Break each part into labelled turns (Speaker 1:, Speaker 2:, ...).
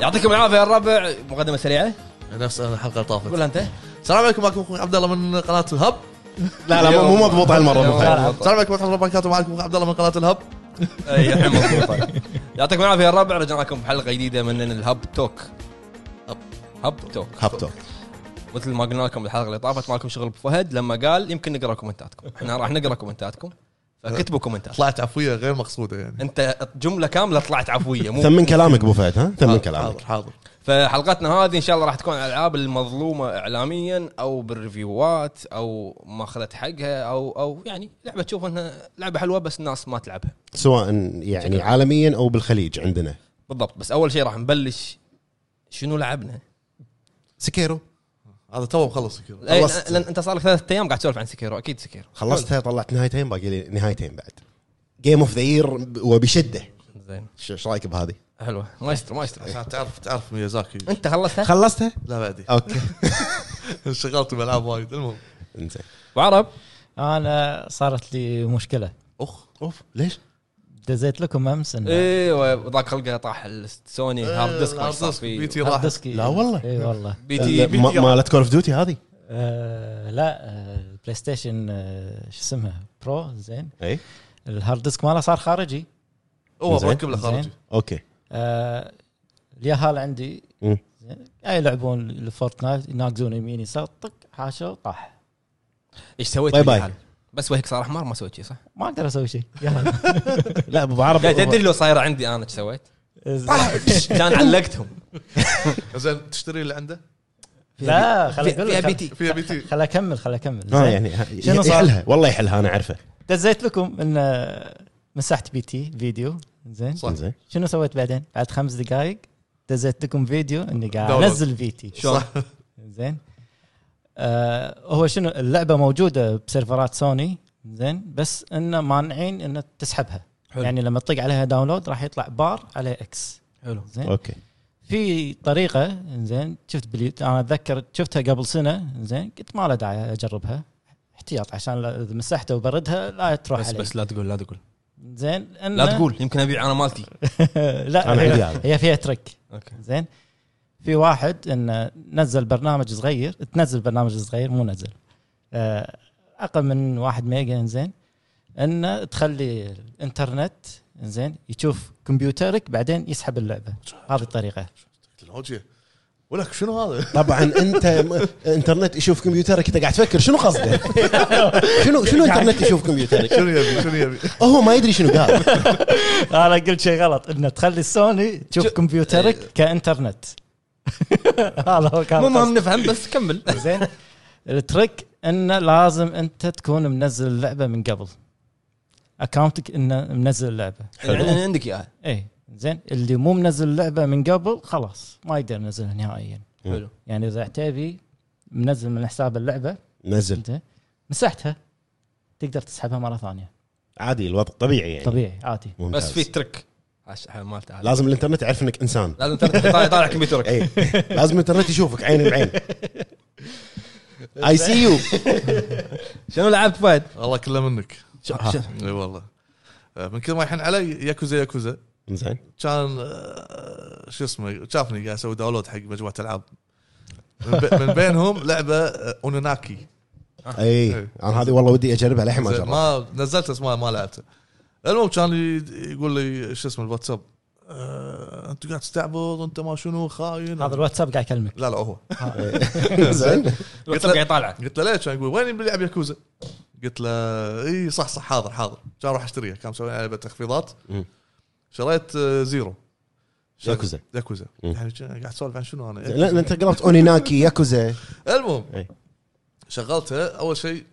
Speaker 1: يعطيكم العافيه يا الربع مقدمه سريعه
Speaker 2: نفس الحلقه اللي طافت
Speaker 1: قول انت
Speaker 2: السلام عليكم معكم اخوكم عبد الله من قناه الهب
Speaker 3: لا لا مو- مو مضبوط هالمره مو
Speaker 1: لا،
Speaker 3: مضبوط.
Speaker 1: لا.
Speaker 2: السلام عليكم ورحمه الله وبركاته معكم اخوكم عبد الله من قناه الهب
Speaker 1: اي إيه، الحين مضبوطه يعطيكم العافيه يا الربع رجعنا لكم بحلقه جديده من الهب توك
Speaker 2: هب.
Speaker 1: هب توك
Speaker 3: هبتو
Speaker 1: مثل ما قلنا لكم الحلقه اللي طافت ما لكم شغل بفهد لما قال يمكن نقرا كومنتاتكم احنا راح نقرا كومنتاتكم فكتبوا كومنتات
Speaker 2: طلعت عفويه غير مقصوده يعني
Speaker 1: انت جمله كامله طلعت عفويه مو
Speaker 3: ثمن كلامك آه، ابو فهد ها ثمن كلامك
Speaker 2: حاضر حاضر
Speaker 1: فحلقتنا هذه ان شاء الله راح تكون على الالعاب المظلومه اعلاميا او بالريفيوات او ما اخذت حقها او او يعني لعبه تشوف انها لعبه حلوه بس الناس ما تلعبها
Speaker 3: سواء يعني عالميا او بالخليج عندنا
Speaker 1: بالضبط بس اول شيء راح نبلش شنو لعبنا؟
Speaker 3: سكيرو
Speaker 2: هذا تو مخلص كذا.
Speaker 1: لأن,
Speaker 2: خلصت
Speaker 1: لأن انت صار لك ثلاث ايام قاعد تسولف عن سكيرو اكيد سكيرو
Speaker 3: خلصتها طلعت نهايتين باقي لي نهايتين بعد جيم اوف ذا يير وبشده
Speaker 1: زين
Speaker 3: ش- ايش رايك بهذه؟
Speaker 1: حلوه مايسترو مايسترو
Speaker 2: عشان تعرف تعرف ميازاكي
Speaker 1: انت خلصتها؟
Speaker 3: خلصتها؟
Speaker 2: لا بعدي
Speaker 3: اوكي
Speaker 2: انشغلت بالالعاب وايد المهم
Speaker 3: انزين
Speaker 1: وعرب
Speaker 4: انا صارت لي مشكله
Speaker 2: اخ
Speaker 3: اوف ليش؟
Speaker 4: دزيت لكم امس ان
Speaker 1: ايوه ذاك خلقه طاح السوني هارد ديسك ما
Speaker 2: هارد
Speaker 1: صار
Speaker 2: إيه، ديسك
Speaker 1: فيه
Speaker 2: بيتي راح
Speaker 4: ديسكي
Speaker 3: لا والله.
Speaker 4: اي والله
Speaker 1: بي تي بي تي
Speaker 3: مالت كول اوف ديوتي هذه؟
Speaker 4: آه لا آه، بلاي ستيشن آه، شو اسمها برو زين
Speaker 3: اي
Speaker 4: الهارد ديسك ماله صار خارجي
Speaker 2: هو
Speaker 3: زين.
Speaker 2: مركب له خارجي
Speaker 4: زين.
Speaker 3: اوكي
Speaker 4: آه، اليهال عندي
Speaker 3: مم.
Speaker 4: زين قاعد يلعبون الفورتنايت يناقزون يمين يسار طق حاشا وطاح
Speaker 1: ايش سويت؟
Speaker 3: باي
Speaker 1: في
Speaker 3: باي.
Speaker 1: الحال؟ بس وجهك صار احمر ما سويت شيء صح؟
Speaker 4: ما اقدر اسوي شيء يلا
Speaker 3: لا ابو عرب
Speaker 1: قاعد تدري لو صايره عندي انا ايش سويت؟
Speaker 4: زين.
Speaker 1: كان علقتهم
Speaker 2: زين تشتري اللي عنده
Speaker 4: لا خل اقول
Speaker 1: فيها بي
Speaker 4: لك
Speaker 1: تي
Speaker 2: فيها بي تي
Speaker 4: خل اكمل خل اكمل
Speaker 3: اه
Speaker 4: زين.
Speaker 3: يعني
Speaker 4: شنو صار؟
Speaker 3: يحلها والله يحلها انا اعرفه
Speaker 4: دزيت لكم ان آه، مسحت بي تي فيديو زين
Speaker 2: صح
Speaker 3: زين
Speaker 4: شنو سويت بعدين؟ بعد خمس دقائق دزيت لكم فيديو اني قاعد
Speaker 2: داونلود.
Speaker 4: انزل في تي
Speaker 1: شلون؟
Speaker 4: زين آه هو شنو اللعبه موجوده بسيرفرات سوني زين بس انه مانعين انه تسحبها
Speaker 1: حلو.
Speaker 4: حلو. يعني لما تطق عليها داونلود راح يطلع بار عليه اكس
Speaker 1: حلو
Speaker 4: زين
Speaker 3: اوكي
Speaker 4: في طريقه زين شفت بلي... انا اتذكر شفتها قبل سنه زين قلت ما له داعي اجربها احتياط عشان لا- اذا مسحتها وبردها لا تروح
Speaker 1: بس
Speaker 4: علي
Speaker 1: بس لا تقول لا تقول
Speaker 4: زين إنه-
Speaker 1: لا تقول يمكن ابيع انا مالتي
Speaker 4: لا
Speaker 3: أنا
Speaker 4: هي-
Speaker 3: عندي هذا.
Speaker 4: هي فيها ترك
Speaker 1: اوكي
Speaker 4: زين في واحد انه نزل برنامج صغير تنزل برنامج صغير مو نزل آه، اقل من واحد ميجا زين انه تخلي الانترنت زين يشوف كمبيوترك بعدين يسحب اللعبه هذه الطريقه
Speaker 2: تكنولوجيا ولك شنو هذا؟
Speaker 3: طبعا انت م- انترنت يشوف كمبيوترك انت قاعد تفكر شنو قصده؟ شنو شنو انترنت يشوف كمبيوترك؟
Speaker 2: شنو يبي شنو يبي؟
Speaker 3: هو ما يدري شنو قال
Speaker 4: انا قلت شيء غلط انه تخلي سوني إيه. تشوف
Speaker 1: شو-
Speaker 4: كمبيوترك كانترنت هذا هو كان
Speaker 1: مو مهم
Speaker 4: قصدي.
Speaker 1: نفهم بس كمل
Speaker 4: زين الترك انه لازم انت تكون منزل اللعبه من قبل اكونتك انه منزل اللعبه
Speaker 1: يعني عندك اياها
Speaker 4: اي زين اللي مو منزل اللعبه من قبل خلاص ما يقدر ينزلها نهائيا
Speaker 1: حلو
Speaker 4: يعني اذا عتيبي منزل من حساب اللعبه
Speaker 3: نزل
Speaker 4: انت مسحتها تقدر تسحبها مره ثانيه
Speaker 3: عادي الوضع طبيعي يعني
Speaker 4: طبيعي عادي
Speaker 3: ممتاز.
Speaker 1: بس في ترك هاش- ها، مالته هذا.
Speaker 3: لازم الانترنت يعرف انك انسان
Speaker 1: لازم ترى- طالع طالع كمبيوترك
Speaker 3: اي لازم الانترنت يشوفك عين بعين اي سي يو
Speaker 1: شنو لعبت فهد؟
Speaker 2: الله كله منك
Speaker 1: ش- ش-
Speaker 2: اي والله آه، من كل ما يحن علي ياكوزا ياكوزا
Speaker 3: زين
Speaker 2: كان آه، شو اسمه شافني قاعد اسوي داونلود حق مجموعه العاب من بي- من بينهم لعبه آه، اونوناكي
Speaker 3: اي انا إيه. هذه والله ودي اجربها للحين ما
Speaker 2: زين،
Speaker 3: جربت
Speaker 2: ما نزلت اسمها ما لعبته المهم كان ي- يقول لي شو اسمه الواتساب آه، انت قاعد تستعبط انت ما شنو خاين
Speaker 4: هذا الواتساب قاعد يكلمك
Speaker 2: لا لا هو
Speaker 3: زين
Speaker 1: الواتساب قاعد يطالعك
Speaker 2: قلت له ليش؟ يقول وين بيلعب ياكوزا؟ قلت له اي صح صح حاضر حاضر كان اروح اشتريها كان مسوي عليها تخفيضات
Speaker 3: مم.
Speaker 2: شريت آه، زيرو شريت-
Speaker 3: ياكوزا.
Speaker 2: ياكوزا
Speaker 3: مم.
Speaker 2: يعني ش- قاعد اسولف عن شنو انا
Speaker 3: لا لا، انت قربت اونيناكي ياكوزا
Speaker 2: المهم
Speaker 3: أي.
Speaker 2: شغلتها اول شيء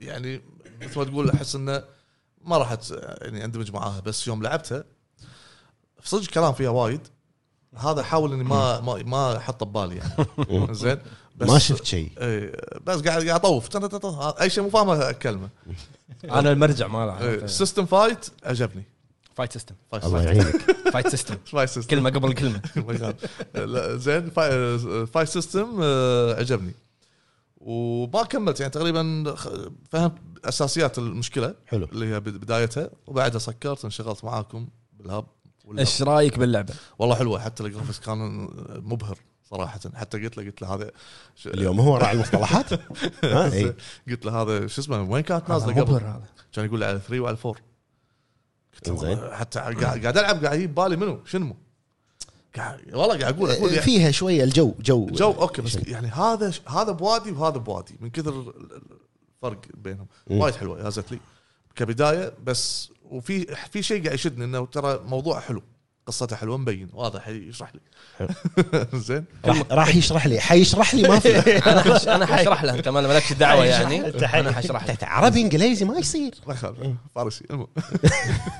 Speaker 2: يعني مثل ما تقول احس انه ما راح أت- يعني اندمج معاها بس يوم لعبتها صدق كلام فيها وايد هذا احاول اني ما ما ما احطه ببالي يعني زين بس
Speaker 3: ما شفت شيء
Speaker 2: اي بس قاعد قاعد اطوف تن- تن- تن- اي شيء مو فاهمه اكلمه
Speaker 1: انا المرجع ماله
Speaker 2: سيستم فايت عجبني
Speaker 1: فايت سيستم
Speaker 2: فايت
Speaker 3: الله يعينك
Speaker 1: فايت سيستم
Speaker 2: فايت سيستم
Speaker 1: كلمه قبل كلمه
Speaker 2: لا، زين فاي- فايت سيستم آه، عجبني وما كملت يعني تقريبا خ- فهمت اساسيات المشكله
Speaker 3: حلو
Speaker 2: اللي هي بد- بدايتها وبعدها سكرت انشغلت معاكم بالهب ولا
Speaker 1: ايش رايك باللعبه؟
Speaker 2: والله حلوه حتى الجرافكس كان آه، مبهر صراحه حتى قلت له قلت له هذا ش-
Speaker 3: اليوم هو راعي المصطلحات ها اي
Speaker 2: قلت له هذا شو اسمه وين كانت نازله قبل؟
Speaker 1: مبهر هذا
Speaker 2: كان يقول لي على 3 وعلى 4 قلت له
Speaker 3: زين.
Speaker 2: والله حتى قاعد قاعد العب قاعد يجيب بالي منو شنمو قاعد والله قاعد اقول اقول يعني
Speaker 3: فيها شويه الجو جو
Speaker 2: جو اوكي بس يعني هذا ش- هذا بوادي وهذا بوادي من كثر ال- ال- الفرق بينهم
Speaker 3: مم.
Speaker 2: وايد حلوه هازت لي كبدايه بس وفي في شيء قاعد يشدني انه ترى موضوع حلو قصته حلوه مبين واضح يشرح لي زين
Speaker 3: راح- راح يشرح لي حيشرح لي ما في
Speaker 1: انا حش- انا حشرح له انت ما مالكش دعوه يعني انا حشرح له
Speaker 3: أنت عربي انجليزي ما يصير
Speaker 2: ما
Speaker 4: إيه.
Speaker 2: يخالف فارسي المهم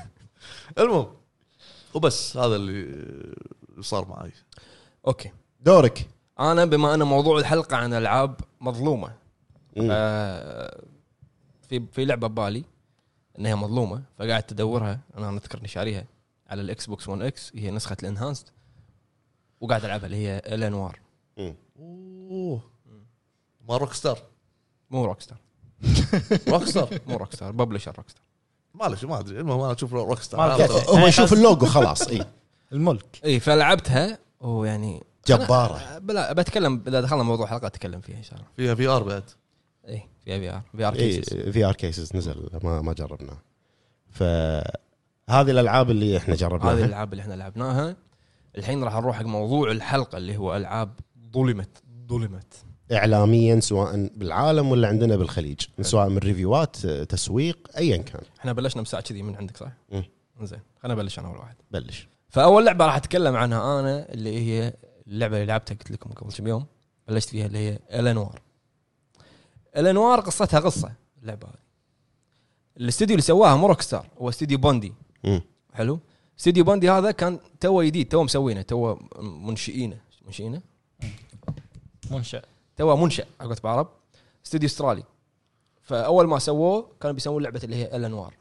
Speaker 2: المهم وبس هذا اللي صار معي
Speaker 1: اوكي
Speaker 3: دورك
Speaker 1: انا بما ان موضوع الحلقه عن العاب مظلومه
Speaker 3: مم.
Speaker 1: آه، في في لعبه ببالي انها مظلومه فقعدت ادورها انا اذكر اني شاريها على الاكس بوكس 1 اكس هي نسخه الانهانسد وقاعد العبها اللي هي الانوار
Speaker 2: اوه ما روك ستار
Speaker 1: مو روكستار
Speaker 2: روك ستار
Speaker 1: مو روكستار ببلشر روكستار
Speaker 2: معلش ما ادري المهم انا اشوف روك
Speaker 4: ما
Speaker 2: ستار
Speaker 4: أدري.
Speaker 3: هو يشوف اللوجو خلاص إيه. اي
Speaker 4: الملك
Speaker 1: اي فلعبتها ويعني
Speaker 3: جباره
Speaker 1: بلا بتكلم اذا دخلنا موضوع الحلقه اتكلم فيها ان شاء الله
Speaker 2: فيها في ار بعد
Speaker 1: اي فيها في ار في ار
Speaker 3: اي
Speaker 1: كيسز
Speaker 3: في ار كيسز نزل ما ما جربناه فهذه الالعاب اللي احنا
Speaker 1: هذه
Speaker 3: جربناها
Speaker 1: الالعاب اللي احنا لعبناها الحين راح نروح حق موضوع الحلقه اللي هو العاب ظلمت ظلمت
Speaker 3: اعلاميا سواء بالعالم ولا عندنا بالخليج
Speaker 1: إيه.
Speaker 3: سواء من ريفيوات تسويق ايا كان
Speaker 1: احنا بلشنا بساعه كذي من عندك صح؟
Speaker 3: مم.
Speaker 1: زين خلينا نبلش انا اول واحد
Speaker 3: بلش
Speaker 1: فاول لعبه راح اتكلم عنها انا اللي هي اللعبه اللي لعبتها قلت لكم قبل كم يوم بلشت فيها اللي هي الانوار الانوار قصتها قصه اللعبه هذه الاستوديو اللي سواها مو روك ستار هو استوديو بوندي
Speaker 3: مم.
Speaker 1: حلو استوديو بوندي هذا كان توه جديد توه مسوينه توه منشئينه منشئينه
Speaker 4: منشا
Speaker 1: توه منشا على قولة بعرب استوديو استرالي فاول ما سووه كانوا بيسوون لعبه اللي هي الانوار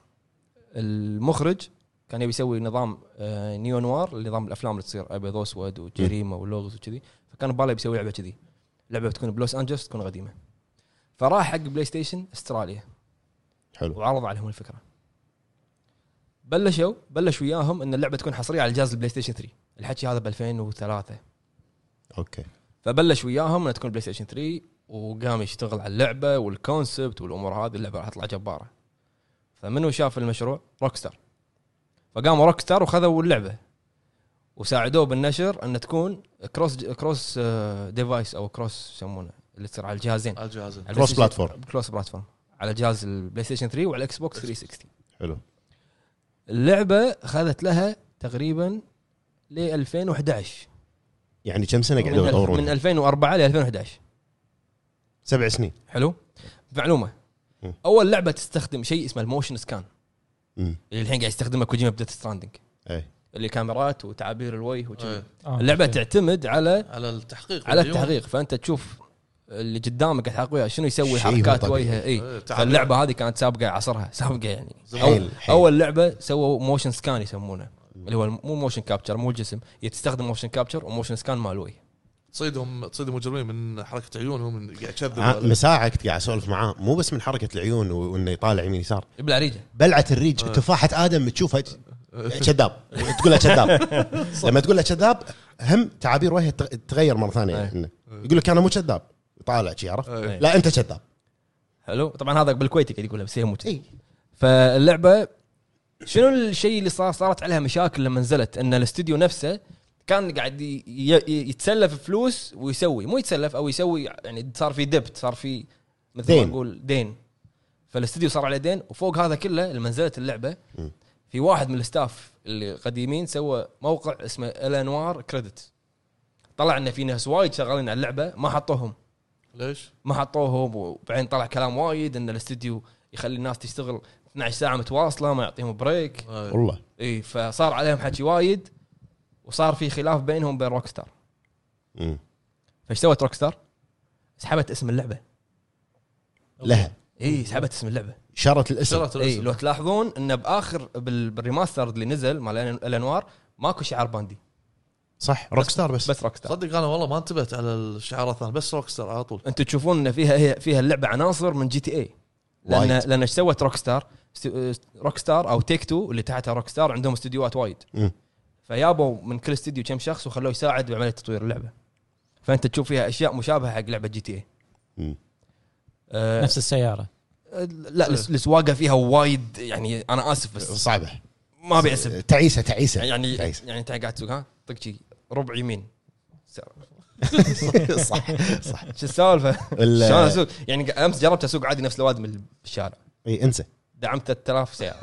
Speaker 1: المخرج كان يبي يسوي نظام آه، نيو نوار نظام الافلام اللي تصير ابيض واسود وجريمه ولغز وكذي فكان بباله بيسوي لعبه كذي لعبه بتكون بلوس انجلوس تكون قديمه فراح حق بلاي ستيشن استراليا
Speaker 3: حلو
Speaker 1: وعرض عليهم الفكره بلشوا بلش وياهم ان اللعبه تكون حصريه على جهاز البلاي ستيشن 3 الحكي هذا ب 2003
Speaker 3: اوكي
Speaker 1: فبلش وياهم انها تكون بلاي ستيشن 3 وقام يشتغل على اللعبه والكونسبت والامور هذه اللعبه راح تطلع جباره فمنو شاف المشروع؟ روكستار فقاموا روكستار وخذوا اللعبه وساعدوه بالنشر ان تكون كروس كروس آه، ديفايس او كروس يسمونه اللي تصير على الجهازين
Speaker 2: الجهاز
Speaker 1: على
Speaker 3: كروس
Speaker 1: البلاي ستيشن-
Speaker 3: بلاتفورم.
Speaker 1: كروس بلاتفورم على جهاز البلاي ستيشن 3 وعلى الاكس بوكس 360
Speaker 3: حلو
Speaker 1: اللعبه خذت لها تقريبا ل 2011
Speaker 3: يعني كم سنه
Speaker 1: من,
Speaker 3: قاعدين
Speaker 1: الف- من
Speaker 3: يطورون
Speaker 1: 2004 ل 2011
Speaker 3: سبع سنين
Speaker 1: حلو معلومه
Speaker 3: مم.
Speaker 1: اول لعبه تستخدم شيء اسمه الموشن سكان
Speaker 3: مم. إيه.
Speaker 1: اللي الحين قاعد يستخدمه كوجيما بديت ستراندنج
Speaker 3: اي
Speaker 1: اللي كاميرات وتعابير الوجه وكذي
Speaker 2: إيه.
Speaker 4: آه،
Speaker 1: اللعبه
Speaker 4: أوكي.
Speaker 1: تعتمد على
Speaker 2: على التحقيق
Speaker 1: على
Speaker 2: واليوم.
Speaker 1: التحقيق فانت تشوف اللي قدامك قاعد تحقق وياه شنو يسوي
Speaker 3: شيء
Speaker 1: حركات
Speaker 3: مو طبيعي.
Speaker 1: وجهه
Speaker 2: إيه،
Speaker 1: اي
Speaker 2: تعابير.
Speaker 1: فاللعبه هذه كانت سابقه عصرها سابقه يعني
Speaker 3: حيل حيل
Speaker 1: اول لعبه سووا موشن سكان يسمونه اللي هو مو موشن كابتشر مو الجسم هي تستخدم موشن كابتشر وموشن سكان مال الوجه
Speaker 2: تصيدهم تصيد المجرمين من حركه عيونهم من قاعد يكذب
Speaker 3: آه،
Speaker 2: ولا-
Speaker 3: مساعك قاعد اسولف معاه مو بس من حركه العيون و- وانه يطالع يمين يسار
Speaker 1: بالعريجه
Speaker 3: بلعه الريج
Speaker 1: آه.
Speaker 3: تفاحه ادم تشوفها ج- كذاب تقول له كذاب لما تقول له كذاب هم تعابير وجهه تغ- تتغير مره ثانيه
Speaker 1: أي.
Speaker 3: يعني يقول لك انا مو كذاب طالع شي عرفت
Speaker 2: إيه.
Speaker 3: لا انت كذاب
Speaker 1: حلو طبعا هذا بالكويتي قاعد يقولها بس هي مو كذي.
Speaker 3: اي
Speaker 1: فاللعبه شنو الشيء اللي صار صارت عليها مشاكل لما نزلت ان الاستوديو نفسه كان قاعد ي- ي- يتسلف فلوس ويسوي مو يتسلف او يسوي يعني صار في دبت صار في مثل ما
Speaker 3: دين.
Speaker 1: نقول دين فالاستوديو صار عليه دين وفوق هذا كله لما نزلت اللعبه
Speaker 3: م.
Speaker 1: في واحد من الاستاف القديمين سوى موقع اسمه الانوار كريدت طلع ان في ناس وايد شغالين على اللعبه ما حطوهم
Speaker 2: ليش؟
Speaker 1: ما حطوهم وبعدين طلع كلام وايد ان الاستديو يخلي الناس تشتغل 12 ساعه متواصله ما يعطيهم بريك
Speaker 2: إيه.
Speaker 3: والله
Speaker 1: اي فصار عليهم حكي وايد وصار في خلاف بينهم وبين روكستار
Speaker 3: مم.
Speaker 1: فايش سوت روكستار؟ سحبت اسم اللعبه
Speaker 3: لها
Speaker 1: اي سحبت اسم اللعبه
Speaker 3: شرت الاسم
Speaker 2: شرط
Speaker 1: اي
Speaker 2: الاسم.
Speaker 1: لو تلاحظون انه باخر بال- بالريماستر اللي نزل مال الأن- الانوار ماكو شعار باندي
Speaker 3: صح روك ستار بس
Speaker 1: بس روكستار
Speaker 2: صدق انا والله ما انتبهت على الشعار الثاني بس روك ستار على طول
Speaker 1: انتم تشوفون ان فيها هي فيها اللعبه عناصر من جي تي اي لان
Speaker 3: وايد.
Speaker 1: لان ايش آه، سوت روك ستار؟ روك ستار او تيك تو اللي تحتها روك ستار عندهم استديوهات وايد
Speaker 3: مم.
Speaker 1: فيابوا من كل استديو كم شخص وخلوه يساعد بعمليه تطوير اللعبه فانت تشوف فيها اشياء مشابهه حق لعبه جي تي إيه.
Speaker 3: مم.
Speaker 1: اي
Speaker 4: نفس السياره
Speaker 1: لا الس- السواقه فيها وايد يعني انا اسف بس
Speaker 3: صعبه
Speaker 1: ما ابي اسب
Speaker 3: تعيسه تعيسه
Speaker 1: يعني
Speaker 3: تعيسه
Speaker 1: يعني انت قاعد تسوق ها طق شي ربع يمين سعر.
Speaker 3: صح صح
Speaker 1: شو السالفه؟
Speaker 3: ال-
Speaker 1: شلون اسوق؟ يعني امس جربت اسوق عادي نفس الواد من الشارع
Speaker 3: اي انسى
Speaker 1: دعمت 3000 سياره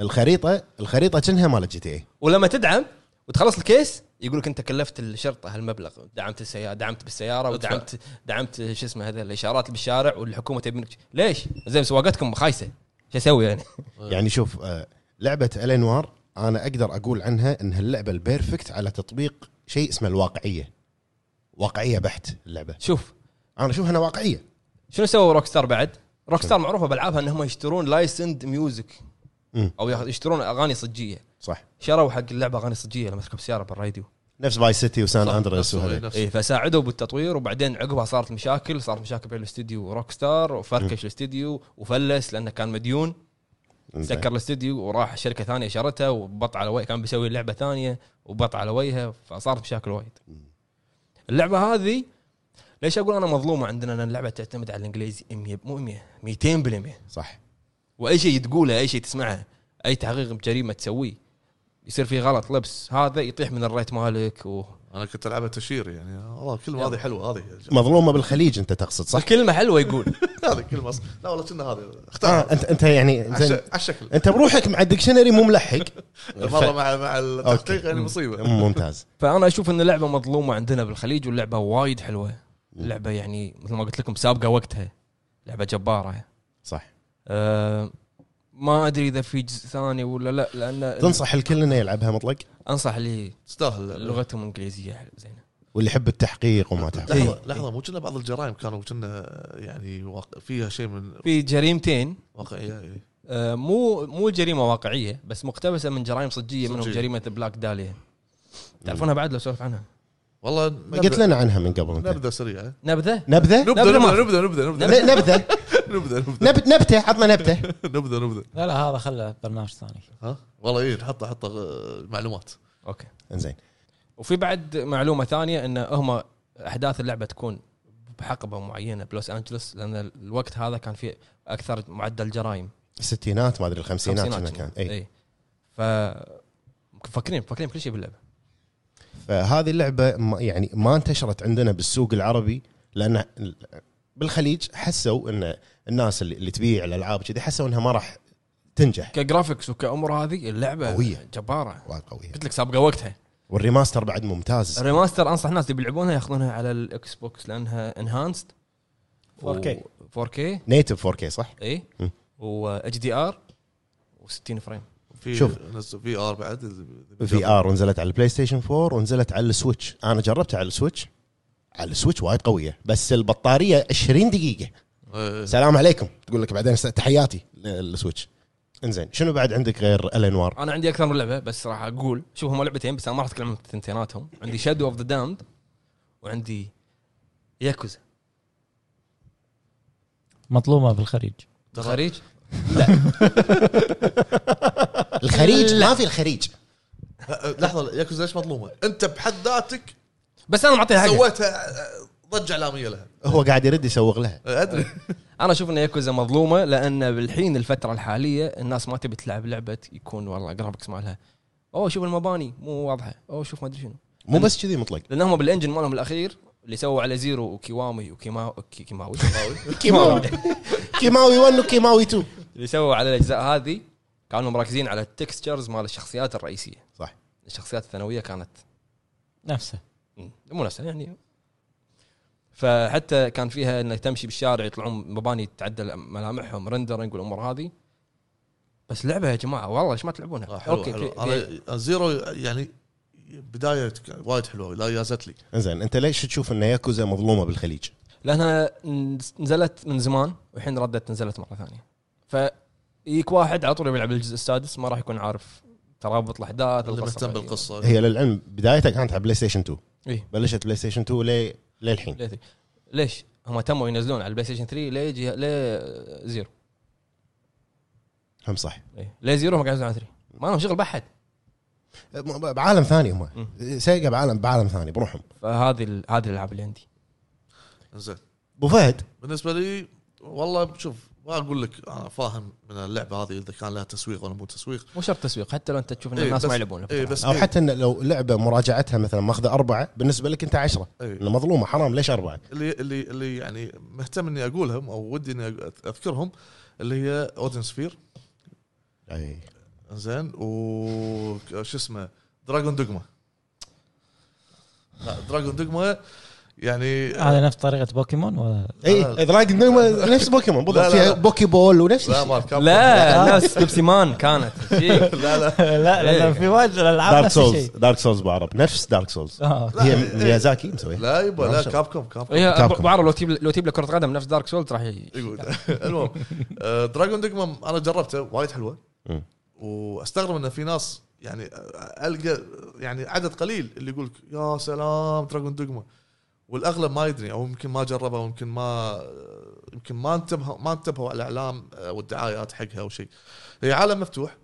Speaker 3: الخريطه الخريطه كأنها مالت جي تي اي
Speaker 1: ولما تدعم وتخلص الكيس يقول لك انت كلفت الشرطه هالمبلغ دعمت السياره دعمت بالسياره
Speaker 2: ادفع.
Speaker 1: ودعمت دعمت شو اسمه هذا الاشارات اللي بالشارع والحكومه تبي منك ليش؟ زين سواقتكم خايسه شو اسوي يعني؟
Speaker 3: يعني شوف آه، لعبه الانوار انا اقدر اقول عنها انها اللعبه البيرفكت على تطبيق شيء اسمه الواقعيه واقعيه بحت اللعبه
Speaker 1: شوف
Speaker 3: انا اشوفها انها واقعيه
Speaker 1: شنو سووا روك ستار بعد؟ روك ستار معروفه بالعابها انهم يشترون لايسند ميوزك
Speaker 3: مم.
Speaker 1: او ياخ- يشترون اغاني صجيه
Speaker 3: صح
Speaker 1: شروا حق اللعبه اغاني صجيه لما تركب سياره بالراديو
Speaker 3: نفس باي سيتي وسان
Speaker 2: صح،
Speaker 3: اندريس
Speaker 2: نفس-
Speaker 3: وهذا إيه.
Speaker 2: نفس-
Speaker 1: اي إيه، فساعدوا بالتطوير وبعدين عقبها صارت مشاكل صارت مشاكل بين الاستوديو وروك ستار وفركش الاستوديو وفلس لانه كان مديون
Speaker 3: إنزين.
Speaker 1: سكر الاستوديو وراح شركه ثانيه شرتها وبط على وجه كان بيسوي لعبه ثانيه وبط على وجهه فصارت مشاكل وايد. اللعبه هذه ليش اقول انا مظلومه عندنا ان اللعبه تعتمد على الانجليزي 100 مو 100 200%
Speaker 3: صح
Speaker 1: واي شيء تقوله اي شيء تسمعه اي تحقيق بجريمه تسويه يصير فيه غلط لبس هذا يطيح من الريت مالك و...
Speaker 2: انا كنت العبها تشير يعني والله كلمه هذه حلوه هذه
Speaker 3: مظلومه بالخليج انت تقصد صح؟
Speaker 1: كلمه حلوه يقول
Speaker 2: هذه كلمه أص- لا والله كنا هذه
Speaker 3: آه
Speaker 2: اختار
Speaker 3: انت انت يعني
Speaker 2: على الش-
Speaker 3: إنزين،
Speaker 2: على الشكل
Speaker 3: انت بروحك مع الدكشنري مو ملحق
Speaker 2: المره مع مع التحقيق يعني مصيبه
Speaker 3: ممتاز
Speaker 1: فانا اشوف ان اللعبه مظلومه عندنا بالخليج واللعبه وايد حلوه اللعبه يعني مثل ما قلت لكم سابقه وقتها لعبه جباره
Speaker 3: صح
Speaker 1: أه ما ادري اذا في جزء ثاني ولا لا لان
Speaker 3: تنصح الكل انه يلعبها مطلق
Speaker 1: انصح اللي
Speaker 2: تستاهل
Speaker 1: لغتهم انجليزيه زينه
Speaker 3: واللي يحب التحقيق وما تعرف
Speaker 2: لحظه لحظه مو كنا بعض الجرائم كانوا كنا يعني واق- فيها شيء من
Speaker 1: في جريمتين
Speaker 2: واقعيه إيه.
Speaker 1: أه مو مو جريمه واقعيه بس مقتبسه من جرايم صجيه منهم
Speaker 2: صجية.
Speaker 1: جريمه بلاك داليا تعرفونها بعد لو سولف عنها
Speaker 2: والله
Speaker 3: قلت لنا عنها من قبل أنت.
Speaker 2: نبذه سريعه
Speaker 1: نبذه
Speaker 3: نبذه
Speaker 2: نبذه
Speaker 1: نبذة ما
Speaker 2: نبذه نبذه نبذه نبذه
Speaker 3: ن- نبذه
Speaker 2: نبذه نبذه
Speaker 3: نب- نبته عطنا نبته
Speaker 2: نبذه نبذه
Speaker 4: لا لا هذا خله برنامج ثاني
Speaker 2: ها والله ايه نحطه حطه آه، معلومات
Speaker 1: اوكي
Speaker 3: انزين
Speaker 1: وفي بعد معلومه ثانيه ان هم احداث اللعبه تكون بحقبه معينه بلوس انجلوس لان الوقت هذا كان فيه اكثر معدل جرائم
Speaker 3: الستينات ما ادري الخمسينات كنا كان إيه. اي
Speaker 1: اي ف مفكرين مفكرين كل شيء باللعبه
Speaker 3: فهذه اللعبه ما يعني ما انتشرت عندنا بالسوق العربي لان ال- بالخليج حسوا ان الناس اللي, اللي تبيع الالعاب كذي حسوا انها ما راح تنجح
Speaker 1: كجرافكس وكامور هذه اللعبه
Speaker 3: قوية.
Speaker 1: جباره
Speaker 3: وايد قويه
Speaker 1: قلت لك سابقه وقتها
Speaker 3: والريماستر بعد ممتاز
Speaker 1: الريماستر انصح الناس اللي بيلعبونها ياخذونها على الاكس بوكس لانها انهانسد
Speaker 4: 4K.
Speaker 1: 4 كي
Speaker 3: نيتف 4K صح؟
Speaker 1: اي
Speaker 3: مم.
Speaker 1: واتش دي ار و60 فريم
Speaker 2: في
Speaker 3: شوف.
Speaker 2: نزل في ار بعد
Speaker 3: في ار ونزلت على البلاي ستيشن 4 ونزلت على السويتش انا جربتها على السويتش على السويتش وايد قويه بس البطاريه 20 دقيقه
Speaker 2: آه،
Speaker 3: سلام عليكم تقول لك بعدين س- تحياتي للسويتش انزين شنو بعد عندك غير الانوار
Speaker 1: انا عندي اكثر من لعبه بس راح اقول شوف هم لعبتين بس انا ما راح اتكلم عن ثنتيناتهم عندي شادو اوف ذا دامد وعندي ياكوزا
Speaker 4: مطلوبه بالخليج
Speaker 1: الخليج
Speaker 3: الخليج ما في الخليج
Speaker 2: آه، لحظه ياكوزا ليش مظلومه؟ انت بحد ذاتك
Speaker 1: بس انا معطيها حقها
Speaker 2: سويتها آه، ضجه اعلاميه لها
Speaker 3: هو قاعد يرد يسوق لها
Speaker 2: آه، ادري
Speaker 1: انا اشوف ان ياكوزا مظلومه لان بالحين الفتره الحاليه الناس ما تبي تلعب لعبه يكون والله جرافكس مالها اوه شوف المباني مو واضحه اوه شوف ما ادري شنو
Speaker 3: مو بس كذي مطلق
Speaker 1: لان هم بالانجن مالهم الاخير اللي سووا على زيرو وكيوامي وكيما وكي- كيماوي
Speaker 3: كيماوي كيماوي 1 وكيماوي 2
Speaker 1: اللي سووا على الاجزاء هذه كانوا مركزين على التكستشرز مال الشخصيات الرئيسيه
Speaker 3: صح
Speaker 1: الشخصيات الثانويه كانت
Speaker 4: نفسه
Speaker 1: مم. مو نفسها يعني فحتى كان فيها انك تمشي بالشارع يطلعون مباني تعدل ملامحهم رندرنج والامور هذه بس لعبه يا جماعه والله ليش ما تلعبونها؟
Speaker 2: آه، حلو حلو
Speaker 1: في- في-
Speaker 2: انا زيرو يعني بدايه ك- وايد حلوه لا يازت لي
Speaker 3: انزين انت ليش تشوف ان ياكوزا مظلومه بالخليج؟
Speaker 1: لانها نزلت من زمان والحين ردت نزلت مره ثانيه فيك واحد على طول يلعب الجزء السادس ما راح يكون عارف ترابط الاحداث
Speaker 2: اللي
Speaker 1: القصة
Speaker 2: مهتم
Speaker 1: الرئيسية.
Speaker 2: بالقصه
Speaker 3: هي للعلم بدايتها كانت على بلاي ستيشن 2
Speaker 1: إيه.
Speaker 3: بلشت بلاي ستيشن 2 لي للحين
Speaker 1: ليه- ليش؟ هم تموا ينزلون على البلاي ستيشن 3 ليه جي... ليه زيرو
Speaker 3: هم صح
Speaker 1: إيه. ليه زيرو هم قاعدين ينزلون على 3 ما لهم شغل بحد
Speaker 3: م- بعالم ثاني هم
Speaker 1: مم.
Speaker 3: سيجا بعالم بعالم ثاني بروحهم
Speaker 1: فهذه ال- هذه الالعاب اللي عندي
Speaker 2: زين
Speaker 3: ابو فهد
Speaker 2: بالنسبه لي والله شوف ما اقول لك انا فاهم من اللعبه هذه اذا كان لها تسويق ولا مو تسويق
Speaker 1: مو شرط تسويق حتى لو انت تشوف ان
Speaker 2: إيه،
Speaker 1: الناس
Speaker 2: بس-
Speaker 1: ما يلعبون
Speaker 2: اي بس
Speaker 3: او
Speaker 2: إيه،
Speaker 3: حتى إن لو لعبه مراجعتها مثلا ماخذه اربعه بالنسبه لك انت عشرة
Speaker 2: إيه.
Speaker 3: انه مظلومه حرام ليش اربعه؟
Speaker 2: اللي اللي اللي يعني مهتم اني اقولهم او ودي اني أ- اذكرهم اللي هي اودن سفير
Speaker 3: اي
Speaker 2: زين و ك- شو اسمه دراجون دوجما لا دراجون دوجما يعني
Speaker 4: هذا نفس طريقه بوكيمون ولا
Speaker 2: لا،
Speaker 3: اي دراجون دوما نفس بوكيمون بالضبط
Speaker 2: لا، لا،
Speaker 3: فيها
Speaker 2: لا.
Speaker 3: بوكي بول ونفس
Speaker 2: لا
Speaker 3: الشيء
Speaker 2: مال كاب
Speaker 1: لا نفس بيبسي مان كانت فيك.
Speaker 2: لا لا
Speaker 4: لا
Speaker 1: إيه.
Speaker 4: لا في وايد الالعاب
Speaker 3: دارك
Speaker 4: نفس
Speaker 3: سولز
Speaker 4: الشيء
Speaker 3: دارك سولز بعرب نفس دارك سولز
Speaker 4: آه.
Speaker 3: هي ميازاكي مسويها
Speaker 2: إيه. لا يبا لا
Speaker 3: شاء
Speaker 2: كاب كوم كاب كوم
Speaker 1: هي
Speaker 3: كابكم.
Speaker 1: بعرف لو تجيب لو تجيب له كره قدم نفس دارك سولز راح ي-
Speaker 2: يقول. المهم آه، دراجون دوجما انا جربته وايد حلوه
Speaker 3: مم.
Speaker 2: واستغرب ان في ناس يعني آه، القى يعني عدد قليل اللي يقول لك يا سلام دراجون دوجما والاغلب ما يدري او يمكن ما جربها او يمكن ما آه، يمكن ما انتبهوا ما انتبهوا على الاعلام آه، والدعايات حقها او شيء هي عالم مفتوح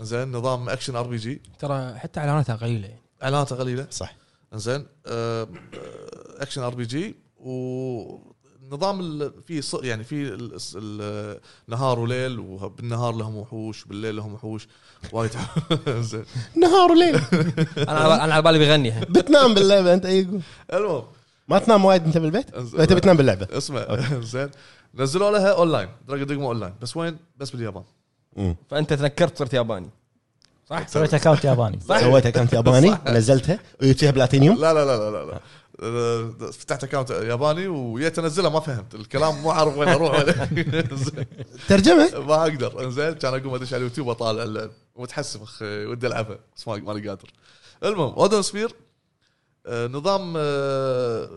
Speaker 2: زين نظام اكشن ار بي جي
Speaker 1: ترى حتى اعلاناتها قليله يعني
Speaker 2: اعلاناتها قليله
Speaker 3: صح
Speaker 2: زين آه، آه، اكشن ار بي جي ونظام ال- في ص- يعني في ال- الس- ال- نهار وليل وبالنهار لهم وحوش بالليل لهم وحوش وايد زين
Speaker 3: نهار وليل
Speaker 1: انا انا على بالي بيغني الحين.
Speaker 3: بتنام باللعبه انت اي
Speaker 2: المهم
Speaker 3: ما تنام وايد انت بالبيت؟
Speaker 2: أنزل.
Speaker 3: انت بتنام باللعبه
Speaker 2: اسمع زين نزلوا لها اونلاين دراجون دوجما اونلاين بس وين؟ بس باليابان
Speaker 1: فانت تذكرت صرت ياباني صح؟
Speaker 4: سويت اكونت ياباني
Speaker 3: سويتها كانت ياباني نزلتها وجبتها بلاتينيوم
Speaker 2: لا لا لا لا لا, لا. آه، فتحت اكونت ياباني وجيت انزلها ما فهمت الكلام مو عارف وين اروح وين. زين.
Speaker 3: ترجمه
Speaker 2: ما اقدر انزين كان اقوم ادش على اليوتيوب اطالع اللعب ومتحسف اخي ودي العبها بس ما ماني قادر المهم اودن سفير آه، نظام آه،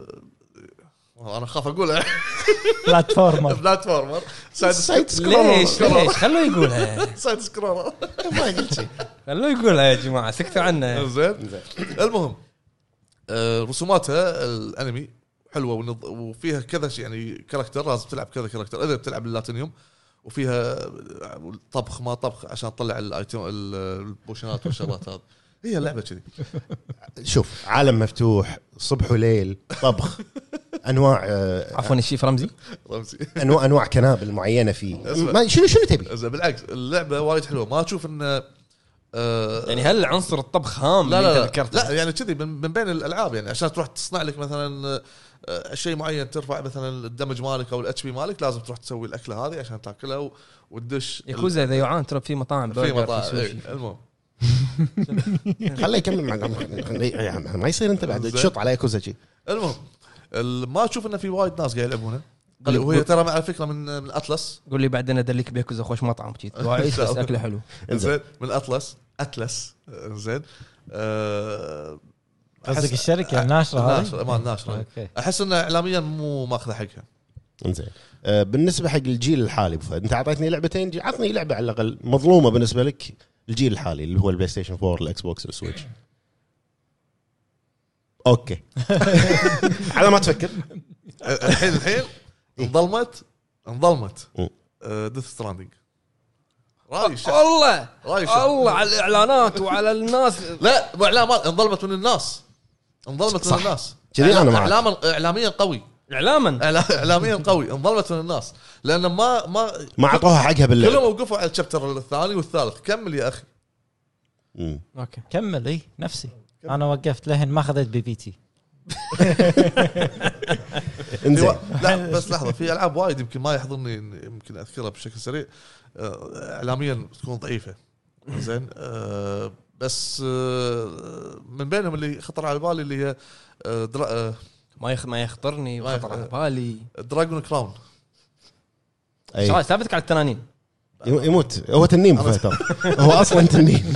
Speaker 2: والله انا خاف اقول
Speaker 4: بلاتفورمر
Speaker 2: بلاتفورمر سايد
Speaker 3: سايد سكرول
Speaker 1: ليش ليش خلوه يقولها
Speaker 2: سايد سكرولر
Speaker 3: ما قلت شيء
Speaker 1: خلوه يقولها يا جماعه سكتوا عنه
Speaker 2: زين المهم آه، رسوماتها الانمي حلوه ونض... وفيها كذا شيء يعني كاركتر لازم تلعب كذا كاركتر اذا بتلعب اللاتينيوم وفيها آه، طبخ ما طبخ عشان تطلع الايتم البوشنات والشغلات هذه هي لعبه كذي
Speaker 3: شوف عالم مفتوح صبح وليل طبخ انواع آه،
Speaker 1: عفوا الشيف رمزي
Speaker 2: رمزي
Speaker 3: انواع انواع كنابل معينه فيه
Speaker 2: اسمع.
Speaker 3: ما- شنو شنو تبي؟
Speaker 2: زين بالعكس اللعبه وايد حلوه ما اشوف انه آه،
Speaker 1: يعني هل عنصر الطبخ هام
Speaker 2: لا
Speaker 1: اللي
Speaker 2: لا
Speaker 1: أنت
Speaker 2: لا,
Speaker 1: ذكرته؟
Speaker 2: لا يعني كذي من من بين الالعاب يعني عشان تروح تصنع لك مثلا آه، شيء معين ترفع مثلا الدمج مالك او الاتش بي مالك لازم تروح تسوي الاكله هذه عشان تاكلها و- وتدش
Speaker 1: ياكوزا اذا جوعان ترى في مطاعم
Speaker 2: في
Speaker 1: برجر،
Speaker 2: مطاعم
Speaker 1: سوشي.
Speaker 2: إيه، المهم
Speaker 3: خليه يكمل مع خليه- ما يصير انت بعد
Speaker 2: زين.
Speaker 3: تشط على ياكوزا شي
Speaker 2: المهم ال- ما اشوف انه في وايد ناس قاعد يلعبونها قال- وهي ترى على فكره من من اطلس
Speaker 1: قول لي بعدين ادلك بياكوزا خوش مطعم جيت واعيش بس اكله حلو
Speaker 2: زين من اطلس اتلس زين آه،
Speaker 4: قصدك
Speaker 2: أحس-
Speaker 4: الشركة الناشرة هذه؟
Speaker 2: الناشره ما الناشره
Speaker 4: أوكي.
Speaker 2: احس انه اعلاميا مو ماخذه حقها
Speaker 3: انزين آه، بالنسبه حق الجيل الحالي ابو فهد انت اعطيتني لعبتين جي- عطني لعبه على الاقل مظلومه بالنسبه لك الجيل الحالي اللي هو البلاي ستيشن 4 الاكس بوكس السويتش اوكي على ما تفكر
Speaker 2: الحين الحين
Speaker 1: إيه.
Speaker 2: انظلمت انظلمت
Speaker 3: مم.
Speaker 2: ديث ستراندنج راي الشعب
Speaker 1: الله
Speaker 2: راي الشعب
Speaker 1: على الاعلانات وعلى الناس
Speaker 2: لا مو اعلام انظلمت من الناس انظلمت من
Speaker 3: صح.
Speaker 2: الناس
Speaker 3: كذي أنا معك.
Speaker 2: اعلاما اعلاميا قوي
Speaker 1: اعلاما
Speaker 2: إعلا- اعلاميا قوي انظلمت من الناس لان ما ما
Speaker 3: ما اعطوها حقها باللعب
Speaker 2: كلهم وقفوا على الشابتر الثاني والثالث كمل يا اخي
Speaker 3: مم.
Speaker 1: اوكي
Speaker 4: كمل اي نفسي انا وقفت لهن ما اخذت بي بي تي
Speaker 2: في
Speaker 3: انزين
Speaker 2: وا- أيوة. لا بس لحظه في العاب وايد يمكن ما يحضرني إن- يمكن اذكرها بشكل سريع آه، اعلاميا تكون ضعيفه زين آه، بس آه، من بينهم اللي خطر على بالي اللي هي آه، درا- آه،
Speaker 1: ما يخ... ما يخطرني
Speaker 2: ما
Speaker 1: وخطر على
Speaker 2: يخ-
Speaker 1: بالي
Speaker 2: دراجون كراون
Speaker 3: أي.
Speaker 1: شباب ثابتك على التنانين
Speaker 3: يم- يموت هو تنين أبو فهد ترى. هو اصلا تنين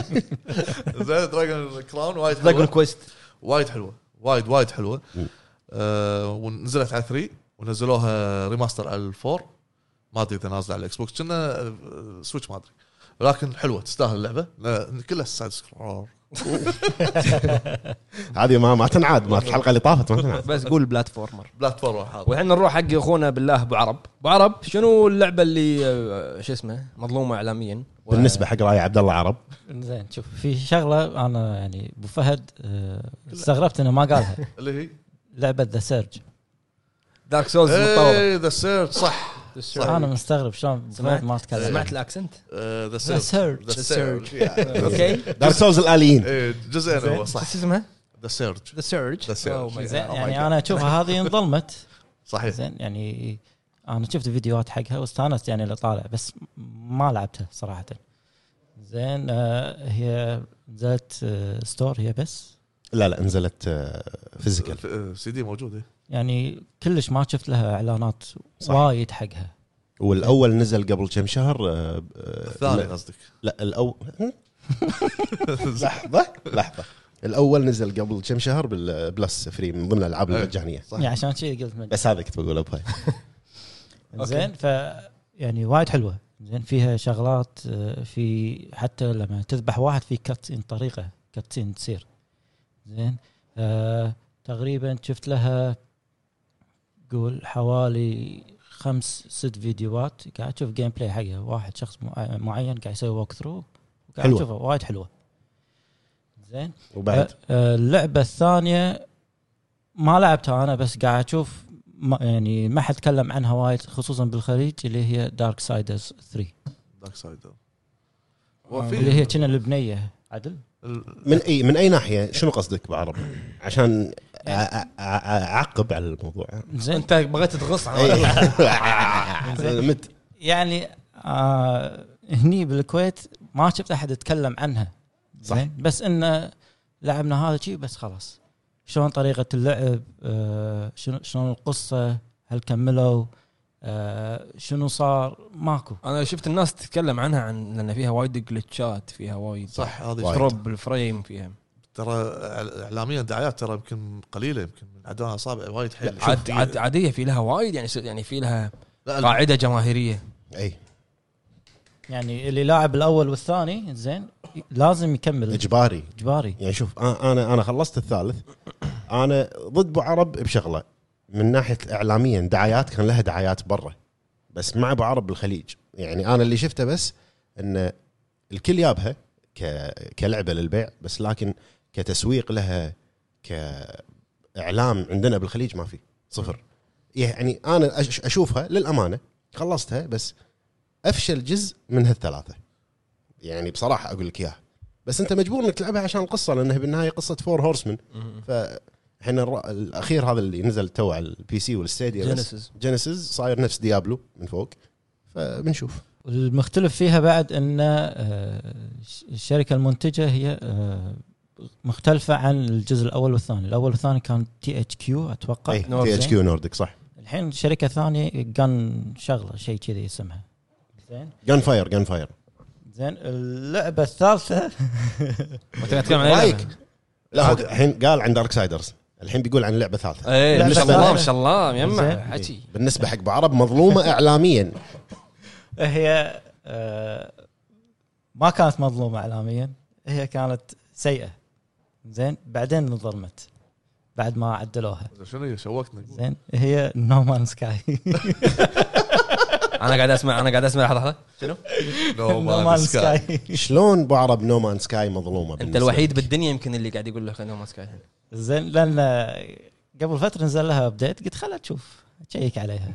Speaker 2: زين دراجون كراون وايد
Speaker 1: دراجون
Speaker 2: حلوه
Speaker 1: كويست
Speaker 2: وايد حلوه وايد وايد حلوه
Speaker 3: م.
Speaker 2: آه، ونزلت على 3 ونزلوها ريماستر على الفور ما ادري اذا نازله على الاكس بوكس كنا آه، سويتش ما ادري لكن حلوه تستاهل اللعبه لا، كلها سايد سكرول
Speaker 3: هذه ما ما تنعاد ما الحلقه اللي طافت ما تنعاد
Speaker 1: بس قول بلاتفورمر
Speaker 2: بلاتفورم حاضر
Speaker 1: والحين نروح حق اخونا بالله ابو عرب ابو عرب شنو اللعبه اللي آه، شو اسمه مظلومه اعلاميا و-
Speaker 3: بالنسبه حق راي عبد الله عرب
Speaker 4: زين شوف في شغله انا يعني ابو فهد آه، استغربت انه ما قالها
Speaker 2: اللي هي
Speaker 4: لعبه ذا سيرج
Speaker 1: دارك سولز متطوره
Speaker 2: اي ذا سيرج إيه، صح صح.
Speaker 4: انا مستغرب شلون أبو
Speaker 1: سمعت
Speaker 4: فهد ما تكلم
Speaker 1: سمعت الاكسنت
Speaker 2: آه، ذا
Speaker 4: ذا
Speaker 2: سيرج
Speaker 4: سيرج
Speaker 2: ذا سيرج
Speaker 1: اوكي
Speaker 3: دارك سولز الاليين
Speaker 2: إيه، جزئين هو
Speaker 1: صح
Speaker 2: صح
Speaker 1: اسمها
Speaker 2: ذا سيرج
Speaker 1: ذا سيرج
Speaker 2: The Surge.
Speaker 4: زين
Speaker 1: Oh
Speaker 4: يعني انا اشوفها هذه انظلمت
Speaker 2: صحيح
Speaker 4: زين يعني انا شفت فيديوهات حقها واستانست يعني اللي طالع بس ما لعبتها صراحه زين آه، هي نزلت آه، ستور هي بس
Speaker 3: لا لا نزلت آه، فيزيكال
Speaker 2: آه، سي دي موجود إيه.
Speaker 4: يعني كلش ما شفت لها اعلانات
Speaker 3: صح.
Speaker 4: وايد حقها
Speaker 3: والاول نزل قبل كم شهر آه، آه،
Speaker 2: الثاني
Speaker 3: لا-
Speaker 2: قصدك
Speaker 3: لا الاول لحظه لحظه الاول نزل قبل كم شهر بالبلس فري من ضمن الالعاب
Speaker 2: إيه.
Speaker 3: المجانيه
Speaker 2: صح.
Speaker 4: يعني عشان شي قلت من
Speaker 3: بس هذا كنت بقوله بهاي
Speaker 4: زين ف يعني وايد حلوه زين فيها شغلات آه، في حتى لما تذبح واحد في كاتسين طريقه كاتسين تصير زين آه تقريبا شفت لها قول حوالي خمس ست فيديوهات قاعد اشوف جيم بلاي حقها واحد شخص مع- معين قاعد يسوي ووك ثرو قاعد
Speaker 3: حلوة.
Speaker 4: اشوفها وايد حلوه زين
Speaker 3: وبعد
Speaker 4: آه، آه، اللعبه الثانيه ما لعبتها انا بس قاعد اشوف ما يعني ما حد تكلم عنها وايد خصوصا بالخليج اللي هي دارك سايدرز 3
Speaker 2: دارك سايد
Speaker 4: آه، اللي هي كنا لبنيه عدل
Speaker 3: من اي من اي ناحيه شنو قصدك بعرب عشان أ- أ- أ- اعقب على الموضوع
Speaker 4: زين
Speaker 1: انت بغيت تغص على
Speaker 3: إي. مت
Speaker 4: يعني آه هني بالكويت ما شفت احد يتكلم عنها
Speaker 3: صح.
Speaker 4: زين بس انه لعبنا هذا شيء بس خلاص شلون طريقه اللعب آه شنو شلون القصه هل كملوا آه شنو صار ماكو
Speaker 1: انا شفت الناس تتكلم عنها عن لان فيها وايد جلتشات فيها وايد
Speaker 2: صح هذه
Speaker 3: وايد.
Speaker 1: ترب الفريم فيها
Speaker 2: ترى اعلاميا دعايات ترى يمكن قليله يمكن من عدوها اصابع وايد حيل
Speaker 1: عاد آه. عاد عاديه في لها وايد يعني يعني في لها
Speaker 2: لا، لا،
Speaker 1: قاعده جماهيريه
Speaker 3: اي
Speaker 4: يعني اللي لاعب الاول والثاني زين لازم يكمل
Speaker 3: اجباري
Speaker 4: اجباري
Speaker 3: يعني شوف أ- انا انا خلصت الثالث انا ضد ابو عرب بشغله من ناحيه اعلاميا دعايات كان لها دعايات برا بس مع ابو عرب بالخليج يعني انا اللي شفته بس ان الكل يابها ك... كلعبه للبيع بس لكن كتسويق لها كاعلام عندنا بالخليج ما في صفر يعني انا أش- اشوفها للامانه خلصتها بس افشل جزء من هالثلاثه يعني بصراحه اقول لك اياها بس انت مجبور انك تلعبها عشان القصه لانها بالنهايه قصه فور هورسمن فاحنا الر- الاخير هذا اللي نزل تو على البي سي والستيديا بس
Speaker 1: جينيسيس
Speaker 3: جينيسيس صاير نفس ديابلو من فوق فبنشوف
Speaker 4: المختلف فيها بعد ان آه، الشركه المنتجه هي آه، مختلفه عن الجزء الاول والثاني، الاول والثاني كان تي اتش كيو اتوقع
Speaker 3: تي اتش
Speaker 1: إيه.
Speaker 3: كيو نورديك صح
Speaker 4: الحين شركه ثانيه جن شغله شيء كذي اسمها. زين
Speaker 3: جان فاير جان فاير
Speaker 4: زين اللعبه الثالثه
Speaker 1: نتكلم عن
Speaker 3: رايك
Speaker 1: لعبة.
Speaker 3: لا هو الحين قال عن دارك سايدرز الحين بيقول عن لعبه ثالثه
Speaker 1: ايه ما
Speaker 4: لعبة
Speaker 1: شاء الله
Speaker 4: ثانية.
Speaker 1: ما شاء الله يما
Speaker 4: زين.
Speaker 1: حكي
Speaker 3: بالنسبه حق بعرب مظلومه اعلاميا
Speaker 4: هي آه، ما كانت مظلومه اعلاميا هي كانت سيئه زين بعدين انظلمت بعد ما عدلوها
Speaker 2: شنو هي شوقتني
Speaker 4: زين هي نو مان سكاي
Speaker 1: انا قاعد اسمع انا قاعد اسمع لحظه لحظه شنو؟
Speaker 2: نو
Speaker 4: نو مان سكاي
Speaker 3: شلون بعرب نو مان سكاي مظلومه
Speaker 1: انت
Speaker 3: بالنسبة
Speaker 1: الوحيد
Speaker 3: لك؟
Speaker 1: بالدنيا يمكن اللي قاعد يقول له نو ماسك الحين
Speaker 4: يعني زين لان قبل فتره نزل لها ابديت قلت خلها تشوف تشيك عليها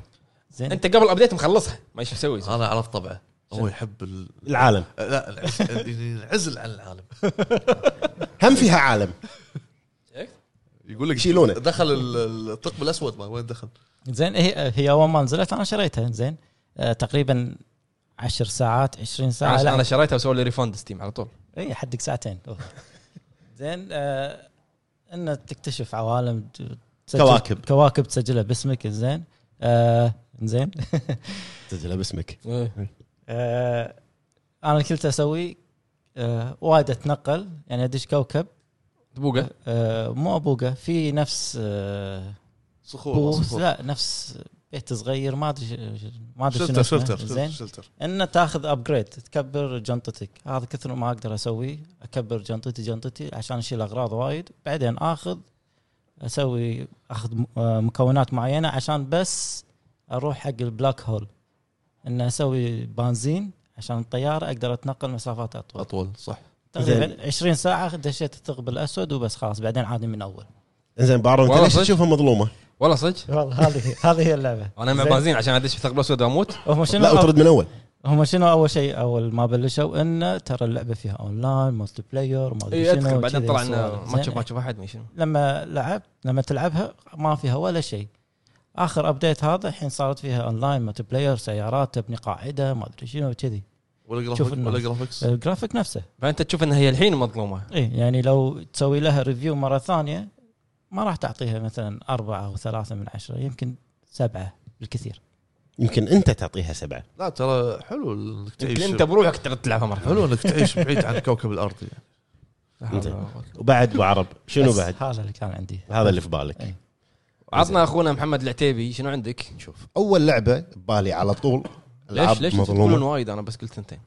Speaker 4: زين
Speaker 1: انت قبل ابديت مخلصها ما ايش مسوي
Speaker 4: آه.
Speaker 2: انا عرفت طبعه هو يحب ال...
Speaker 3: العالم
Speaker 2: لا العز- ينعزل عن العالم
Speaker 3: هم فيها عالم
Speaker 2: يقول لك
Speaker 3: يشيلونه.
Speaker 2: دخل ال- الثقب الاسود ما وين دخل
Speaker 4: زين هي هي اول ما نزلت انا شريتها زين آه، تقريبا 10 ساعات 20 ساعه
Speaker 1: انا
Speaker 4: لا
Speaker 1: أنا شريتها وسووا لي ريفند ستيم على طول
Speaker 4: اي حدك إيه، ساعتين أوه. زين آه انه تكتشف عوالم ت- تسجل-
Speaker 3: كواكب.
Speaker 4: كواكب تسجلها باسمك زين آه زين
Speaker 3: تسجله باسمك
Speaker 4: إيه. آه، انا كنت اسوي آه، وايد اتنقل يعني ادش كوكب
Speaker 1: تبوقه
Speaker 4: آه، مو ابوقه في نفس آه،
Speaker 2: صخور ما
Speaker 4: بوث
Speaker 2: صخور
Speaker 4: لا نفس بيت صغير ما ادري ش- ما ادري
Speaker 2: شلتر
Speaker 4: شنو اسمه،
Speaker 2: شلتر
Speaker 4: زين
Speaker 2: شلتر
Speaker 4: انه تاخذ ابجريد تكبر جنطتك هذا كثر ما اقدر اسويه اكبر جنطتي جنطتي عشان اشيل اغراض وايد بعدين اخذ اسوي اخذ م- آه، مكونات معينه عشان بس اروح حق البلاك هول انه اسوي بنزين عشان الطياره اقدر اتنقل مسافات اطول
Speaker 2: اطول صح
Speaker 4: تقريبا 20 ساعه دشيت الثقب الاسود وبس خلاص بعدين عادي من اول
Speaker 3: انزين بعرف انت
Speaker 1: والله
Speaker 3: ليش
Speaker 1: صدق.
Speaker 3: تشوفها مظلومه؟
Speaker 1: والله صدق
Speaker 4: والله هذه هذه هي اللعبه
Speaker 1: انا مع
Speaker 4: زين.
Speaker 1: بنزين عشان ادش في الثقب الاسود واموت
Speaker 4: هم
Speaker 3: لا
Speaker 4: شنو
Speaker 3: وترد من اول
Speaker 4: هم شنو اول شيء اول ما بلشوا انه ترى اللعبه فيها اونلاين مالتي بلاير ما ادري
Speaker 1: اي
Speaker 4: شنو
Speaker 1: ادخل إيه، بعدين
Speaker 4: كذي
Speaker 1: طلع انه
Speaker 4: صور.
Speaker 1: ما تشوف
Speaker 4: زين.
Speaker 1: ما تشوف احد ما شنو
Speaker 4: لما لعب لما تلعبها ما فيها ولا شيء اخر ابديت هذا الحين صارت فيها اونلاين مالتي بلاير سيارات تبني قاعده ما ادري شنو كذي
Speaker 2: ولا
Speaker 4: شوف أه.
Speaker 2: جرافيك
Speaker 4: إنه-
Speaker 2: ولا جرافيكس
Speaker 4: الجرافيك نفسه
Speaker 1: فانت تشوف انها هي الحين مظلومه
Speaker 4: اي يعني لو تسوي لها ريفيو مره ثانيه ما راح تعطيها مثلا أربعة أو ثلاثة من عشرة يمكن سبعة بالكثير
Speaker 3: يمكن انت تعطيها سبعه
Speaker 2: لا ترى حلو انك
Speaker 1: يمكن
Speaker 4: إيه،
Speaker 2: تعيش
Speaker 1: انت بروحك تقعد تلعبها مره
Speaker 2: حلو انك تعيش بعيد عن كوكب الارض يعني
Speaker 3: إنزين. وبعد ابو عرب شنو
Speaker 4: بس
Speaker 3: بعد؟
Speaker 4: هذا اللي كان عندي
Speaker 3: هذا اللي في بالك
Speaker 4: إيه.
Speaker 1: عطنا اخونا محمد العتيبي شنو عندك؟
Speaker 3: شوف اول لعبه ببالي على طول
Speaker 1: ليش
Speaker 3: ألعاب
Speaker 1: ليش
Speaker 3: مظلومة.
Speaker 1: تقولون وايد انا بس قلت إيه. ثنتين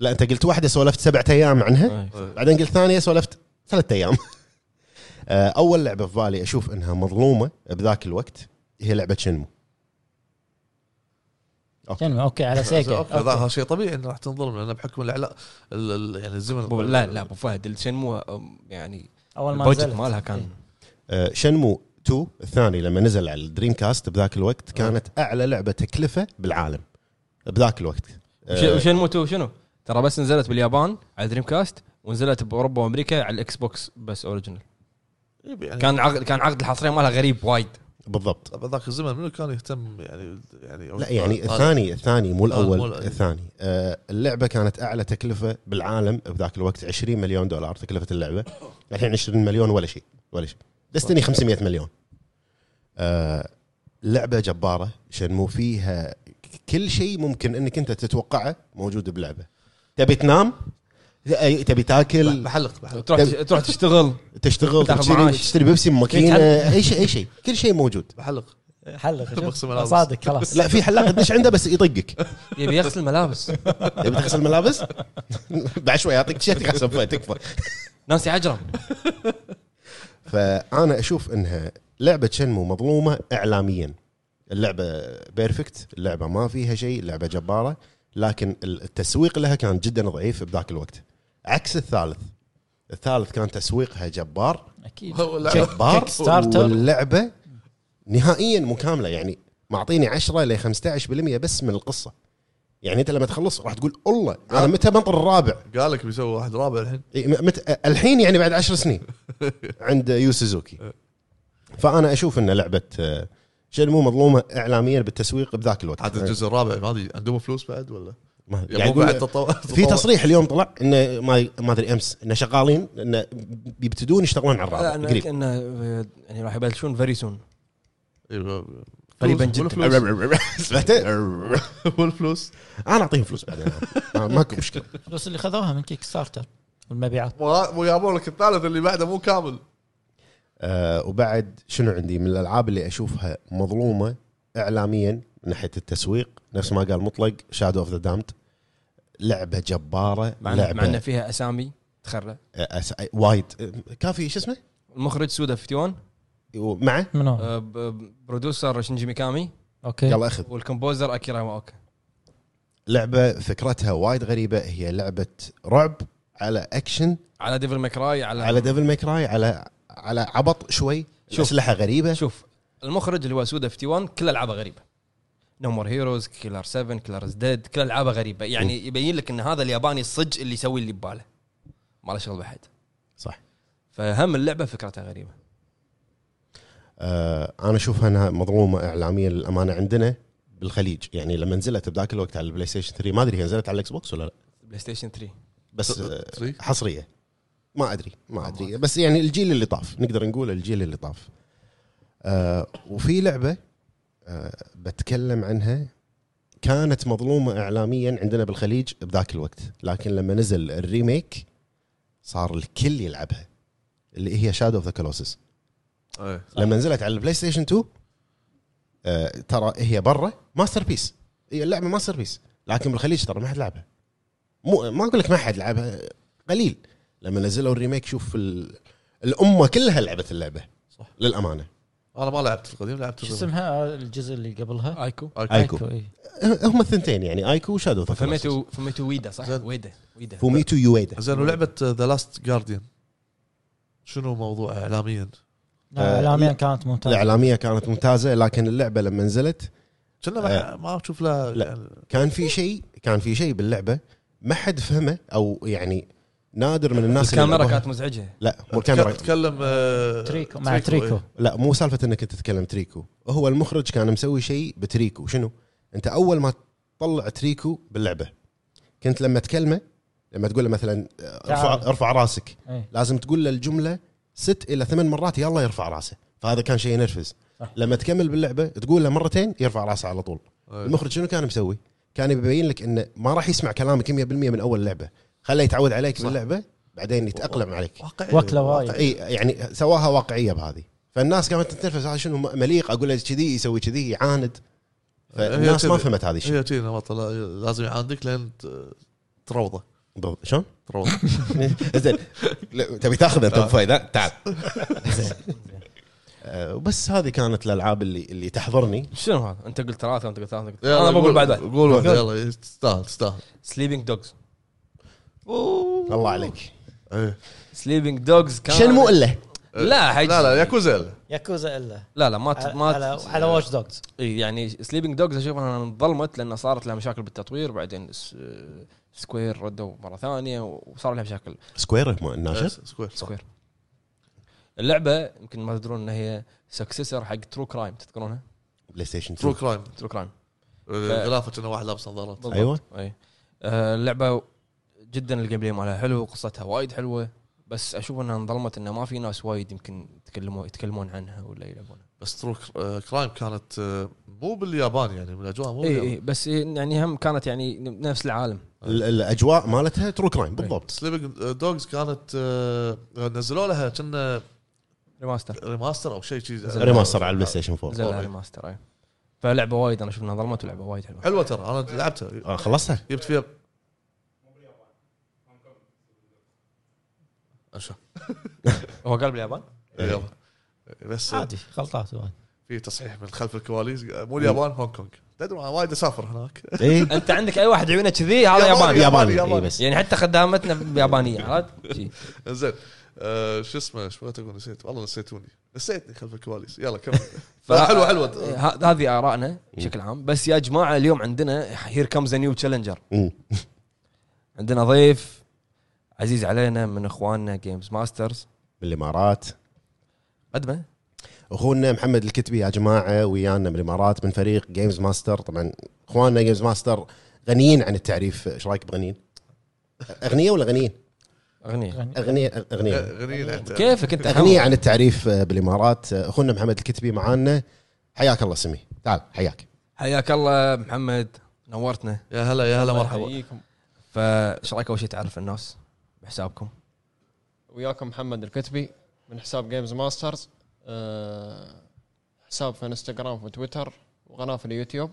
Speaker 3: لا انت قلت واحده سولفت سبعة ايام عنها
Speaker 1: آه.
Speaker 4: إيه؟
Speaker 3: بعدين قلت ثانيه سولفت ثلاثة ايام آه، اول لعبه في بالي اشوف انها مظلومه بذاك الوقت هي لعبه شنمو
Speaker 4: شنو اوكي على سيجا
Speaker 2: اوكي هذا
Speaker 4: أوكي.
Speaker 2: هذا شيء طبيعي انه راح تنظلم لان بحكم الاعلى ال- ال- يعني الزمن
Speaker 1: أبو- لا لا ابو فهد شنمو أم، يعني
Speaker 4: اول ما
Speaker 1: البودجت
Speaker 4: نزلت. إيه.
Speaker 1: مالها كان
Speaker 3: آه، شنمو 2 الثاني لما نزل على الدريم كاست بذاك
Speaker 1: آه.
Speaker 3: الوقت كانت اعلى لعبه تكلفه بالعالم بذاك الوقت آه،
Speaker 1: وش- وشنمو تو شنو؟ ترى بس نزلت باليابان على دريم كاست ونزلت باوروبا وامريكا على الاكس بوكس بس اوريجنال
Speaker 2: يعني
Speaker 1: كان عقد كان عقد الحصريه مالها غريب وايد
Speaker 3: بالضبط
Speaker 2: طب ذاك الزمن منو كان يهتم يعني يعني
Speaker 3: لا يعني
Speaker 2: طالع.
Speaker 3: الثاني الثاني مو
Speaker 2: آه، مو
Speaker 3: الاول
Speaker 2: الأول.
Speaker 3: الثاني آه، اللعبه كانت اعلى تكلفه بالعالم بذاك الوقت 20 مليون دولار تكلفه اللعبه الحين 20 مليون ولا شيء ولا شيء دستني 500 مليون آه، لعبه جباره شنمو فيها ك- كل شيء ممكن انك انت تتوقعه موجود بلعبه تبي تنام آه، تبي تاكل
Speaker 2: بحلق بحلق
Speaker 1: تروح تروح تشتغل
Speaker 3: تشتغل
Speaker 1: تاخذ
Speaker 3: تشتري,
Speaker 1: معاش.
Speaker 3: تشتري بيبسي من ماكينه
Speaker 1: يتحل-
Speaker 3: اي شيء اي شيء كل شيء موجود
Speaker 2: بحلق
Speaker 4: حلق
Speaker 2: أقسم
Speaker 4: شوف.
Speaker 2: بالله.
Speaker 4: صادق خلاص
Speaker 3: لا في حلاق دش عنده بس يطقك
Speaker 1: يبي يغسل ملابس
Speaker 3: تبي تغسل ملابس؟ بعد شوي اعطيك شيء تغسل فيه تكفى
Speaker 1: ناسي عجرم
Speaker 3: فانا اشوف انها لعبه شنمو مظلومه اعلاميا اللعبه بيرفكت اللعبه ما فيها شيء اللعبه جباره لكن التسويق لها كان جدا ضعيف بذاك الوقت عكس الثالث الثالث كان تسويقها جبار
Speaker 4: اكيد
Speaker 2: هو لا-
Speaker 3: جبار
Speaker 4: كيك ستارتر.
Speaker 3: واللعبه نهائيا مكامله يعني معطيني 10 ل 15% بس من القصه يعني انت لما تخلص راح تقول الله انا متى بنطر الرابع
Speaker 2: قال لك بيسوي واحد رابع الحين
Speaker 3: إي، إيه، م- مت... الحين يعني بعد عشر سنين عند يو سوزوكي فانا اشوف ان لعبه آه، شنمو مظلومه اعلاميا بالتسويق بذاك الوقت
Speaker 2: عاد الجزء الرابع ما ادري عندهم فلوس بعد ولا
Speaker 3: ما-
Speaker 2: يعني
Speaker 3: يعني
Speaker 2: مو بعد
Speaker 3: يقول-
Speaker 2: تطور
Speaker 3: في تصريح اليوم طلع انه ما ما ادري امس انه شغالين انه بيبتدون يشتغلون على
Speaker 1: لا، أنا
Speaker 3: الرابع قريب
Speaker 1: انه آه، يعني راح يبلشون فيري سون
Speaker 2: إيوه.
Speaker 1: قريباً جداً.
Speaker 3: سمعته؟
Speaker 2: والفلوس
Speaker 3: انا اعطيهم فلوس بعدين ما- ماكو مشكله
Speaker 4: الفلوس اللي خذوها من كيك ستارتر والمبيعات
Speaker 2: ويابون لك الثالث اللي بعده مو كامل
Speaker 3: آه، وبعد شنو عندي من الالعاب اللي اشوفها مظلومه اعلاميا من ناحيه التسويق نفس ما قال مطلق شادو اوف ذا دامت لعبه جباره
Speaker 1: مع إن- مع
Speaker 3: لعبه
Speaker 1: انه فيها اسامي تخرع
Speaker 3: آه، أس... آه، وايد آه، كان في شو اسمه
Speaker 1: المخرج سودا فتيون
Speaker 3: معه
Speaker 4: منو
Speaker 1: آه، ب- ب- برودوسر شينجي ميكامي
Speaker 4: اوكي
Speaker 3: يلا اخذ
Speaker 1: والكمبوزر اكيرا واوكا
Speaker 3: لعبه فكرتها وايد غريبه هي لعبه رعب على اكشن
Speaker 1: على ديفل ماكراي على,
Speaker 3: على ديفل ماكراي على على عبط شوي
Speaker 1: شوف.
Speaker 3: اسلحه غريبه
Speaker 1: شوف المخرج اللي هو سودا 51 كل العابه غريبه نمر هيروز كيلر 7 كيلرز ديد كل العابه غريبه يعني يبين لك ان هذا الياباني الصج اللي يسوي اللي بباله ما له شغل بحد
Speaker 3: صح
Speaker 1: فهم اللعبه فكرتها غريبه
Speaker 3: آه، انا اشوفها انها مظلومه اعلاميا للامانه عندنا بالخليج يعني لما نزلت بذاك الوقت على البلاي ستيشن 3 ما ادري هي نزلت على الاكس بوكس ولا لا
Speaker 1: بلاي ستيشن 3
Speaker 3: بس آه،
Speaker 2: تصريح.
Speaker 3: حصريه ما ادري ما
Speaker 1: ما
Speaker 3: ادري
Speaker 1: أدري.
Speaker 3: بس يعني الجيل اللي طاف نقدر نقول الجيل اللي طاف آه، وفي لعبه آه، بتكلم عنها كانت مظلومه اعلاميا عندنا بالخليج بذاك الوقت لكن لما نزل الريميك صار الكل يلعبها اللي هي شادو اوف ذا كلوسس
Speaker 2: إيه.
Speaker 1: آه.
Speaker 3: لما نزلت على البلاي ستيشن 2 آه، ترى هي برا ماستر بيس هي اللعبه ماستر بيس لكن بالخليج ترى ما حد لعبها مو ما اقول لك ما حد لعبها قليل لما نزلوا الريميك شوف ال... الامه كلها لعبت اللعبه
Speaker 2: صح.
Speaker 3: للامانه
Speaker 2: انا ما لعبت القديم لعبت
Speaker 4: شو
Speaker 2: الجديد.
Speaker 4: اسمها آه، الجزء اللي قبلها
Speaker 1: ايكو
Speaker 3: أيكو.
Speaker 4: إي.
Speaker 3: هم الثنتين يعني ايكو وشادو ذا
Speaker 1: فميتو فميتو ويدا صح؟
Speaker 2: زين.
Speaker 1: ويدا ويدا
Speaker 3: فوميتو يويدا
Speaker 2: زين ولعبه ذا لاست جارديان شنو موضوعها اعلاميا؟
Speaker 3: آه،
Speaker 4: لا، اعلاميا
Speaker 3: لا.
Speaker 4: كانت ممتازه
Speaker 3: الاعلاميه كانت ممتازه لكن اللعبه لما نزلت
Speaker 2: كنا ما- ما اشوف لها
Speaker 3: إيه. لا.
Speaker 2: يعني
Speaker 3: كان في شيء كان في شيء باللعبه ما حد فهمه او يعني نادر من الناس اللي
Speaker 1: الكاميرا
Speaker 3: لعبوها.
Speaker 1: كانت مزعجه
Speaker 3: لا مو الكاميرا
Speaker 2: تتكلم آه،
Speaker 4: تريكو مع تريكو
Speaker 2: إيه.
Speaker 3: لا مو سالفه انك انت تتكلم تريكو هو المخرج كان مسوي شيء بتريكو شنو انت اول ما تطلع تريكو باللعبه كنت لما تكلمه لما تقول له مثلا آه، ارفع
Speaker 4: تعال.
Speaker 3: ارفع راسك
Speaker 4: إي.
Speaker 3: لازم تقول له الجمله ست الى ثمان مرات يلا يرفع راسه فهذا كان شيء ينرفز
Speaker 4: صح.
Speaker 3: لما تكمل باللعبه تقول له مرتين يرفع راسه على طول
Speaker 2: إيه.
Speaker 3: المخرج شنو كان مسوي؟ كان يبين لك انه ما راح يسمع كلامك 100% من اول لعبه خله يتعود عليك
Speaker 2: صح.
Speaker 3: باللعبه بعدين يتاقلم عليك
Speaker 2: واقعي
Speaker 4: وكلة وايد.
Speaker 3: اي
Speaker 2: إيه.
Speaker 3: يعني سواها واقعيه بهذه فالناس قامت تنترفز هذا شنو مليق اقول له كذي يسوي كذي يعاند فالناس
Speaker 2: هي
Speaker 3: ما
Speaker 2: كذي.
Speaker 3: فهمت هذا الشيء
Speaker 2: هي تي نمط لا- لازم يعاندك لين ت- تروضه
Speaker 3: بالضبط. شلون؟
Speaker 2: تروضه
Speaker 3: زين لا، تبي تاخذ انت
Speaker 2: آه.
Speaker 3: فايده تعال آه، وبس هذه كانت الالعاب اللي اللي تحضرني
Speaker 1: شنو هذا؟ انت قلت ثلاثه انت قلت ثلاثه أنت قلت-
Speaker 2: يلا
Speaker 1: انا بقول
Speaker 2: قول-
Speaker 1: بعد واحد
Speaker 2: قول واحد يلا تستاهل تستاهل
Speaker 1: سليبنج دوجز
Speaker 3: الله عليك
Speaker 2: إيه.
Speaker 1: سليبنج دوجز كان
Speaker 3: شنمو الا
Speaker 1: لا حج
Speaker 2: لا لا ياكوزا لا.
Speaker 4: ياكوزا الا
Speaker 1: لا لا ما ت-
Speaker 4: على
Speaker 1: ما
Speaker 4: على- على واتش دوجز
Speaker 1: اي يعني سليبنج دوجز اشوف انها انظلمت لان صارت لها مشاكل بالتطوير بعدين س- سكوير ردوا مره ثانيه وصار لها مشاكل
Speaker 3: سكوير مو الناشر
Speaker 2: سكوير
Speaker 1: سكوير اللعبه يمكن ما تدرون انها هي سكسسر حق ترو كرايم تذكرونها
Speaker 3: بلاي ستيشن
Speaker 2: ترو
Speaker 3: 2
Speaker 2: كرايم
Speaker 1: ترو كرايم
Speaker 2: غلافه كنا واحد لابس نظارات
Speaker 1: بالضبط.
Speaker 3: أيوة.
Speaker 1: اي آه، اللعبه جدا الجيم بلاي مالها حلو وقصتها وايد حلوه بس اشوف انها انظلمت انه ما في ناس وايد يمكن يتكلموا يتكلمون عنها ولا يلعبونها
Speaker 2: بس ترو كرايم كانت آه، مو باليابان يعني من الاجواء مو
Speaker 1: اي اي
Speaker 2: باليابان
Speaker 1: بس يعني هم كانت يعني نفس العالم
Speaker 3: ال- الاجواء مالتها ترو كرايم بالضبط
Speaker 2: سليبنج دوجز كانت آه، نزلوا لها كنا
Speaker 1: ريماستر
Speaker 2: ريماستر او شيء شيء
Speaker 3: ريماستر على البلاي ستيشن 4
Speaker 1: نزل ريماستر اي فلعبه وايد انا اشوف انها انظلمت ولعبه وايد حلوه
Speaker 2: حلوه ترى انا لعبتها
Speaker 3: آه، خلصتها
Speaker 2: جبت فيها أشا.
Speaker 1: هو قال باليابان؟
Speaker 2: يلا بس
Speaker 4: عادي غلطات وايد.
Speaker 2: في تصحيح من خلف الكواليس مو اليابان هونغ كونغ تدري انا وايد اسافر هناك
Speaker 3: اي
Speaker 1: انت عندك اي واحد عيونه كذي هذا ياباني
Speaker 2: ياباني.
Speaker 3: إيه. ياباني
Speaker 2: ياباني.
Speaker 3: إي بس
Speaker 1: يعني حتى خدامتنا يابانيه عرفت؟ شي.
Speaker 2: زين آه، شو اسمه شو بغيت اقول نسيت والله نسيتوني نسيتني خلف الكواليس يلا كمل
Speaker 1: ف-
Speaker 2: لا، حلوه حلوه
Speaker 1: ه- هذه ارائنا بشكل عام بس يا جماعه اليوم عندنا هير كمز نيو تشالنجر
Speaker 3: مم.
Speaker 1: عندنا ضيف عزيز علينا من اخواننا جيمز ماسترز
Speaker 3: بالامارات
Speaker 1: قدمه
Speaker 3: اخونا محمد الكتبي يا جماعه ويانا من الامارات من فريق جيمز ماستر طبعا اخواننا جيمز ماستر غنيين عن التعريف ايش رايك بغنيين؟ اغنيه ولا غنيين؟
Speaker 1: اغنيه
Speaker 4: غني.
Speaker 3: اغنيه اغنيه
Speaker 2: غنيين انت
Speaker 1: كيفك انت
Speaker 3: اغنيه عن التعريف آه، بالامارات آه، اخونا محمد الكتبي معانا حياك الله سمي تعال حياك
Speaker 1: حياك الله محمد نورتنا
Speaker 2: يا هلا يا هلا مرحبا
Speaker 5: يحييكم
Speaker 1: فايش رايك اول شيء تعرف الناس بحسابكم
Speaker 5: وياكم محمد الكتبي من حساب جيمز ماسترز أه حساب في انستغرام وتويتر وقناه في اليوتيوب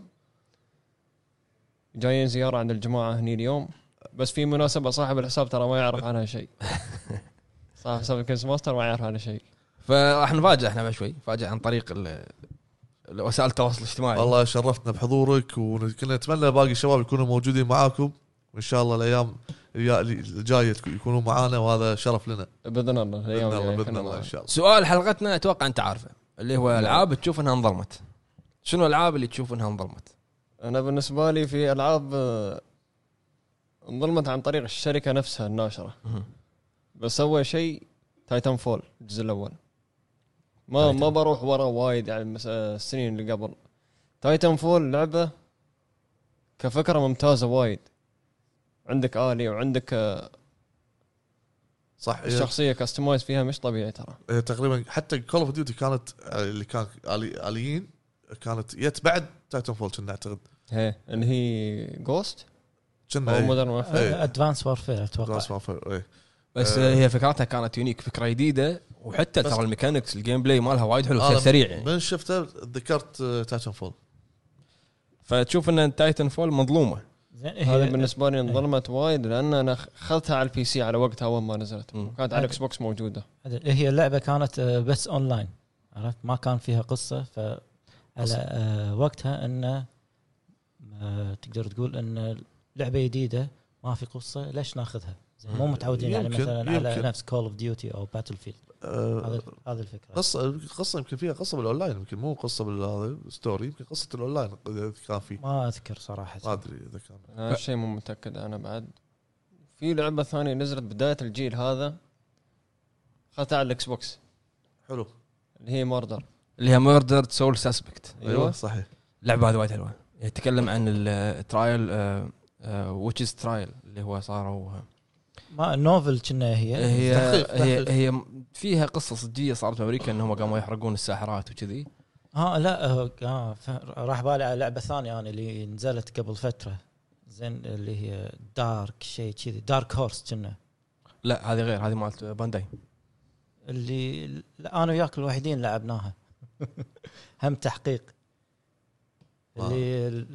Speaker 5: جايين زياره عند الجماعه هني اليوم بس في مناسبه صاحب الحساب ترى ما يعرف عنها شيء صاحب حساب جيمز ماستر ما يعرف عنها شيء
Speaker 1: فراح نفاجئ احنا بعد شوي فاجئ عن طريق ال- ال- وسائل التواصل الاجتماعي
Speaker 2: والله شرفتنا بحضورك وكنا نتمنى باقي الشباب يكونوا موجودين معاكم وان شاء الله الايام اليا- الجايه تكو- يكونوا معانا وهذا شرف لنا
Speaker 5: باذن الله
Speaker 2: باذن
Speaker 5: يعني الأيام
Speaker 2: الله
Speaker 5: الجاية
Speaker 2: باذن
Speaker 5: كنا
Speaker 2: الله
Speaker 5: معاك.
Speaker 2: ان شاء الله
Speaker 1: سؤال حلقتنا اتوقع انت عارفه اللي هو العاب تشوف انها انظلمت شنو الالعاب اللي تشوف انها انظلمت؟
Speaker 5: انا بالنسبه لي في العاب آه، انظلمت عن طريق الشركه نفسها الناشره
Speaker 1: مهم.
Speaker 5: بس اول شيء تايتن فول الجزء الاول ما
Speaker 1: تايتن.
Speaker 5: ما بروح ورا وايد على المس- آه، السنين اللي قبل تايتن فول لعبه كفكره ممتازه وايد عندك الي وعندك آه،
Speaker 2: صح هي-
Speaker 5: الشخصيه كاستمايز فيها مش طبيعي ترى
Speaker 2: هي تقريبا حتى كول اوف ديوتي كانت اللي كان آلي- اليين كانت جت بعد تايتن فول كنا اعتقد
Speaker 5: هي اللي هي جوست او
Speaker 2: كنا
Speaker 5: مودرن وورفير
Speaker 2: إيه.
Speaker 4: ادفانس وارفير اتوقع
Speaker 2: Advanced Warfare، إيه.
Speaker 1: بس
Speaker 2: آه.
Speaker 1: هي فكرتها كانت يونيك فكره جديده وحتى
Speaker 2: بس- آه،
Speaker 1: ترى الميكانكس الجيم بلاي مالها وايد حلو
Speaker 2: أنا
Speaker 1: سريع
Speaker 5: إيه.
Speaker 1: يعني
Speaker 2: من شفته ذكرت آه، تاتشن فول
Speaker 1: فتشوف ان تايتن فول مظلومه
Speaker 4: زين
Speaker 5: هذا
Speaker 4: هي-
Speaker 5: بالنسبه لي انظلمت وايد لان انا اخذتها على البي سي على وقتها اول ما نزلت
Speaker 1: مم.
Speaker 5: وكانت على الاكس بوكس موجوده
Speaker 4: هي اللعبه كانت آه، بس اونلاين عرفت ما كان فيها قصه ف على آه، وقتها انه آه، تقدر تقول ان لعبه جديده ما في قصه ليش ناخذها؟ زين، مو
Speaker 1: مم.
Speaker 4: متعودين يعني
Speaker 2: يمكن-
Speaker 4: مثلا على
Speaker 2: يمكن.
Speaker 4: نفس كول اوف ديوتي او باتل فيلد
Speaker 2: آه،
Speaker 4: هذا هذا الفكره
Speaker 2: قصه قصه يمكن فيها قصه بالاونلاين يمكن مو قصه بالهذا ستوري يمكن قصه الاونلاين إذا كان في
Speaker 4: ما اذكر صراحه
Speaker 2: ما ادري اذا كان
Speaker 5: أنا شيء مو متاكد انا بعد في لعبه ثانيه نزلت بدايه الجيل هذا اخذتها على الاكس بوكس
Speaker 2: حلو
Speaker 5: اللي هي ماردر
Speaker 1: اللي هي ميردرد سول سسبكت
Speaker 5: أيوة.
Speaker 2: ايوه صحيح
Speaker 1: اللعبه هذه وايد حلوه يتكلم عن آه، الترايل ويتشز ترايل اللي هو صاروا
Speaker 4: ما نوفل كنا هي
Speaker 1: هي
Speaker 2: تحقيق-
Speaker 1: هي
Speaker 2: تحقيق.
Speaker 1: هي فيها قصه صجيه صارت في امريكا انهم قاموا يحرقون الساحرات وكذي
Speaker 4: ها لا آه، آه ف- راح بالي على لعبه ثانيه انا اللي نزلت قبل فتره زين اللي هي دارك شيء كذي دارك هورس كنا
Speaker 1: لا هذه غير هذه مالت بانداي
Speaker 4: اللي لا، انا وياك الوحيدين لعبناها هم تحقيق اللي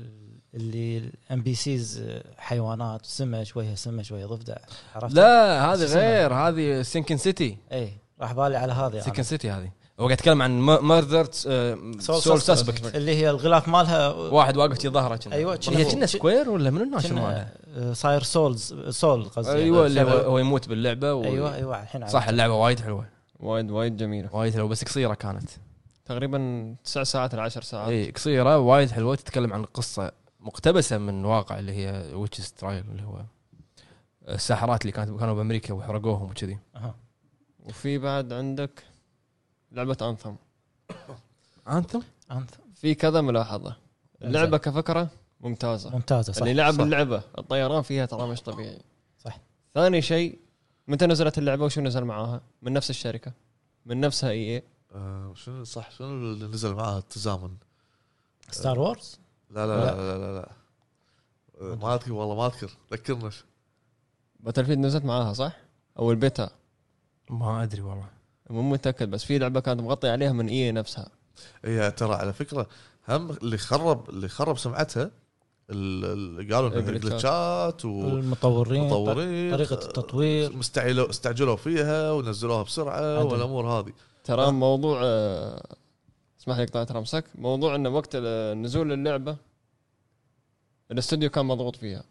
Speaker 4: اللي الام بي سيز حيوانات سمه شويه سمه شويه ضفدع عرفت؟
Speaker 1: لا هذه
Speaker 4: شو اسمها؟
Speaker 1: غير هذه سينكن سيتي
Speaker 4: اي راح بالي على هذه
Speaker 1: سيكن
Speaker 4: أنا.
Speaker 1: سيتي هذه هو قاعد يتكلم عن ميردرد سول سسبكت
Speaker 4: اللي هي الغلاف مالها
Speaker 1: واحد واقف في ظهره كنا.
Speaker 4: أيوه، كنا
Speaker 1: هي
Speaker 4: فوق.
Speaker 1: كنا سكوير ولا منو الناشر ماله؟
Speaker 4: كنا- أيوة. آه، صاير سولز سول قصدي
Speaker 1: ايوه اللي هو-
Speaker 4: سول.
Speaker 1: هو يموت باللعبه و...
Speaker 4: ايوه ايوه الحين
Speaker 1: صح اللعبه وايد حلوه
Speaker 5: وايد وايد جميله
Speaker 1: وايد حلوه بس قصيره كانت
Speaker 5: تقريبا تسع ساعات ل 10 ساعات
Speaker 4: إيه.
Speaker 1: اي قصيره إيه، وايد حلوه تتكلم عن قصه مقتبسه من واقع اللي هي ويتشز ترايل اللي هو الساحرات اللي كانت كانوا بامريكا وحرقوهم وكذي
Speaker 4: أها.
Speaker 5: وفي بعد عندك لعبه انثم
Speaker 1: انثم
Speaker 4: أنت
Speaker 5: في كذا ملاحظه اللعبه كفكره ممتازه
Speaker 4: ممتازه صح
Speaker 5: اللي لعب
Speaker 2: صح.
Speaker 5: اللعبه الطيران فيها ترى مش طبيعي
Speaker 4: صح.
Speaker 5: ثاني شيء متى نزلت اللعبه وشو نزل معاها؟ من نفس الشركه من نفسها اي اي
Speaker 2: آه، شنو صح شنو اللي نزل معاه التزامن
Speaker 4: ستار وورز
Speaker 2: لا لا لا لا لا, لا. آه، ما اذكر والله ما اذكر ذكرنا
Speaker 5: باتل فيلد نزلت معاها صح؟ او البيتا
Speaker 1: ما ادري والله
Speaker 5: مو متاكد بس في لعبه كانت مغطي عليها من اي نفسها
Speaker 2: هي إيه، ترى على فكره هم اللي خرب اللي خرب سمعتها ال- ال- قالوا انها
Speaker 5: الجلتشات.
Speaker 2: جلتشات
Speaker 4: المطورين
Speaker 2: ومطورين
Speaker 4: طريقه التطوير
Speaker 2: مستعجلوا استعجلوا فيها ونزلوها بسرعه
Speaker 4: عدل.
Speaker 2: والامور هذه
Speaker 5: ترى موضوع آه، اسمح لي قطعت رمسك موضوع انه وقت ال- نزول اللعبه الاستوديو كان مضغوط فيها يعني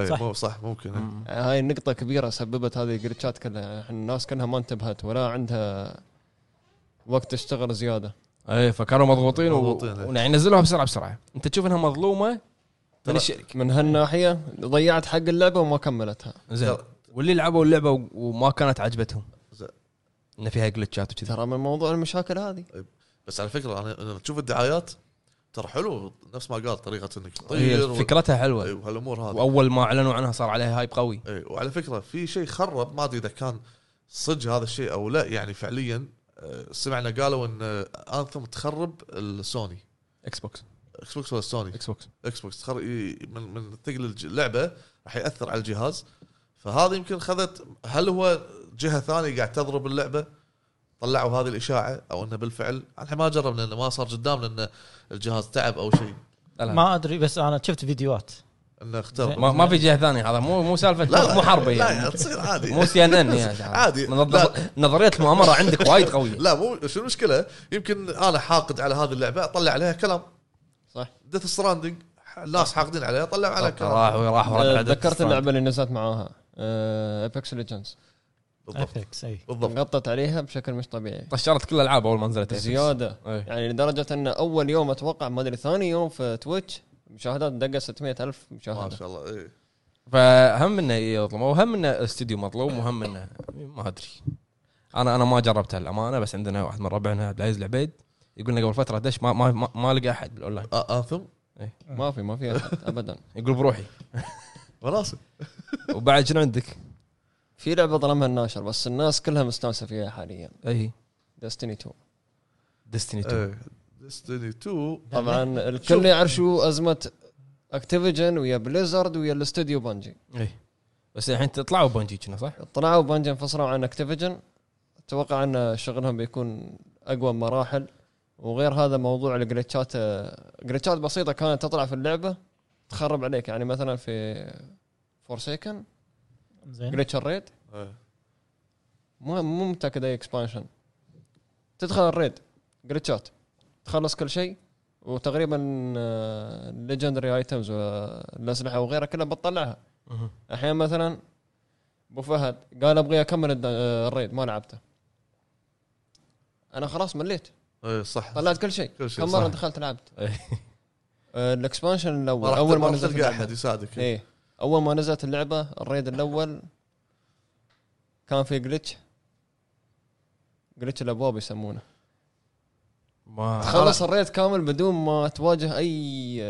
Speaker 2: اي
Speaker 4: صح.
Speaker 2: صح, مو صح ممكن إيه.
Speaker 5: هاي النقطه كبيره سببت هذه الجلتشات كلها إحنا الناس كلها ما انتبهت ولا عندها وقت تشتغل زياده
Speaker 1: اي إيه، فكانوا مضغوطين و...
Speaker 2: مضغوطين، إيه.
Speaker 1: يعني نزلوها بسرعه بسرعه انت تشوف انها مظلومه
Speaker 2: ترى-
Speaker 1: من الشركه
Speaker 5: من هالناحيه ضيعت حق اللعبه وما كملتها
Speaker 1: زين
Speaker 2: ترى-
Speaker 1: واللي لعبوا اللعبه و- وما كانت عجبتهم
Speaker 2: زين.
Speaker 1: ان فيها جلتشات وكذي
Speaker 5: ترى من موضوع المشاكل هذه
Speaker 2: بس على فكره انا لما تشوف الدعايات ترى حلو نفس ما قال طريقه انك تطير
Speaker 1: هي فكرتها
Speaker 2: و-
Speaker 1: حلوه
Speaker 2: إيه، وهالامور هذه
Speaker 1: واول ما اعلنوا عنها صار عليها هايب قوي
Speaker 2: اي إيه، وعلى فكره في شيء خرب ما ادري اذا كان صدق هذا الشيء او لا يعني فعليا آه، سمعنا قالوا ان آه، انثم تخرب السوني
Speaker 1: اكس بوكس
Speaker 2: اكس بوكس ولا سوني
Speaker 1: اكس بوكس
Speaker 2: اكس بوكس تخر... ي- من من ثقل الج- اللعبه راح ياثر على الجهاز فهذا يمكن خذت هل هو جهه ثانيه قاعد تضرب اللعبه طلعوا هذه الاشاعه او انه بالفعل احنا ما جربنا انه ما صار قدامنا انه الجهاز تعب او شيء
Speaker 1: لا لا.
Speaker 4: ما ادري بس انا شفت فيديوهات
Speaker 2: انه اخترب
Speaker 1: ما, ما في جهه ثانيه هذا مو مو سالفه
Speaker 2: لا، لا،
Speaker 1: مو حرب
Speaker 2: لا
Speaker 1: يعني
Speaker 2: يعني تصير عادي
Speaker 1: مو سي ان ان يعني
Speaker 2: عادي.
Speaker 1: نظ-
Speaker 2: لا.
Speaker 1: نظريه المؤامره عندك وايد قويه
Speaker 2: لا مو شو المشكله يمكن انا حاقد على هذه اللعبه اطلع عليها كلام
Speaker 5: صح.
Speaker 2: ديث ستراندنج الناس حاقدين عليها طلع على
Speaker 1: راح
Speaker 2: كلام
Speaker 1: وراح وراح
Speaker 5: آه، تذكرت اللعبه اللي نزلت معاها ابيكس ليجندز
Speaker 2: بالضبط
Speaker 4: افكس اي
Speaker 2: بالضبط
Speaker 5: غطت عليها بشكل مش طبيعي
Speaker 1: طشرت كل الالعاب اول ما نزلت
Speaker 5: زياده
Speaker 1: أي.
Speaker 5: يعني لدرجه ان اول يوم اتوقع ما ادري ثاني يوم في تويتش مشاهدات دقه 600 الف
Speaker 2: ما
Speaker 5: مشاهده
Speaker 2: شاء الله إيه.
Speaker 1: فهم انه يظلموا وهم انه الاستوديو مظلوم وهم انه ما ادري انا انا ما جربتها الامانه بس عندنا واحد من ربعنا عبد العزيز العبيد يقول لنا قبل فتره دش ما ما ما, ما لقى احد بالاونلاين
Speaker 2: آه، انثم
Speaker 5: ما في ما في أحد ابدا
Speaker 1: يقول بروحي
Speaker 2: مناسب
Speaker 1: وبعد شنو عندك؟
Speaker 5: في لعبه ظلمها الناشر بس الناس كلها مستانسه فيها حاليا
Speaker 1: اي
Speaker 5: ديستني 2
Speaker 1: ديستني 2
Speaker 2: ايه ديستني 2
Speaker 5: طبعا
Speaker 2: شوف.
Speaker 5: الكل يعرف شو ازمه اكتيفيجن ويا بليزرد ويا الاستوديو بانجي
Speaker 1: اي بس الحين إيه. تطلعوا بونجي كنا صح؟
Speaker 5: طلعوا بانجي انفصلوا عن اكتيفيجن اتوقع ان شغلهم بيكون اقوى بمراحل وغير هذا موضوع الجلتشات جلتشات بسيطه كانت تطلع في اللعبه تخرب عليك يعني مثلا في فورسيكن
Speaker 4: زين
Speaker 5: جلتش الريد
Speaker 2: إيه.
Speaker 5: مو مو متاكد اي اكسبانشن تدخل الريد جلتشات تخلص كل شيء آه، وتقريبا ليجندري ايتمز والاسلحه وغيرها كلها بتطلعها
Speaker 1: مهم.
Speaker 5: احيانا مثلا ابو فهد قال ابغي اكمل الد- آه، الريد ما لعبته انا خلاص مليت
Speaker 2: اي إيه، صح
Speaker 5: طلعت كل شيء
Speaker 2: كل شيء
Speaker 5: كم
Speaker 2: صح.
Speaker 5: مره دخلت لعبت
Speaker 1: إيه.
Speaker 5: آه، الاكسبانشن
Speaker 2: ما
Speaker 5: الاول
Speaker 2: راح-
Speaker 5: اول ما
Speaker 2: راح
Speaker 5: نزلت
Speaker 2: تلقى
Speaker 5: اللعبة.
Speaker 2: احد يساعدك
Speaker 5: ايه اول ما نزلت اللعبه الريد الاول كان في جلتش جلتش الابواب يسمونه
Speaker 1: ما
Speaker 5: تخلص الريد كامل بدون ما تواجه آه، اي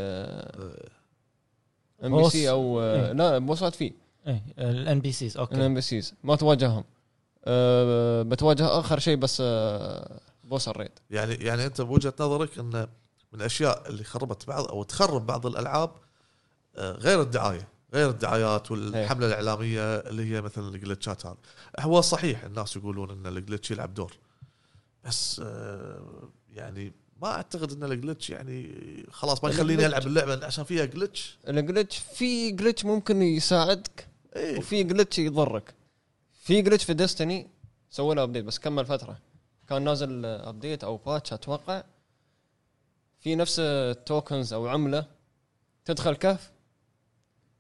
Speaker 5: ام بي
Speaker 4: بوس.
Speaker 5: سي او آه،
Speaker 4: إيه.
Speaker 5: لا بوسات فيه
Speaker 4: الان بي سيز اوكي
Speaker 5: الام بي سيز ما تواجههم أه بتواجه اخر شيء بس أه بوس الريد
Speaker 2: يعني يعني انت بوجهه نظرك ان من الاشياء اللي خربت بعض او تخرب بعض الالعاب آه، غير الدعايه غير الدعايات والحمله الاعلاميه اللي هي مثلا الجلتشات هذه هو صحيح الناس يقولون ان الجلتش يلعب دور بس آه، يعني ما اعتقد ان الجلتش يعني خلاص ما يخليني
Speaker 5: الجلتش.
Speaker 2: العب اللعبه عشان فيها جلتش
Speaker 5: الجلتش في جلتش ممكن يساعدك
Speaker 2: اي
Speaker 5: وفي جلتش يضرك في جلتش في ديستني سووا له ابديت بس كمل فتره كان نازل ابديت او باتش اتوقع في نفس التوكنز او عمله تدخل كهف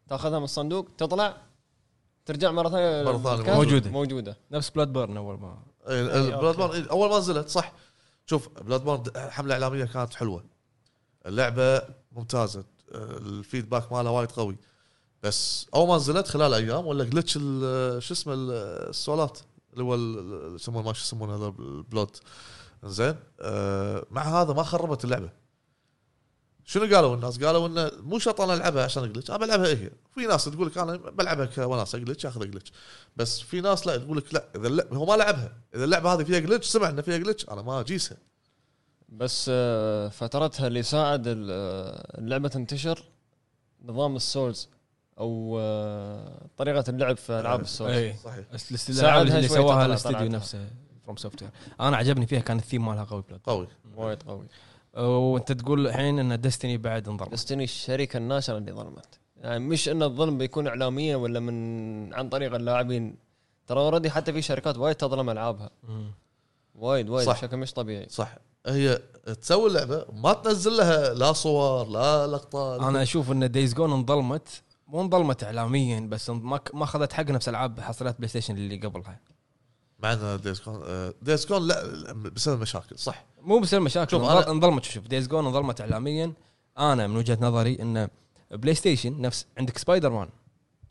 Speaker 5: تاخذها من الصندوق تطلع ترجع مره ثانيه
Speaker 2: مرة ثانية
Speaker 5: الكهف،
Speaker 1: موجودة.
Speaker 5: موجوده
Speaker 1: نفس بلاد بيرن اول ما
Speaker 2: إيه، بلاد بورن اول ما نزلت صح شوف بلاد بورن حمله اعلاميه كانت حلوه اللعبه ممتازه آه، الفيدباك مالها وايد قوي بس اول ما نزلت خلال ايام ولا جلتش شو اسمه ال- السوالات اللي هو ال- ال- يسمون ما شو يسمون هذا البلوت زين آه، مع هذا ما خربت اللعبه شنو قالوا الناس؟ قالوا انه مو شرط انا العبها عشان جلتش، انا بلعبها هي، في ناس تقول لك انا بلعبها كوناس جلتش اخذ جلتش، بس في ناس لا تقول لك لا اذا اللعبة هو ما لعبها، اذا اللعبه هذه فيها جلتش سمع ان فيها جلتش انا ما اجيسها،
Speaker 5: بس آه، فترتها اللي ساعد ال- آه، اللعبه تنتشر نظام السولز او آه، طريقه اللعب في العاب السولز
Speaker 1: اي
Speaker 2: صحيح
Speaker 1: الاستدلال
Speaker 5: ساعدها
Speaker 1: اللي
Speaker 5: شوي
Speaker 1: سواها
Speaker 5: تطلع
Speaker 1: الاستديو
Speaker 5: طلعتها.
Speaker 1: نفسه فروم سوفت وير انا عجبني فيها كان الثيم مالها قوي بلاد
Speaker 2: قوي
Speaker 5: وايد قوي
Speaker 1: وانت تقول الحين ان ديستني بعد انضرب
Speaker 5: دستني الشركه الناشره اللي ظلمت يعني مش ان الظلم بيكون اعلاميا ولا من عن طريق اللاعبين ترى اوريدي حتى في شركات وايد تظلم العابها
Speaker 1: مم.
Speaker 5: وايد وايد
Speaker 2: صح.
Speaker 5: بشكل مش طبيعي
Speaker 2: صح هي تسوي اللعبه ما تنزل لها لا صور لا لقطات
Speaker 1: انا اشوف ان دايز جون انظلمت مو انظلمت اعلاميا بس ما ما اخذت حق نفس العاب حصريات بلاي ستيشن اللي قبلها
Speaker 2: معنا ديز كون ديز كون آه، لا بسبب مشاكل صح
Speaker 1: مو بسبب مشاكل
Speaker 2: شوف
Speaker 1: شوف
Speaker 2: أنا-
Speaker 1: انظلمت شوف دايز جون انظلمت اعلاميا انا من وجهه نظري ان بلاي ستيشن نفس عندك سبايدر مان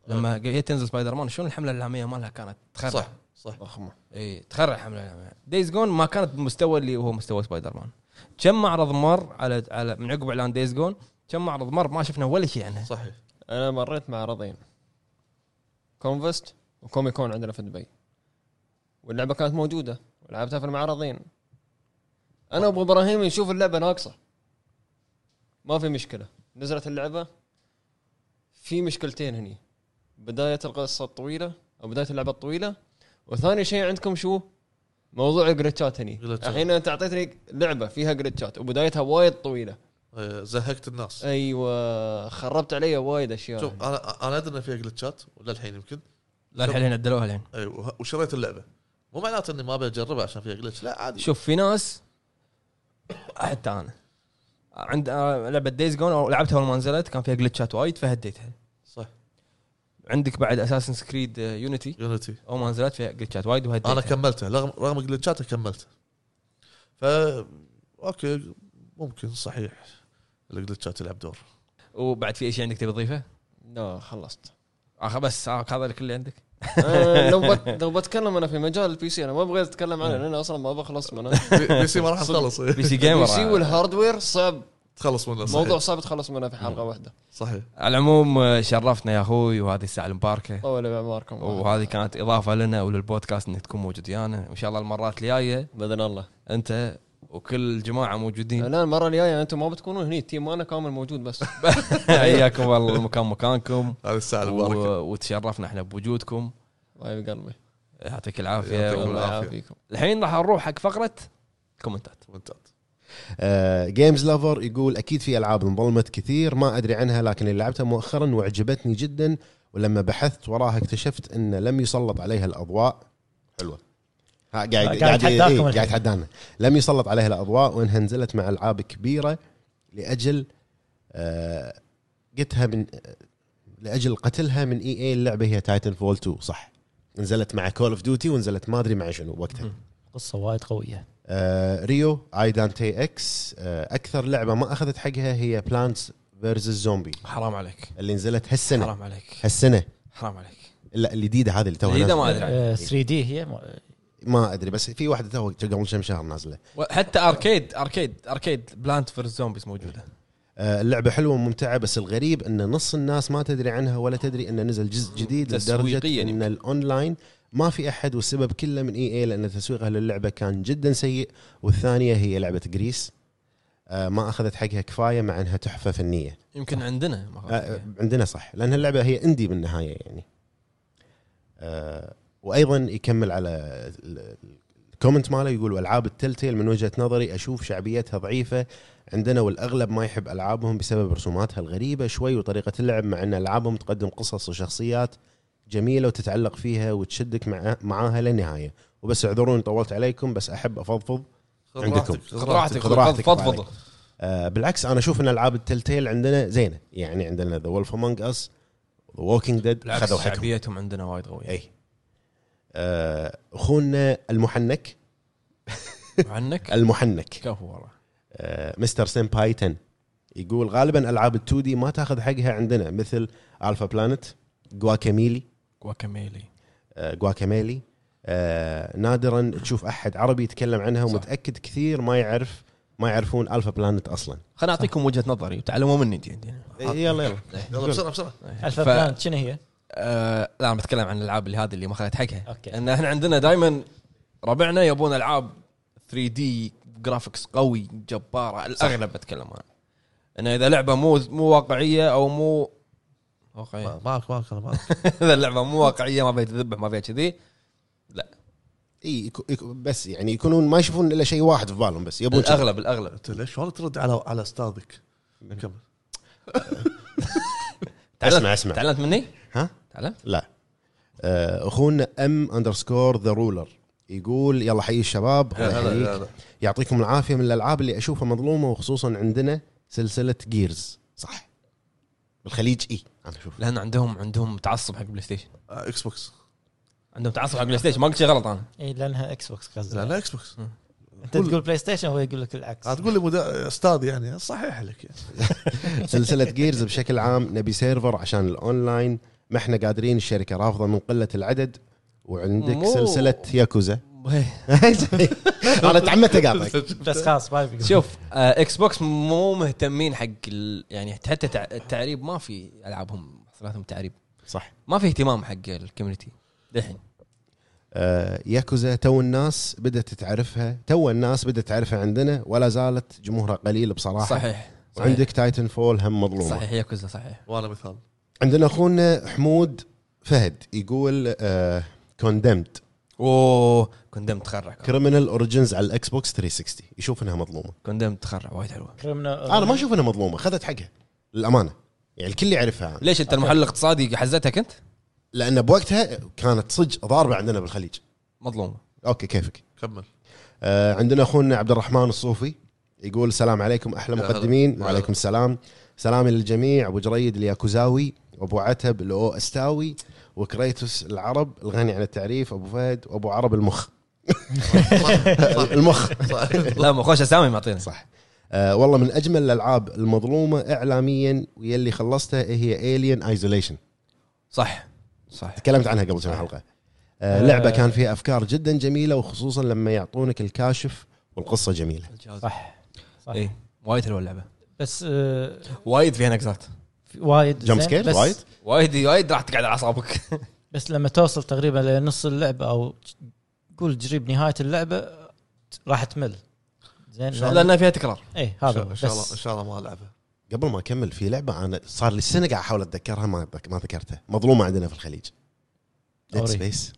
Speaker 1: لما جيت تنزل سبايدر مان شلون الحمله الاعلاميه مالها كانت تخرع
Speaker 2: صح صح
Speaker 5: ضخمه
Speaker 1: اي تخرع الحمله الاعلاميه دايز جون ما كانت بالمستوى اللي هو مستوى سبايدر مان كم معرض مر على على من عقب اعلان دايز جون كم معرض مر ما شفنا ولا شيء عنها
Speaker 2: صحيح
Speaker 5: انا مريت معرضين كونفست وكومي كون عندنا في دبي واللعبه كانت موجوده ولعبتها في المعرضين انا وابو ابراهيم نشوف اللعبه ناقصه ما في مشكله نزلت اللعبه في مشكلتين هني بدايه القصه الطويله او بدايه اللعبه الطويله وثاني شيء عندكم شو موضوع الجلتشات هني
Speaker 2: جلتشات.
Speaker 5: الحين انت اعطيتني لعبه فيها جلتشات وبدايتها وايد طويله
Speaker 2: آه، زهقت
Speaker 5: إيه.
Speaker 2: الناس
Speaker 5: ايوه خربت علي وايد اشياء
Speaker 2: شوف انا انا ادري ان فيها جلتشات للحين يمكن
Speaker 1: لا الحين عدلوها الحين
Speaker 2: اي وه- وشريت اللعبه مو معناته اني ما بجربها عشان فيها جلتش لا عادي
Speaker 1: شوف في ناس حتى انا عند آه، لعبه دايز جون لعبتها اول ما نزلت كان فيها جلتشات وايد فهديتها
Speaker 2: صح
Speaker 1: عندك بعد اساسن سكريد يونيتي
Speaker 2: يونيتي
Speaker 1: اول ما نزلت فيها جلتشات وايد وهديتها
Speaker 2: انا كملته رغم رغم جلتشاته كملته ف اوكي ممكن صحيح الجلتشات تلعب دور
Speaker 1: وبعد في أي شيء عندك تبي تضيفه؟
Speaker 5: لا خلصت
Speaker 1: اخ بس آه، هذا الكل اللي عندك
Speaker 5: آه، لو بت... لو بتكلم انا في مجال البي سي انا ما ابغى اتكلم عنه لان اصلا ما بخلص منه
Speaker 2: بي بي سي ما راح تخلص إيه،
Speaker 1: بي سي
Speaker 5: البي سي
Speaker 1: جيمر آه.
Speaker 5: والهاردوير صعب
Speaker 2: تخلص منه صحيح
Speaker 5: موضوع صعب تخلص منه في حلقه واحده
Speaker 2: صحيح
Speaker 1: على العموم آه، شرفتنا يا اخوي وهذه الساعه المباركه
Speaker 5: طول بعمركم
Speaker 1: وهذه كانت اضافه لنا وللبودكاست انك تكون موجود ويانا وان شاء الله المرات الجايه
Speaker 5: باذن الله
Speaker 1: انت وكل الجماعه موجودين
Speaker 5: الان المره الجايه انتم ما بتكونون هني التيم انا كامل موجود بس
Speaker 1: حياكم والله المكان مكانكم
Speaker 2: هذه الساعه المباركه
Speaker 1: و- وتشرفنا احنا بوجودكم
Speaker 5: حبيب طيب، قلبي
Speaker 1: يعطيك العافيه
Speaker 2: يعطيكم
Speaker 1: والله.
Speaker 2: العافية.
Speaker 1: الحين راح نروح حق فقره كومنتات
Speaker 2: كومنتات
Speaker 3: جيمز لافر آه، يقول اكيد في العاب انظلمت كثير ما ادري عنها لكن اللي لعبتها مؤخرا وعجبتني جدا ولما بحثت وراها اكتشفت ان لم يسلط عليها الاضواء حلوه ها قاعد
Speaker 4: قاعد
Speaker 3: قاعد قاعد,
Speaker 4: يتحداكم
Speaker 3: إيه،
Speaker 4: الحين.
Speaker 3: قاعد يتحدانا لم يسلط عليها الاضواء وانها نزلت مع العاب كبيره لاجل آه، قتها من لاجل قتلها من اي اي اللعبه هي تايتن فول 2 صح نزلت مع كول اوف ديوتي ونزلت ما ادري مع شنو وقتها
Speaker 4: قصه وايد قويه
Speaker 3: آه، ريو ايدانتي اكس آه، اكثر لعبه ما اخذت حقها هي بلانتس فيرسز زومبي
Speaker 1: حرام عليك
Speaker 3: اللي نزلت هالسنه
Speaker 1: حرام عليك
Speaker 3: هالسنه
Speaker 1: حرام عليك
Speaker 3: لا الجديده هذه اللي توها
Speaker 1: الجديدة
Speaker 3: نازلة.
Speaker 1: ما
Speaker 2: يعني
Speaker 1: أدري.
Speaker 4: آه، 3 دي هي م-
Speaker 3: ما ادري بس في واحده توها قبل كم شهر نازله
Speaker 1: حتى اركيد اركيد اركيد بلانت فيرس زومبيز موجوده
Speaker 3: آه، اللعبه حلوه وممتعه بس الغريب ان نص الناس ما تدري عنها ولا تدري ان نزل جزء جديد لدرجه
Speaker 1: تسويقياً
Speaker 3: ان
Speaker 1: يمكن.
Speaker 3: الاونلاين ما في احد والسبب كله من إيه، اي اي لان تسويقها للعبه كان جدا سيء والثانيه هي لعبه جريس آه، ما اخذت حقها كفايه مع انها تحفه فنيه
Speaker 1: يمكن عندنا ما
Speaker 3: آه،
Speaker 1: خلاص.
Speaker 3: عندنا صح لان اللعبه هي اندي بالنهايه يعني آه، وايضا يكمل على ال- ال- الكومنت ماله يقول العاب التلتيل من وجهه نظري اشوف شعبيتها ضعيفه عندنا والاغلب ما يحب العابهم بسبب رسوماتها الغريبه شوي وطريقه اللعب مع ان العابهم تقدم قصص وشخصيات جميله وتتعلق فيها وتشدك مع معاها للنهايه وبس اعذروني طولت عليكم بس احب افضفض
Speaker 2: خذ
Speaker 3: عندكم.
Speaker 2: راحتك، خذ
Speaker 1: خذ راحتك
Speaker 2: راحتك.
Speaker 3: خذ راحتك.
Speaker 1: فضفض
Speaker 3: آه، بالعكس انا اشوف ان العاب التلتيل عندنا زينه يعني عندنا ذا وولف امونج اس ووكينج ديد
Speaker 1: بالعكس
Speaker 3: خذوا حقهم
Speaker 1: شعبيتهم عندنا وايد قويه
Speaker 3: اي آه، اخونا المحنك
Speaker 1: عنك
Speaker 3: المحنك
Speaker 1: كفو والله
Speaker 3: آه، مستر سيمباي 10 يقول غالبا العاب ال2 دي ما تاخذ حقها عندنا مثل الفا بلانت جواكاميلي
Speaker 1: واكاميلي
Speaker 3: آه، جواكاميلي نادرا آه، تشوف احد عربي يتكلم عنها
Speaker 1: صح.
Speaker 3: ومتاكد كثير ما يعرف ما يعرفون الفا بلانت اصلا
Speaker 1: خليني اعطيكم وجهه نظري وتعلموا مني انت يعني.
Speaker 3: يلا يلا
Speaker 2: يلا بسرعه بسرعه
Speaker 4: الفا
Speaker 1: ف-
Speaker 4: بلانت شنو هي؟
Speaker 1: آه، لا انا بتكلم عن الالعاب اللي هذه اللي ما اخذت حقها
Speaker 4: أوكي.
Speaker 1: ان احنا عندنا دائما ربعنا يبون العاب 3 دي جرافيكس قوي جباره الاغلب بتكلم انا انه اذا لعبه مو مو واقعيه او مو واقعيه
Speaker 2: ما- معك معك انا معك
Speaker 1: اذا اللعبه مو واقعيه ما فيها تذبح ما فيها كذي
Speaker 3: اي يكو- يكو- بس يعني يكونون ما يشوفون الا شيء واحد في بالهم بس يبون شيء.
Speaker 1: الاغلب الاغلب
Speaker 2: انت ليش ولا ترد على على استاذك كمل
Speaker 3: اسمع اسمع
Speaker 1: تعلمت مني؟
Speaker 3: ها؟
Speaker 1: تعلمت؟
Speaker 3: لا آه، اخونا ام اندرسكور ذا رولر يقول يلا حي الشباب الله
Speaker 2: هلا
Speaker 3: يحييك.
Speaker 2: هلا
Speaker 3: يعطيكم العافيه من الالعاب اللي اشوفها مظلومه وخصوصا عندنا سلسله جيرز صح بالخليج اي انا اشوف
Speaker 1: لان عندهم عندهم تعصب حق بلاي ستيشن
Speaker 2: آه، اكس بوكس
Speaker 1: عندهم تعصب حق بلاي ستيشن ما قلت شيء غلط انا
Speaker 4: اي لانها اكس بوكس
Speaker 2: لا
Speaker 4: إيه، قصدي
Speaker 2: لا اكس بوكس
Speaker 4: انت تقول بلاي ستيشن هو يقول لك العكس
Speaker 2: هتقول لي مدا- استاذ يعني صحيح لك يعني.
Speaker 3: سلسله جيرز بشكل عام نبي سيرفر عشان الاونلاين ما احنا قادرين الشركه رافضه من قله العدد وعندك
Speaker 1: مو-
Speaker 3: سلسله ياكوزا انا تعمدت اقاطعك
Speaker 4: بس خلاص ما يبي.
Speaker 1: شوف آه، اكس بوكس مو مهتمين حق ال- يعني حتى تع- التعريب ما في العابهم محصولاتهم تعريب
Speaker 3: صح
Speaker 1: ما في اهتمام حق الكوميونتي للحين
Speaker 3: آه، ياكوزا تو الناس بدات تعرفها تو الناس بدات تعرفها عندنا ولا زالت جمهورها قليل بصراحه
Speaker 1: صحيح
Speaker 3: وعندك تايتن فول هم مظلومه
Speaker 1: صحيح, صحيح ياكوزا صحيح
Speaker 2: وانا مثال
Speaker 3: عندنا اخونا حمود فهد يقول آه، كوندمت
Speaker 1: اوه كندم تخرع
Speaker 3: كريمنال اوريجنز على الاكس بوكس 360 يشوف انها مظلومه
Speaker 1: كندم تخرع وايد حلوه
Speaker 4: كريمنا-
Speaker 1: آه.
Speaker 3: انا ما اشوف انها مظلومه خذت حقها للامانه يعني الكل يعرفها أنا.
Speaker 1: ليش انت المحلل الاقتصادي حزتها كنت
Speaker 3: لان بوقتها كانت صج ضاربه عندنا بالخليج
Speaker 1: مظلومه
Speaker 3: اوكي كيفك
Speaker 2: كمل
Speaker 3: آه، عندنا اخونا عبد الرحمن الصوفي يقول السلام عليكم احلى
Speaker 2: يا هلا.
Speaker 3: مقدمين
Speaker 2: هلا.
Speaker 3: وعليكم السلام سلامي للجميع ابو جريد الياكوزاوي ابو عتب الاو استاوي وكريتوس العرب الغني عن التعريف ابو فهد وابو عرب المخ المخ
Speaker 1: لا مو خوش اسامي معطينا
Speaker 3: صح آه والله من اجمل الالعاب المظلومه اعلاميا ويا اللي خلصتها هي الين ايزوليشن
Speaker 1: صح صح
Speaker 3: تكلمت عنها قبل كم حلقه آه
Speaker 4: آه.
Speaker 3: لعبه كان فيها افكار جدا جميله وخصوصا لما يعطونك الكاشف والقصه جميله
Speaker 4: صح صح
Speaker 1: اي وايد حلوه اللعبه
Speaker 4: بس آه،
Speaker 1: وايد فيها نقزات
Speaker 4: في- وايد
Speaker 3: جمب
Speaker 4: زين،
Speaker 3: سكير
Speaker 4: بس-
Speaker 3: وايد
Speaker 1: وايد وايد راح تقعد على اعصابك
Speaker 4: بس لما توصل تقريبا لنص اللعبه او قول قريب نهايه اللعبه راح تمل زين
Speaker 1: لانها فيها تكرار
Speaker 4: اي
Speaker 2: ان
Speaker 4: هذا
Speaker 2: شاء- إن شاء الله ان
Speaker 4: بس
Speaker 2: شاء الله ما العبها
Speaker 3: قبل ما اكمل في لعبه انا صار لي سنه قاعد احاول اتذكرها ما أتذك- ما ذكرتها مظلومه عندنا في الخليج ديد
Speaker 4: أوري.
Speaker 3: سبيس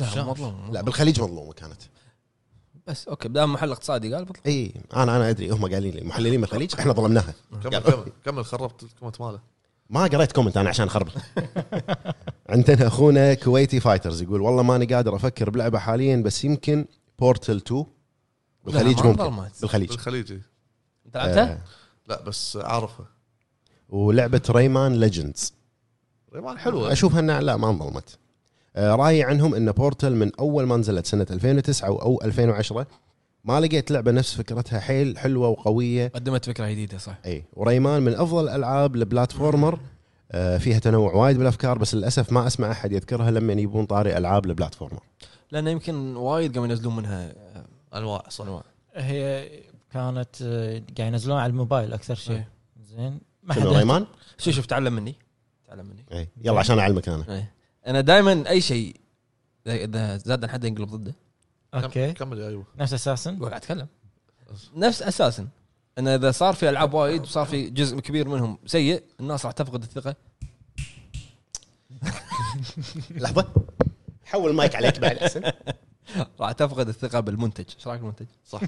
Speaker 1: لا مظلوم
Speaker 3: لا بالخليج مظلومه كانت
Speaker 1: بس اوكي بدام محل اقتصادي قال بطل
Speaker 3: اي انا انا ادري هم قايلين لي محللين من الخليج احنا ظلمناها
Speaker 2: كمل كمل كمل خربت الكومنت ماله
Speaker 3: ما قريت كومنت انا عشان خربط عندنا اخونا كويتي فايترز يقول والله ماني قادر افكر بلعبه حاليا بس يمكن بورتل 2 بالخليج
Speaker 1: لا، ما
Speaker 3: ممكن
Speaker 1: ظلمت.
Speaker 3: بالخليج
Speaker 2: بالخليجي
Speaker 1: انت لعبتها؟
Speaker 3: آه،
Speaker 2: لا بس اعرفه
Speaker 3: ولعبه ريمان ليجندز
Speaker 2: ريمان حلوه
Speaker 3: اشوف انها لا ما انظلمت آه، رايي عنهم ان بورتل من اول ما نزلت سنه 2009 او 2010 ما لقيت لعبه نفس فكرتها حيل حلوه وقويه
Speaker 1: قدمت فكره جديده صح
Speaker 3: اي وريمان من افضل الالعاب البلاتفورمر آه، فيها تنوع وايد بالافكار بس للاسف ما اسمع احد يذكرها لما يبون طاري العاب البلاتفورمر
Speaker 1: لانه يمكن وايد قاموا ينزلون منها آه،
Speaker 2: انواع صح
Speaker 1: انواع
Speaker 4: هي كانت آه، قاعد ينزلون على الموبايل اكثر شيء
Speaker 1: إيه.
Speaker 4: زين ما
Speaker 3: شنو
Speaker 4: حد
Speaker 3: ريمان؟
Speaker 1: شو شوف تعلم مني تعلم مني
Speaker 3: اي يلا عشان اعلمك انا
Speaker 1: إيه. انا دائما اي شيء إذا- اذا زاد عن حد ينقلب ضده
Speaker 2: كم-
Speaker 4: اوكي
Speaker 2: كمل يا ايوه
Speaker 4: نفس اساسا
Speaker 1: قاعد اتكلم نفس اساسا انه اذا صار في العاب وايد وصار في جزء كبير منهم سيء الناس راح تفقد الثقه
Speaker 3: لحظه حول مايك عليك بعد احسن
Speaker 1: راح تفقد الثقه بالمنتج ايش رايك بالمنتج؟
Speaker 2: صح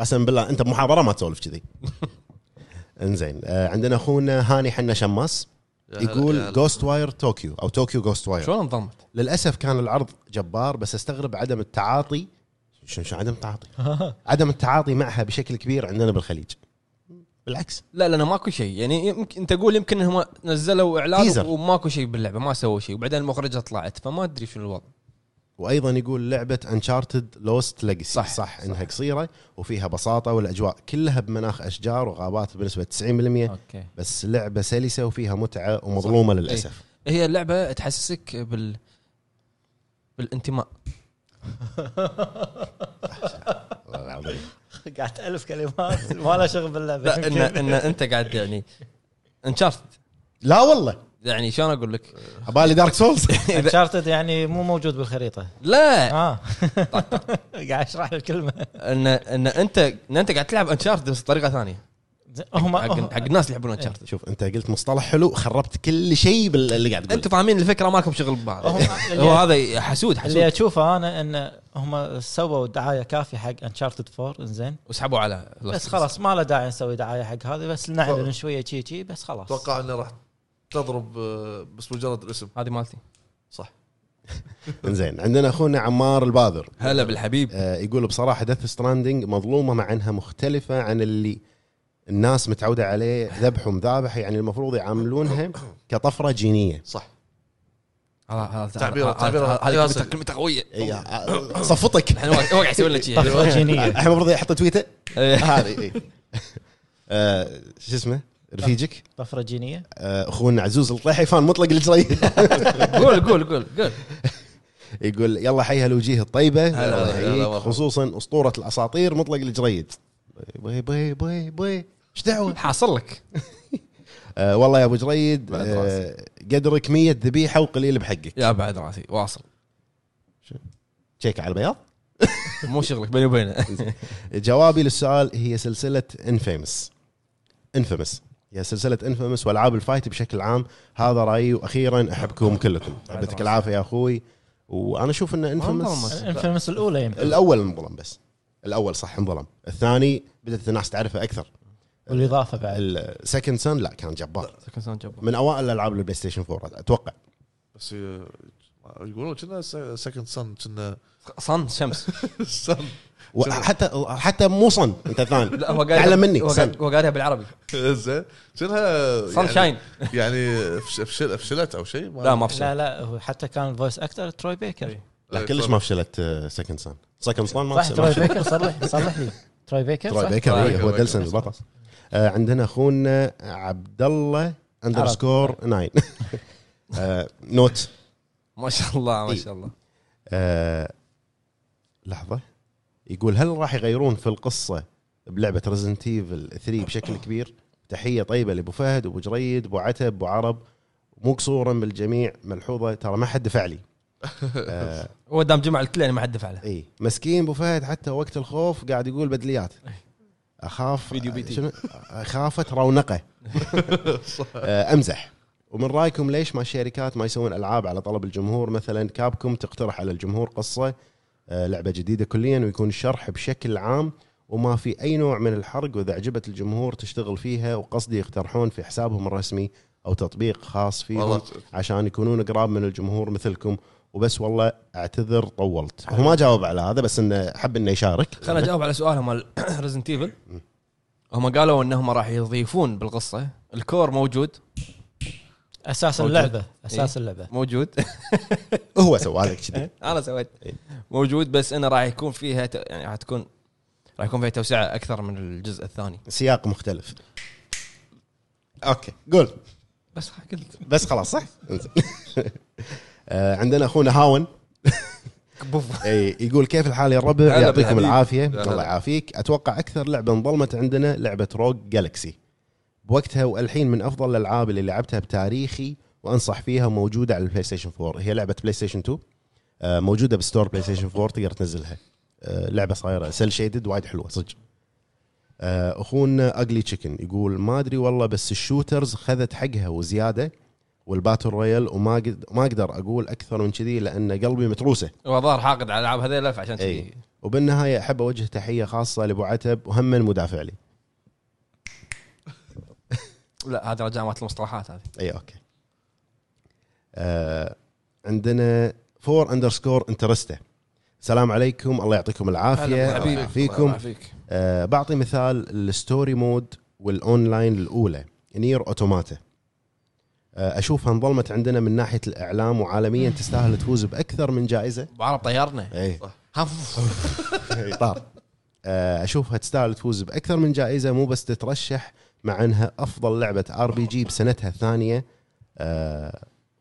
Speaker 3: قسم بالله انت بمحاضره ما تسولف كذي انزين آه، عندنا اخونا هاني حنا شماس
Speaker 2: يا هلا- يا
Speaker 3: يقول
Speaker 2: هلا.
Speaker 3: جوست واير طوكيو او طوكيو جوست واير
Speaker 1: شلون انضمت؟
Speaker 3: للاسف كان العرض جبار بس استغرب عدم التعاطي شو شو عدم التعاطي؟ عدم التعاطي معها بشكل كبير عندنا بالخليج بالعكس
Speaker 1: لا لانه ماكو شيء يعني يمكن انت تقول يمكن هم نزلوا
Speaker 3: تيزر.
Speaker 1: اعلان وماكو شيء باللعبه ما سووا شيء وبعدين المخرجه طلعت فما ادري شنو الوضع
Speaker 3: وايضا يقول لعبه انشارتد لوست ليجسي
Speaker 1: صح،
Speaker 3: صح, صح انها قصيره وفيها بساطه والاجواء كلها بمناخ اشجار وغابات بنسبه 90%
Speaker 4: اوكي
Speaker 3: بس لعبه سلسه وفيها متعه ومظلومه للاسف
Speaker 1: هي اللعبه تحسسك بال بالانتماء
Speaker 3: والله العظيم
Speaker 4: قاعد الف كلمات ما لها شغل باللعبه
Speaker 1: لا ان ان انت قاعد يعني انشارت
Speaker 3: لا والله
Speaker 1: يعني شلون اقول لك؟
Speaker 3: عبالي دارك سولز
Speaker 1: إذا- إيه.
Speaker 4: انشارتد يعني مو موجود بالخريطه
Speaker 1: لا
Speaker 4: اه قاعد اشرح الكلمه
Speaker 1: ان ان انت ان انت قاعد تلعب انشارت بس بطريقه ثانيه
Speaker 4: هم
Speaker 1: حق حق الناس اللي يحبون
Speaker 4: إيه.
Speaker 1: انشارت
Speaker 3: شوف انت قلت مصطلح حلو خربت كل شيء باللي قاعد
Speaker 1: انتم
Speaker 3: تقول
Speaker 1: فاهمين الفكره ماكم شغل ببعض
Speaker 4: هم-
Speaker 1: هو هذا حسود
Speaker 4: اللي
Speaker 1: حسود
Speaker 4: اشوفه انا ان هم سووا دعايه كافيه حق انشارتد 4 زين
Speaker 1: وسحبوا على
Speaker 4: بس خلاص ما له داعي نسوي دعايه حق هذه بس نعلن شويه شي شي بس خلاص
Speaker 2: اتوقع انه راح تضرب آه، بس مجرد الاسم
Speaker 1: هذه مالتي
Speaker 2: صح
Speaker 3: زين عندنا اخونا عمار الباذر
Speaker 1: هلا بالحبيب
Speaker 3: آه، يقول بصراحه ديث ستراندنج مظلومه مع انها مختلفه عن اللي الناس متعوده عليه ذبح ومذابح يعني المفروض يعاملونها كطفره جينيه
Speaker 2: صح تعبيره- تعبيره-
Speaker 1: هذه
Speaker 2: ياسر.
Speaker 1: كلمته قويه
Speaker 3: اي آه، صفطك
Speaker 1: احنا هو قاعد يسوي لنا شيء
Speaker 4: طفرة جينية.
Speaker 3: الحين المفروض يحط تويته هذه إي. آه، شو اسمه رفيجك
Speaker 4: طفره جينيه
Speaker 3: آه، اخونا عزوز الطيحي فان مطلق الجري
Speaker 1: قول قول قول قول
Speaker 3: يقول يلا حيها الوجيه الطيبه
Speaker 2: هلا
Speaker 3: الله
Speaker 2: والله،
Speaker 3: يحييك.
Speaker 2: هلا والله.
Speaker 3: خصوصا اسطوره الاساطير مطلق الجريد بي بي بي بي ايش دعوه
Speaker 1: حاصل لك
Speaker 3: آه والله يا ابو جريد
Speaker 2: بعد
Speaker 3: آه قدرك 100 ذبيحه وقليل بحقك
Speaker 1: يا بعد راسي واصل
Speaker 3: تشيك على البياض
Speaker 1: مو شغلك بيني وبينه
Speaker 3: جوابي للسؤال هي سلسله انفيمس انفيمس هي سلسله انفيمس والعاب الفايت بشكل عام هذا رايي واخيرا احبكم كلكم يعطيك العافيه يا اخوي وانا اشوف ان انفيمس
Speaker 1: انظلمت.
Speaker 4: الانفيمس الاولى يمكن
Speaker 3: الاول انظلم بس الاول صح انظلم الثاني بدات الناس تعرفه اكثر
Speaker 4: والاضافه بعد
Speaker 3: السكند سن لا كان جبار
Speaker 1: سكن ساوند جبار.
Speaker 3: من اوائل الالعاب البلاي ستيشن 4 اتوقع
Speaker 2: بس آه، يقولون كنا سكند سن كنا
Speaker 1: صن شمس
Speaker 2: سن
Speaker 3: وحتى حتى مو صن انت ثاني
Speaker 1: لا هو قاعد
Speaker 3: اعلم مني
Speaker 1: هو
Speaker 3: صن
Speaker 1: قاعد- هو قاعدها بالعربي
Speaker 2: زين كنا
Speaker 1: صن شاين
Speaker 2: يعني فش- فشل افشلت او شيء
Speaker 1: لا ما
Speaker 4: لا
Speaker 1: في
Speaker 4: لا هو حتى كان الفويس اكتر تروي بيكر
Speaker 1: إيه.
Speaker 3: لا كلش ما فشلت آه، سكند سان سكند سان ما
Speaker 4: صح تروي
Speaker 3: فشلت
Speaker 4: بيكر صلح صلح لي تروي بيكر
Speaker 3: تروي
Speaker 4: صح؟
Speaker 3: بيكر
Speaker 1: تروي
Speaker 3: إيه،
Speaker 2: بيكر،
Speaker 3: هو
Speaker 2: بيكر.
Speaker 3: دلسن البطل آه، عندنا اخونا عبد الله اندرسكور 9 آه، نوت
Speaker 1: ما شاء الله ما
Speaker 3: إيه.
Speaker 1: شاء الله
Speaker 3: آه، لحظه يقول هل راح يغيرون في القصه بلعبه ريزنت ايفل 3 بشكل كبير تحيه طيبه لابو فهد ابو جريد ابو عتب ابو عرب مو قصورا بالجميع ملحوظه ترى ما حد دفع لي آه،
Speaker 1: هو دام جمع الكل يعني ما حد دفع له
Speaker 3: اي إيه. مسكين ابو فهد حتى وقت الخوف قاعد يقول بدليات اخاف
Speaker 1: فيديو بيتي.
Speaker 3: شنو؟ اخافت رونقه آه، امزح ومن رايكم ليش ما الشركات ما يسوون العاب على طلب الجمهور مثلا كابكم تقترح على الجمهور قصه آه، لعبه جديده كليا ويكون الشرح بشكل عام وما في اي نوع من الحرق واذا عجبت الجمهور تشتغل فيها وقصدي يقترحون في حسابهم الرسمي او تطبيق خاص فيهم
Speaker 2: والله
Speaker 3: عشان يكونون قراب من الجمهور مثلكم وبس والله اعتذر طولت هو ما جاوب على هذا بس انه حب انه يشارك
Speaker 1: خلنا اجاوب على سؤالهم مال ريزنت ايفل هم قالوا انهم راح يضيفون بالقصه الكور موجود
Speaker 4: اساس
Speaker 1: موجود.
Speaker 4: اللعبه اساس اللعبه
Speaker 1: موجود
Speaker 3: هو سوى هذا كذي
Speaker 1: انا سويت
Speaker 3: إيه.
Speaker 1: موجود بس انه راح يكون فيها ت- يعني راح تكون راح يكون فيها توسعه اكثر من الجزء الثاني
Speaker 3: سياق مختلف اوكي قول
Speaker 1: بس قلت
Speaker 3: بس خلاص صح؟ انزين. آه، عندنا اخونا هاون
Speaker 1: كبوف
Speaker 3: اي إيه، يقول كيف الحال يا الربع
Speaker 2: هلا
Speaker 3: يعطيكم
Speaker 2: بالحبيب.
Speaker 3: العافيه
Speaker 2: هلا.
Speaker 3: الله يعافيك اتوقع اكثر لعبه انظلمت عندنا لعبه روج جالكسي بوقتها والحين من افضل الالعاب اللي لعبتها بتاريخي وانصح فيها موجوده على البلاي ستيشن 4 هي لعبه بلاي ستيشن 2 آه، موجوده بستور بلاي ستيشن 4 تقدر تنزلها آه، لعبه صايره سيل شيدد وايد حلوه صدق آه، اخونا اجلي تشيكن يقول ما ادري والله بس الشوترز خذت حقها وزياده والباتل رويال وما قد- ما اقدر اقول اكثر من كذي لان قلبي متروسه
Speaker 1: هو ظهر حاقد على الالعاب هذيلا فعشان
Speaker 3: اي
Speaker 1: كذي
Speaker 3: وبالنهايه احب اوجه تحيه خاصه لابو عتب وهم المدافع لي
Speaker 1: لا هذا رجع مالت المصطلحات هذه
Speaker 3: اي اوكي إيه، آه عندنا فور اندرسكور انترسته السلام عليكم الله يعطيكم العافيه
Speaker 1: هلا
Speaker 3: الله
Speaker 1: بالحبيب.
Speaker 3: يعافيكم آه بعطي مثال الستوري مود والاونلاين الاولى نير اوتوماتا آه اشوفها انظلمت عندنا من ناحيه الاعلام وعالميا تستاهل تفوز باكثر من جائزه
Speaker 1: أبو عرب طيرنا
Speaker 3: اي
Speaker 1: هف.
Speaker 3: طار طيب. آه، اشوفها تستاهل تفوز باكثر من جائزه مو بس تترشح مع انها افضل لعبه ار بي جي بسنتها آه، الثانيه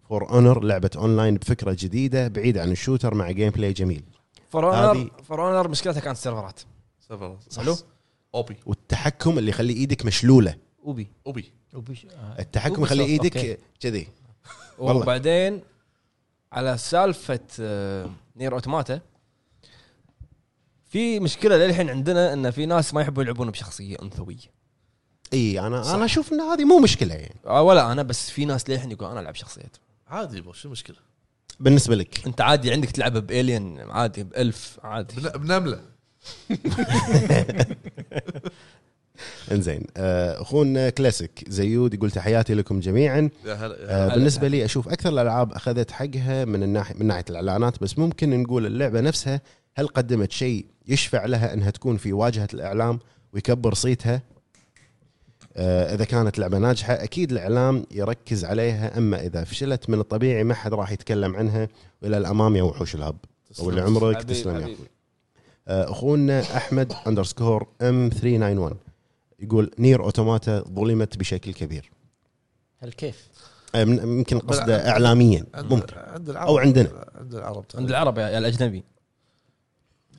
Speaker 3: فور اونر لعبه اونلاين بفكره جديده بعيده عن الشوتر مع جيم بلاي جميل
Speaker 1: فرونر
Speaker 3: هذه-
Speaker 1: فرونر مشكلتها كانت السيرفرات حلو
Speaker 2: اوبي
Speaker 3: والتحكم اللي يخلي ايدك مشلوله
Speaker 1: اوبي
Speaker 2: اوبي
Speaker 4: آه،
Speaker 3: التحكم يخلي ايدك كذي والله.
Speaker 1: وبعدين على سالفه آه، نير اوتوماتا في مشكله للحين عندنا ان في ناس ما يحبوا يلعبون بشخصيه انثويه
Speaker 3: اي انا
Speaker 1: صح.
Speaker 3: انا اشوف ان هذه مو مشكله يعني
Speaker 1: آه، ولا انا بس في ناس للحين يقول انا العب شخصيات
Speaker 2: عادي بو شو المشكله؟
Speaker 3: بالنسبه لك
Speaker 1: انت عادي عندك تلعبها بالين عادي بالف عادي
Speaker 2: بن- بنمله
Speaker 3: انزين آه، اخونا كلاسيك زيود يقول تحياتي لكم جميعا
Speaker 2: يا هلا يا
Speaker 3: آه،
Speaker 1: هلا.
Speaker 3: بالنسبه لي اشوف اكثر الالعاب اخذت حقها من الناحيه من ناحيه الاعلانات بس ممكن نقول اللعبه نفسها هل قدمت شيء يشفع لها انها تكون في واجهه الاعلام ويكبر صيتها آه، اذا كانت لعبه ناجحه اكيد الاعلام يركز عليها اما اذا فشلت من الطبيعي ما حد راح يتكلم عنها والى الامام يا وحوش الهب
Speaker 2: تسلم.
Speaker 3: طول عمرك
Speaker 1: حبيب-
Speaker 3: تسلم يا
Speaker 1: حبيب.
Speaker 3: اخوي آه، اخونا احمد اندرسكور ام 391 يقول نير اوتوماتا ظلمت بشكل كبير
Speaker 4: هل كيف؟
Speaker 3: آه، من- يمكن قصده اعلاميا
Speaker 2: عند-
Speaker 3: ممكن
Speaker 2: عند العرب
Speaker 3: أو عندنا.
Speaker 2: عند العرب
Speaker 1: عند العرب يا يا الاجنبي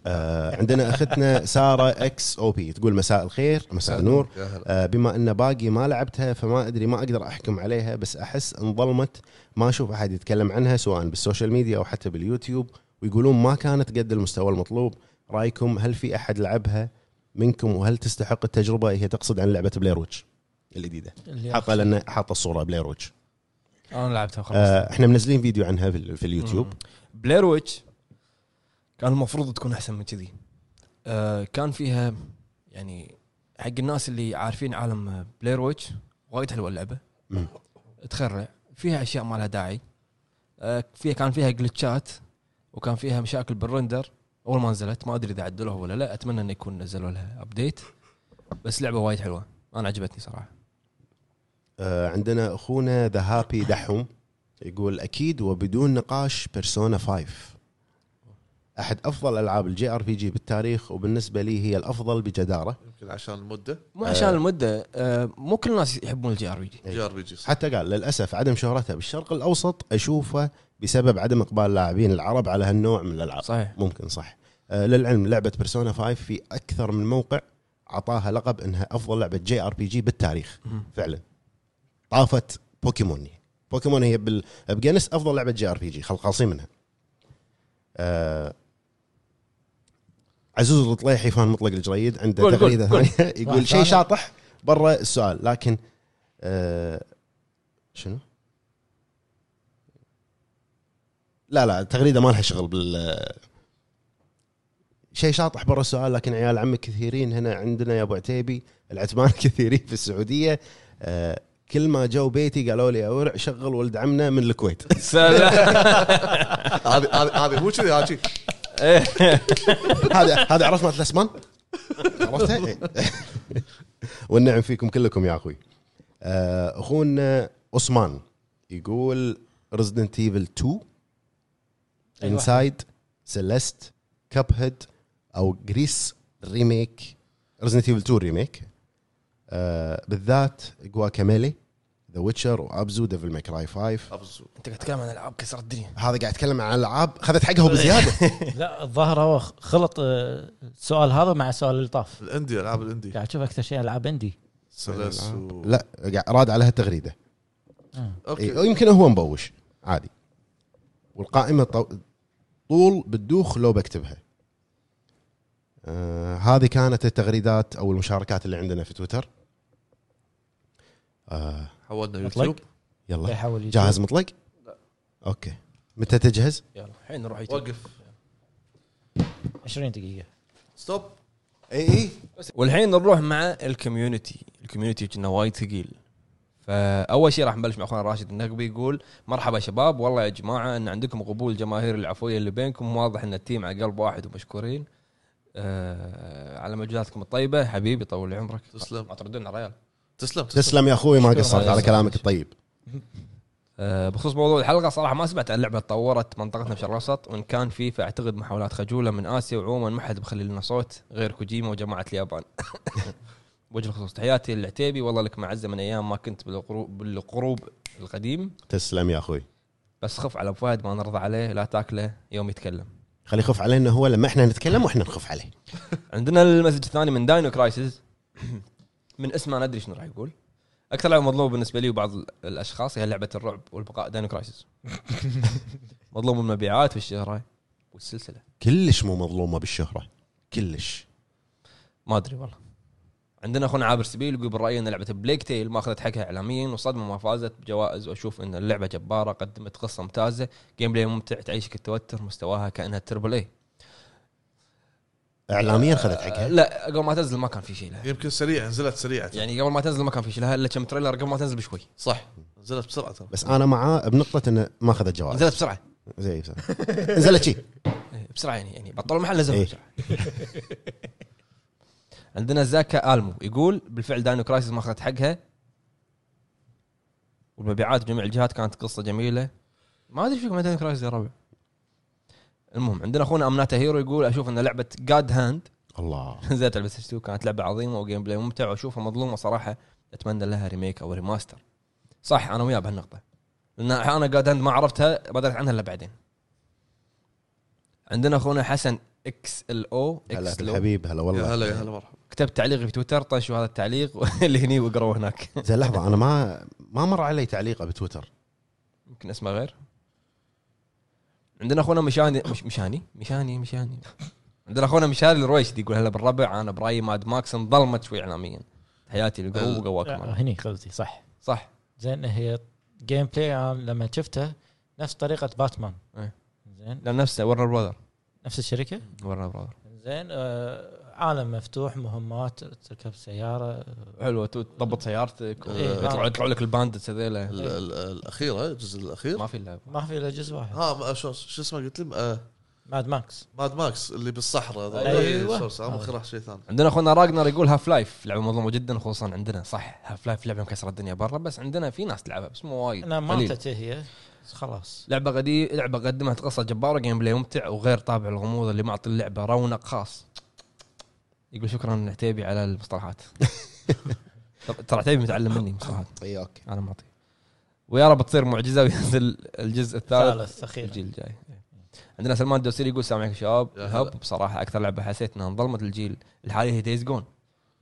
Speaker 3: آه، عندنا اختنا ساره اكس او بي تقول مساء الخير مساء النور
Speaker 2: يا هلا
Speaker 3: آه، بما ان باقي ما لعبتها فما ادري ما اقدر احكم عليها بس احس انظلمت ما اشوف احد يتكلم عنها سواء بالسوشيال ميديا او حتى باليوتيوب ويقولون ما كانت قد المستوى المطلوب رايكم هل في احد لعبها منكم وهل تستحق التجربه هي تقصد عن لعبه بلاير ويتش الجديده حاطه لان حاطه الصوره بلاير ويتش
Speaker 1: انا لعبتها خلاص
Speaker 3: آه، احنا منزلين فيديو عنها في في اليوتيوب
Speaker 1: بلاير ويتش كان المفروض تكون احسن من كذي آه، كان فيها يعني حق الناس اللي عارفين عالم بلاير ويتش وايد حلوه اللعبه
Speaker 3: مم.
Speaker 1: تخرع فيها اشياء ما لها داعي آه، فيها كان فيها جلتشات وكان فيها مشاكل بالرندر اول ما نزلت ما ادري اذا عدلوها ولا لا اتمنى انه يكون نزلوا لها ابديت بس لعبه وايد حلوه انا عجبتني صراحه
Speaker 3: آه، عندنا اخونا ذا هابي دحوم يقول اكيد وبدون نقاش بيرسونا 5 احد افضل العاب الجي ار بي جي بالتاريخ وبالنسبه لي هي الافضل بجداره
Speaker 2: يمكن عشان المده
Speaker 1: مو عشان المده آه، مو كل الناس يحبون الجي ار بي جي
Speaker 3: أي.
Speaker 2: جي ار بي جي
Speaker 3: حتى قال للاسف عدم شهرتها بالشرق الاوسط اشوفه بسبب عدم اقبال اللاعبين العرب على هالنوع من الالعاب
Speaker 1: صحيح
Speaker 3: ممكن صح آه، للعلم لعبه بيرسونا 5 في اكثر من موقع عطاها لقب انها افضل لعبه جي ار بي جي بالتاريخ
Speaker 1: مم.
Speaker 3: فعلا طافت بوكيمون بوكيمون هي بال... بجنس افضل لعبه جي ار بي جي خل- خالصين منها آه... عزوز الطليحي فان مطلق الجريد عنده
Speaker 1: قول- قول-
Speaker 3: تغريده
Speaker 1: قول.
Speaker 3: ثانيه يقول
Speaker 4: واحد
Speaker 3: شيء
Speaker 4: ثاني.
Speaker 3: شاطح برا السؤال لكن آه... شنو؟ لا لا التغريده ما لها شغل بال آه، شيء شاطح برا السؤال لكن عيال عمك كثيرين هنا عندنا يا ابو عتيبي العتمان كثيرين في السعوديه آه، كل ما جو بيتي قالوا لي يا ورع شغل ولد عمنا من الكويت
Speaker 2: هذه هذه هذه مو كذي هذه شي.
Speaker 3: هذا هذا عرفت مالت الاسمان عرفتها إيه. والنعم فيكم كلكم يا اخوي آه، اخونا عثمان يقول ريزدنت ايفل 2
Speaker 4: أي واحد.
Speaker 3: انسايد سيليست كاب هيد او جريس ريميك ريزدنت ايفل 2 ريميك آه، بالذات جواكاميلي ذا ويتشر وابزو ديفل ماي كراي 5
Speaker 2: أبزو.
Speaker 1: انت قاعد تتكلم عن العاب كسرت الدنيا
Speaker 3: هذا قاعد يتكلم عن العاب خذت حقها بزياده
Speaker 4: لا الظاهر هو خلط آه، السؤال هذا مع سؤال اللي طاف
Speaker 2: الاندي العاب الاندي
Speaker 4: قاعد اشوف اكثر شيء العاب عندي
Speaker 2: سلس و...
Speaker 3: لا قاعد- راد عليها التغريده
Speaker 2: اوكي
Speaker 3: إيه يمكن هو مبوش عادي والقائمه طو... طول بتدوخ لو بكتبها آه هذه كانت التغريدات او المشاركات اللي عندنا في تويتر آه
Speaker 2: حولنا
Speaker 4: مطلق
Speaker 2: يوتيوب
Speaker 4: لا
Speaker 3: يلا
Speaker 4: يحاول يجيب.
Speaker 3: جاهز مطلق اوكي متى تجهز
Speaker 1: يلا الحين نروح يوتيوب
Speaker 2: وقف
Speaker 4: 20 دقيقه
Speaker 2: ستوب
Speaker 3: اي اي
Speaker 1: والحين نروح مع الكوميونتي الكوميونتي كنا وايد ثقيل فاول شيء راح نبلش مع اخونا راشد النقبي يقول مرحبا شباب والله يا جماعه ان عندكم قبول جماهير العفويه اللي بينكم واضح ان التيم على قلب واحد ومشكورين آه على مجهوداتكم الطيبه حبيبي طول لي عمرك
Speaker 2: تسلم
Speaker 1: ما تردون على الريال
Speaker 2: تسلم تسلم
Speaker 3: تسلم يا اخوي ما
Speaker 1: شكراً
Speaker 3: قصرت
Speaker 1: يا
Speaker 3: على
Speaker 1: صاحبي.
Speaker 3: كلامك الطيب
Speaker 1: آه، بخصوص موضوع الحلقه صراحه ما سمعت عن لعبه تطورت منطقتنا بشرق الاوسط وان كان في فاعتقد محاولات خجوله من اسيا وعموما ما حد بخلي لنا صوت غير كوجيما وجماعه اليابان. وجه الخصوص تحياتي للعتيبي والله لك معزه من ايام ما كنت بالقروب بالقروب القديم
Speaker 3: تسلم يا اخوي
Speaker 1: بس خف على ابو فهد ما نرضى عليه لا تاكله يوم يتكلم.
Speaker 3: خلي يخف علينا هو لما احنا نتكلم واحنا نخف عليه
Speaker 1: عندنا المسج الثاني من داينو كرايسيس من اسمه انا ادري شنو راح يقول اكثر لعبه مظلومه بالنسبه لي وبعض الاشخاص هي لعبه الرعب والبقاء داينو كرايسيس مظلوم المبيعات والشهره والسلسله
Speaker 3: كلش مو مظلومه بالشهره كلش
Speaker 1: ما ادري والله عندنا اخونا عابر سبيل يقول برايي ان لعبه بليك تيل ما اخذت حقها اعلاميا وصدمه ما فازت بجوائز واشوف ان اللعبه جباره قدمت قصه ممتازه جيم بلاي ممتع تعيشك التوتر مستواها كانها تربل اي
Speaker 3: اعلاميا خذت حقها
Speaker 1: لا قبل ما تنزل ما كان في شيء لها
Speaker 2: يمكن سريع نزلت سريعه
Speaker 1: يعني قبل ما تنزل ما كان في شيء لها الا كم تريلر قبل ما تنزل بشوي
Speaker 2: صح نزلت بسرعه ترى
Speaker 3: بس انا معاه بنقطه انه ما اخذت جوائز
Speaker 1: نزلت بسرعه
Speaker 3: زي بس- نزلت شي
Speaker 1: إيه، بسرعه يعني يعني بطلوا المحل نزلوا
Speaker 3: إيه.
Speaker 1: بسرعه عندنا زاكا المو يقول بالفعل داينو كرايسيس ما اخذت حقها والمبيعات بجميع الجهات كانت قصه جميله ما ادري فيكم داينو كرايسيس يا ربع المهم عندنا اخونا امناتا هيرو يقول اشوف ان لعبه جاد هاند
Speaker 3: الله
Speaker 1: نزلت على بلاي كانت لعبه عظيمه وجيم بلاي ممتع واشوفها مظلومه صراحه اتمنى لها ريميك او ريماستر صح انا وياه بهالنقطه لان انا جاد هاند ما عرفتها ما دريت عنها الا بعدين عندنا اخونا حسن اكس ال او
Speaker 3: هلا
Speaker 1: اكس
Speaker 3: الحبيب هلا
Speaker 2: يا
Speaker 3: والله
Speaker 2: هلا يا هلا مرحبا
Speaker 1: كتبت تعليقي في تويتر طشوا هذا التعليق اللي هني واقروه هناك
Speaker 3: زين لحظه انا ما ما مر علي تعليقه بتويتر
Speaker 1: يمكن اسمه غير عندنا اخونا مشاني مش مشاني مشاني مشاني عندنا اخونا مشاري الرويشدي يقول هلا بالربع انا برايي ماد ماكس انظلمت شوي اعلاميا تحياتي للجروب وقواكم
Speaker 4: آه،
Speaker 1: الله.
Speaker 4: هني قصدي صح
Speaker 1: صح
Speaker 4: زين هي جيم بلاي أنا لما شفته نفس طريقه باتمان آه،
Speaker 1: إيه.
Speaker 4: زين
Speaker 1: لا نفسه ورنر براذر
Speaker 4: نفس الشركه
Speaker 1: ورنر براذر
Speaker 4: زين آه، عالم مفتوح مهمات تركب سياره
Speaker 1: حلو تو- تضبط سيارتك
Speaker 4: إيه.
Speaker 1: ويطلعوا يطلعوا لك الباندتس هذيلا
Speaker 2: ال- ال- الاخيره الجزء الاخير
Speaker 1: ما في الا
Speaker 4: ما في الا جزء واحد
Speaker 2: ها ما- شو شو اسمه قلت لي آه،
Speaker 4: ماد ماكس
Speaker 2: ماد ماكس اللي بالصحراء هذا. إيه،
Speaker 4: أيوة.
Speaker 2: شو اسمه؟ مخي راح شيء ثاني
Speaker 1: عندنا اخونا راجنر يقول هاف لايف لعبه مظلومه جدا خصوصا عندنا صح هاف لايف لعبه مكسره الدنيا برا بس عندنا في ناس تلعبها بس مو وايد
Speaker 4: انا
Speaker 1: قليل.
Speaker 4: ماتت هي بس خلاص
Speaker 1: لعبه غدي لعبه قدمت قصه جباره جيم بلاي ممتع وغير طابع الغموض اللي معطي اللعبه رونق خاص يقول شكرا عتيبي على المصطلحات ترى- ترى عتيبي متعلم مني مصطلحات
Speaker 3: اي اوكي
Speaker 1: انا معطي ويا رب تصير معجزه وينزل الجزء الثالث
Speaker 4: ثالث اخيرا
Speaker 1: الجيل الجاي عندنا سلمان الدوسري يقول السلام عليكم شباب
Speaker 2: يا
Speaker 1: الهب
Speaker 2: هلا.
Speaker 1: بصراحه اكثر لعبه حسيت انها انظلمت الجيل الحالي هي دايز جون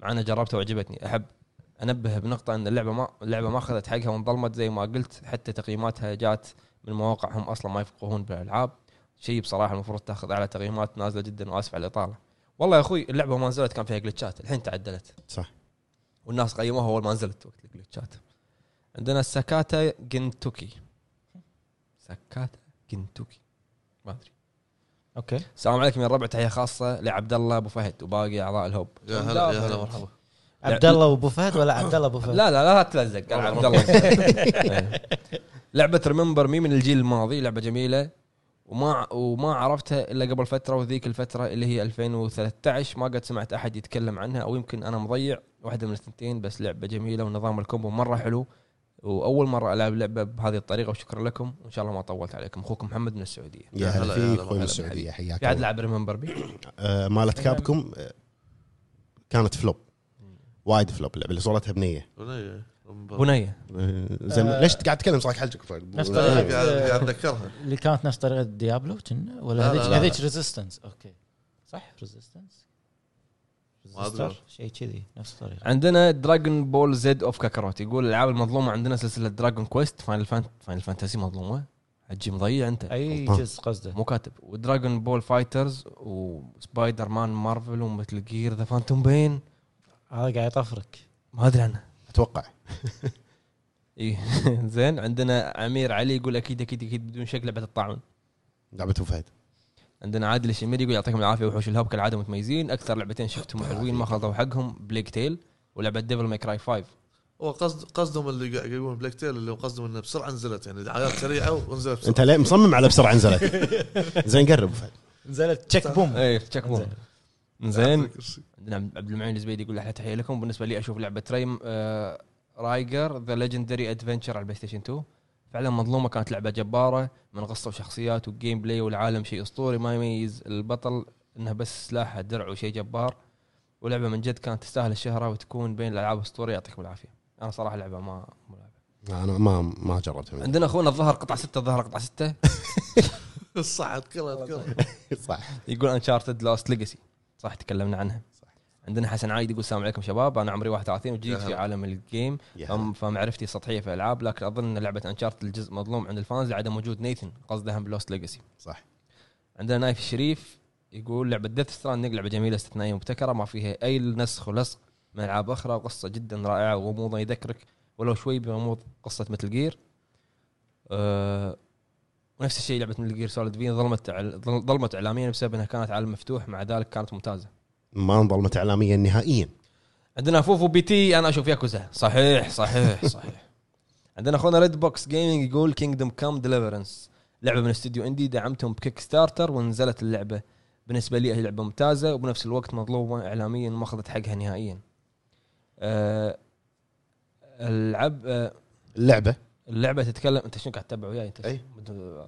Speaker 1: مع انا جربتها وعجبتني احب انبه بنقطه ان اللعبه ما اللعبه ما اخذت حقها وانظلمت زي ما قلت حتى تقييماتها جات من مواقع هم اصلا ما يفقهون بالالعاب شيء بصراحه المفروض تاخذ على تقييمات نازله جدا واسف على الاطاله والله يا اخوي اللعبه ما نزلت كان فيها جلتشات الحين تعدلت
Speaker 3: صح
Speaker 1: والناس قيموها اول ما نزلت وقت الجلتشات عندنا ساكاتا جنتوكي ساكاتا جنتوكي ما ادري
Speaker 4: اوكي
Speaker 1: السلام عليكم يا الربع تحيه خاصه لعبد الله ابو فهد وباقي اعضاء الهوب
Speaker 2: يا هلا يا هلا مرحبا
Speaker 4: عبد الله وابو فهد ولا عبد الله ابو فهد؟
Speaker 1: لا لا لا تلزق قال عبد الله إيه. لعبه ريمبر مي من الجيل الماضي لعبه جميله وما وما عرفتها الا قبل فتره وذيك الفتره اللي هي 2013 ما قد سمعت احد يتكلم عنها او يمكن انا مضيع واحده من الثنتين بس لعبه جميله ونظام الكومبو مره حلو واول مره العب لعبه بهذه الطريقه وشكرا لكم وان شاء الله ما طولت عليكم اخوكم محمد من السعوديه
Speaker 3: يا هلا فيك اخوي من السعوديه حياك
Speaker 1: قاعد
Speaker 3: الله.
Speaker 1: العب ريمبر مي
Speaker 3: آه، مالت كابكم آه، كانت فلوب وايد فلوب اللعبه اللي صورتها بنيه
Speaker 2: بنية.
Speaker 1: بنيه
Speaker 3: آه، زين
Speaker 4: آه.
Speaker 3: ليش قاعد تتكلم صاك حلجك
Speaker 4: نفس
Speaker 2: لا،
Speaker 4: طريقة-
Speaker 2: قاعد قاعد اتذكرها
Speaker 4: اللي كانت نفس طريقه ديابلو كنا ولا
Speaker 2: لا، لا،
Speaker 4: هذيك
Speaker 2: لا،
Speaker 4: هذيك
Speaker 2: لا.
Speaker 4: ريزيستنس اوكي صح ريزيستنس
Speaker 2: ما أدري.
Speaker 4: شيء كذي نفس الطريقه
Speaker 1: عندنا دراجون بول زد اوف كاكاروت يقول الالعاب المظلومه عندنا سلسله دراجون كويست فاينل فانت فاينل فانتسي مظلومه عجي مضيع انت
Speaker 4: اي
Speaker 3: غلطان.
Speaker 4: جزء قصده
Speaker 1: مو كاتب ودراجون بول فايترز وسبايدر مان مارفل ومثل جير ذا فانتوم بين
Speaker 4: هذا قاعد يطفرك
Speaker 1: ما ادري عنها
Speaker 3: اتوقع
Speaker 1: اي زين عندنا امير علي يقول اكيد اكيد اكيد بدون شك لعبه الطاعون
Speaker 3: لعبه أبو فهد
Speaker 1: عندنا عادل الشميري يقول يعطيكم العافيه وحوش الهب كالعاده متميزين اكثر لعبتين شفتهم حلوين ما خلطوا حقهم بليك تيل ولعبه ديفل ماي كراي 5
Speaker 2: هو قصد قصدهم اللي قاعد يقولون بلاك تيل اللي هو قصدهم انه بسرعه نزلت يعني دعايات سريعه ونزلت بسرعه
Speaker 3: انت ليه مصمم على بسرعه نزلت زين قرب أبو فهد
Speaker 4: نزلت تشيك بوم
Speaker 1: اي تشيك بوم إيه، زين عندنا نعم، عبد المعين الزبيدي يقول احلى تحيه لكم بالنسبه لي اشوف لعبه ريم آه رايجر ذا ليجندري ادفنتشر على البلاي ستيشن 2 فعلا مظلومه كانت لعبه جباره من قصه وشخصيات وجيم بلاي والعالم شيء اسطوري ما يميز البطل انها بس سلاحها درع وشيء جبار ولعبه من جد كانت تستاهل الشهره وتكون بين الالعاب الاسطوريه يعطيكم العافيه انا صراحه لعبه ما مو لعبة.
Speaker 3: انا ما ما جربتها من-
Speaker 1: عندنا اخونا الظهر قطعه 6 الظهر قطعه 6
Speaker 2: صح اذكرها اذكرها
Speaker 3: صح
Speaker 1: يقول انشارتد لاست ليجاسي صح تكلمنا عنها صح. عندنا حسن عايد يقول السلام عليكم شباب انا عمري 31 وجديد في
Speaker 2: هلا.
Speaker 1: عالم الجيم
Speaker 3: يا هلا.
Speaker 1: فم- فمعرفتي سطحيه في الالعاب لكن اظن ان لعبه انشارت الجزء مظلوم عند الفانز لعدم وجود نيثن قصدها بلوست ليجاسي
Speaker 3: صح
Speaker 1: عندنا نايف الشريف يقول لعبه ديث ستراندنج لعبه جميله استثنائيه مبتكره ما فيها اي نسخ ولصق من العاب اخرى وقصه جدا رائعه وغموضها يذكرك ولو شوي بغموض قصه مثل جير أه ونفس الشيء لعبه مثل جير سوليد فين ظلمت إعل- ظل- ظلمت اعلاميا بسبب انها كانت عالم مفتوح مع ذلك كانت ممتازه
Speaker 3: ما انظلمت اعلاميا نهائيا
Speaker 1: عندنا فوفو بي تي انا اشوف ياكوزا صحيح صحيح صحيح عندنا اخونا ريد بوكس جيمنج يقول كينجدوم كام ديليفرنس لعبه من استوديو اندي دعمتهم بكيك ستارتر ونزلت اللعبه بالنسبه لي هي لعبه ممتازه وبنفس الوقت مظلومه اعلاميا ما اخذت حقها نهائيا أه العب أه
Speaker 3: اللعبه
Speaker 1: اللعبه تتكلم انت شنو قاعد تتابع وياي انت
Speaker 3: أي.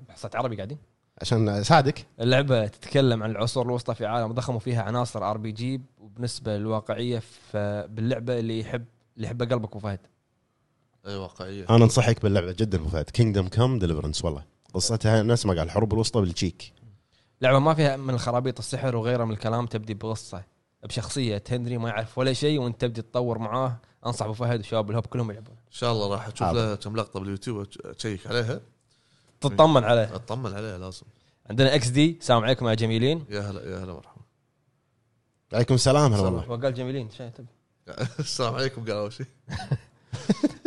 Speaker 1: بحصات عربي قاعدين
Speaker 3: عشان اساعدك
Speaker 1: اللعبة تتكلم عن العصور الوسطى في عالم ضخم وفيها عناصر ار بي جي وبالنسبة للواقعية فباللعبة اللي يحب اللي يحبه قلبك أبو فهد
Speaker 2: اي واقعيه
Speaker 3: انا انصحك باللعبه جدا ابو فهد كينجدم كم ديليفرنس والله قصتها نفس ما قال الحروب الوسطى بالتشيك
Speaker 1: لعبة ما فيها من الخرابيط السحر وغيرها من الكلام تبدي بقصة بشخصية هنري ما يعرف ولا شيء وانت تبدي تطور معاه انصح ابو فهد وشباب الهب كلهم يلعبون
Speaker 2: ان شاء الله راح اشوف
Speaker 3: عظيم.
Speaker 2: لها كم لقطه باليوتيوب اتشيك عليها
Speaker 1: تطمن عليه
Speaker 2: اطمن عليها لازم
Speaker 1: عندنا اكس دي السلام عليكم يا جميلين
Speaker 2: يا هلا يا هلا مرحبا
Speaker 3: عليكم السلام هلا والله
Speaker 1: هو قال جميلين شايف تبي
Speaker 2: السلام عليكم قال اول شيء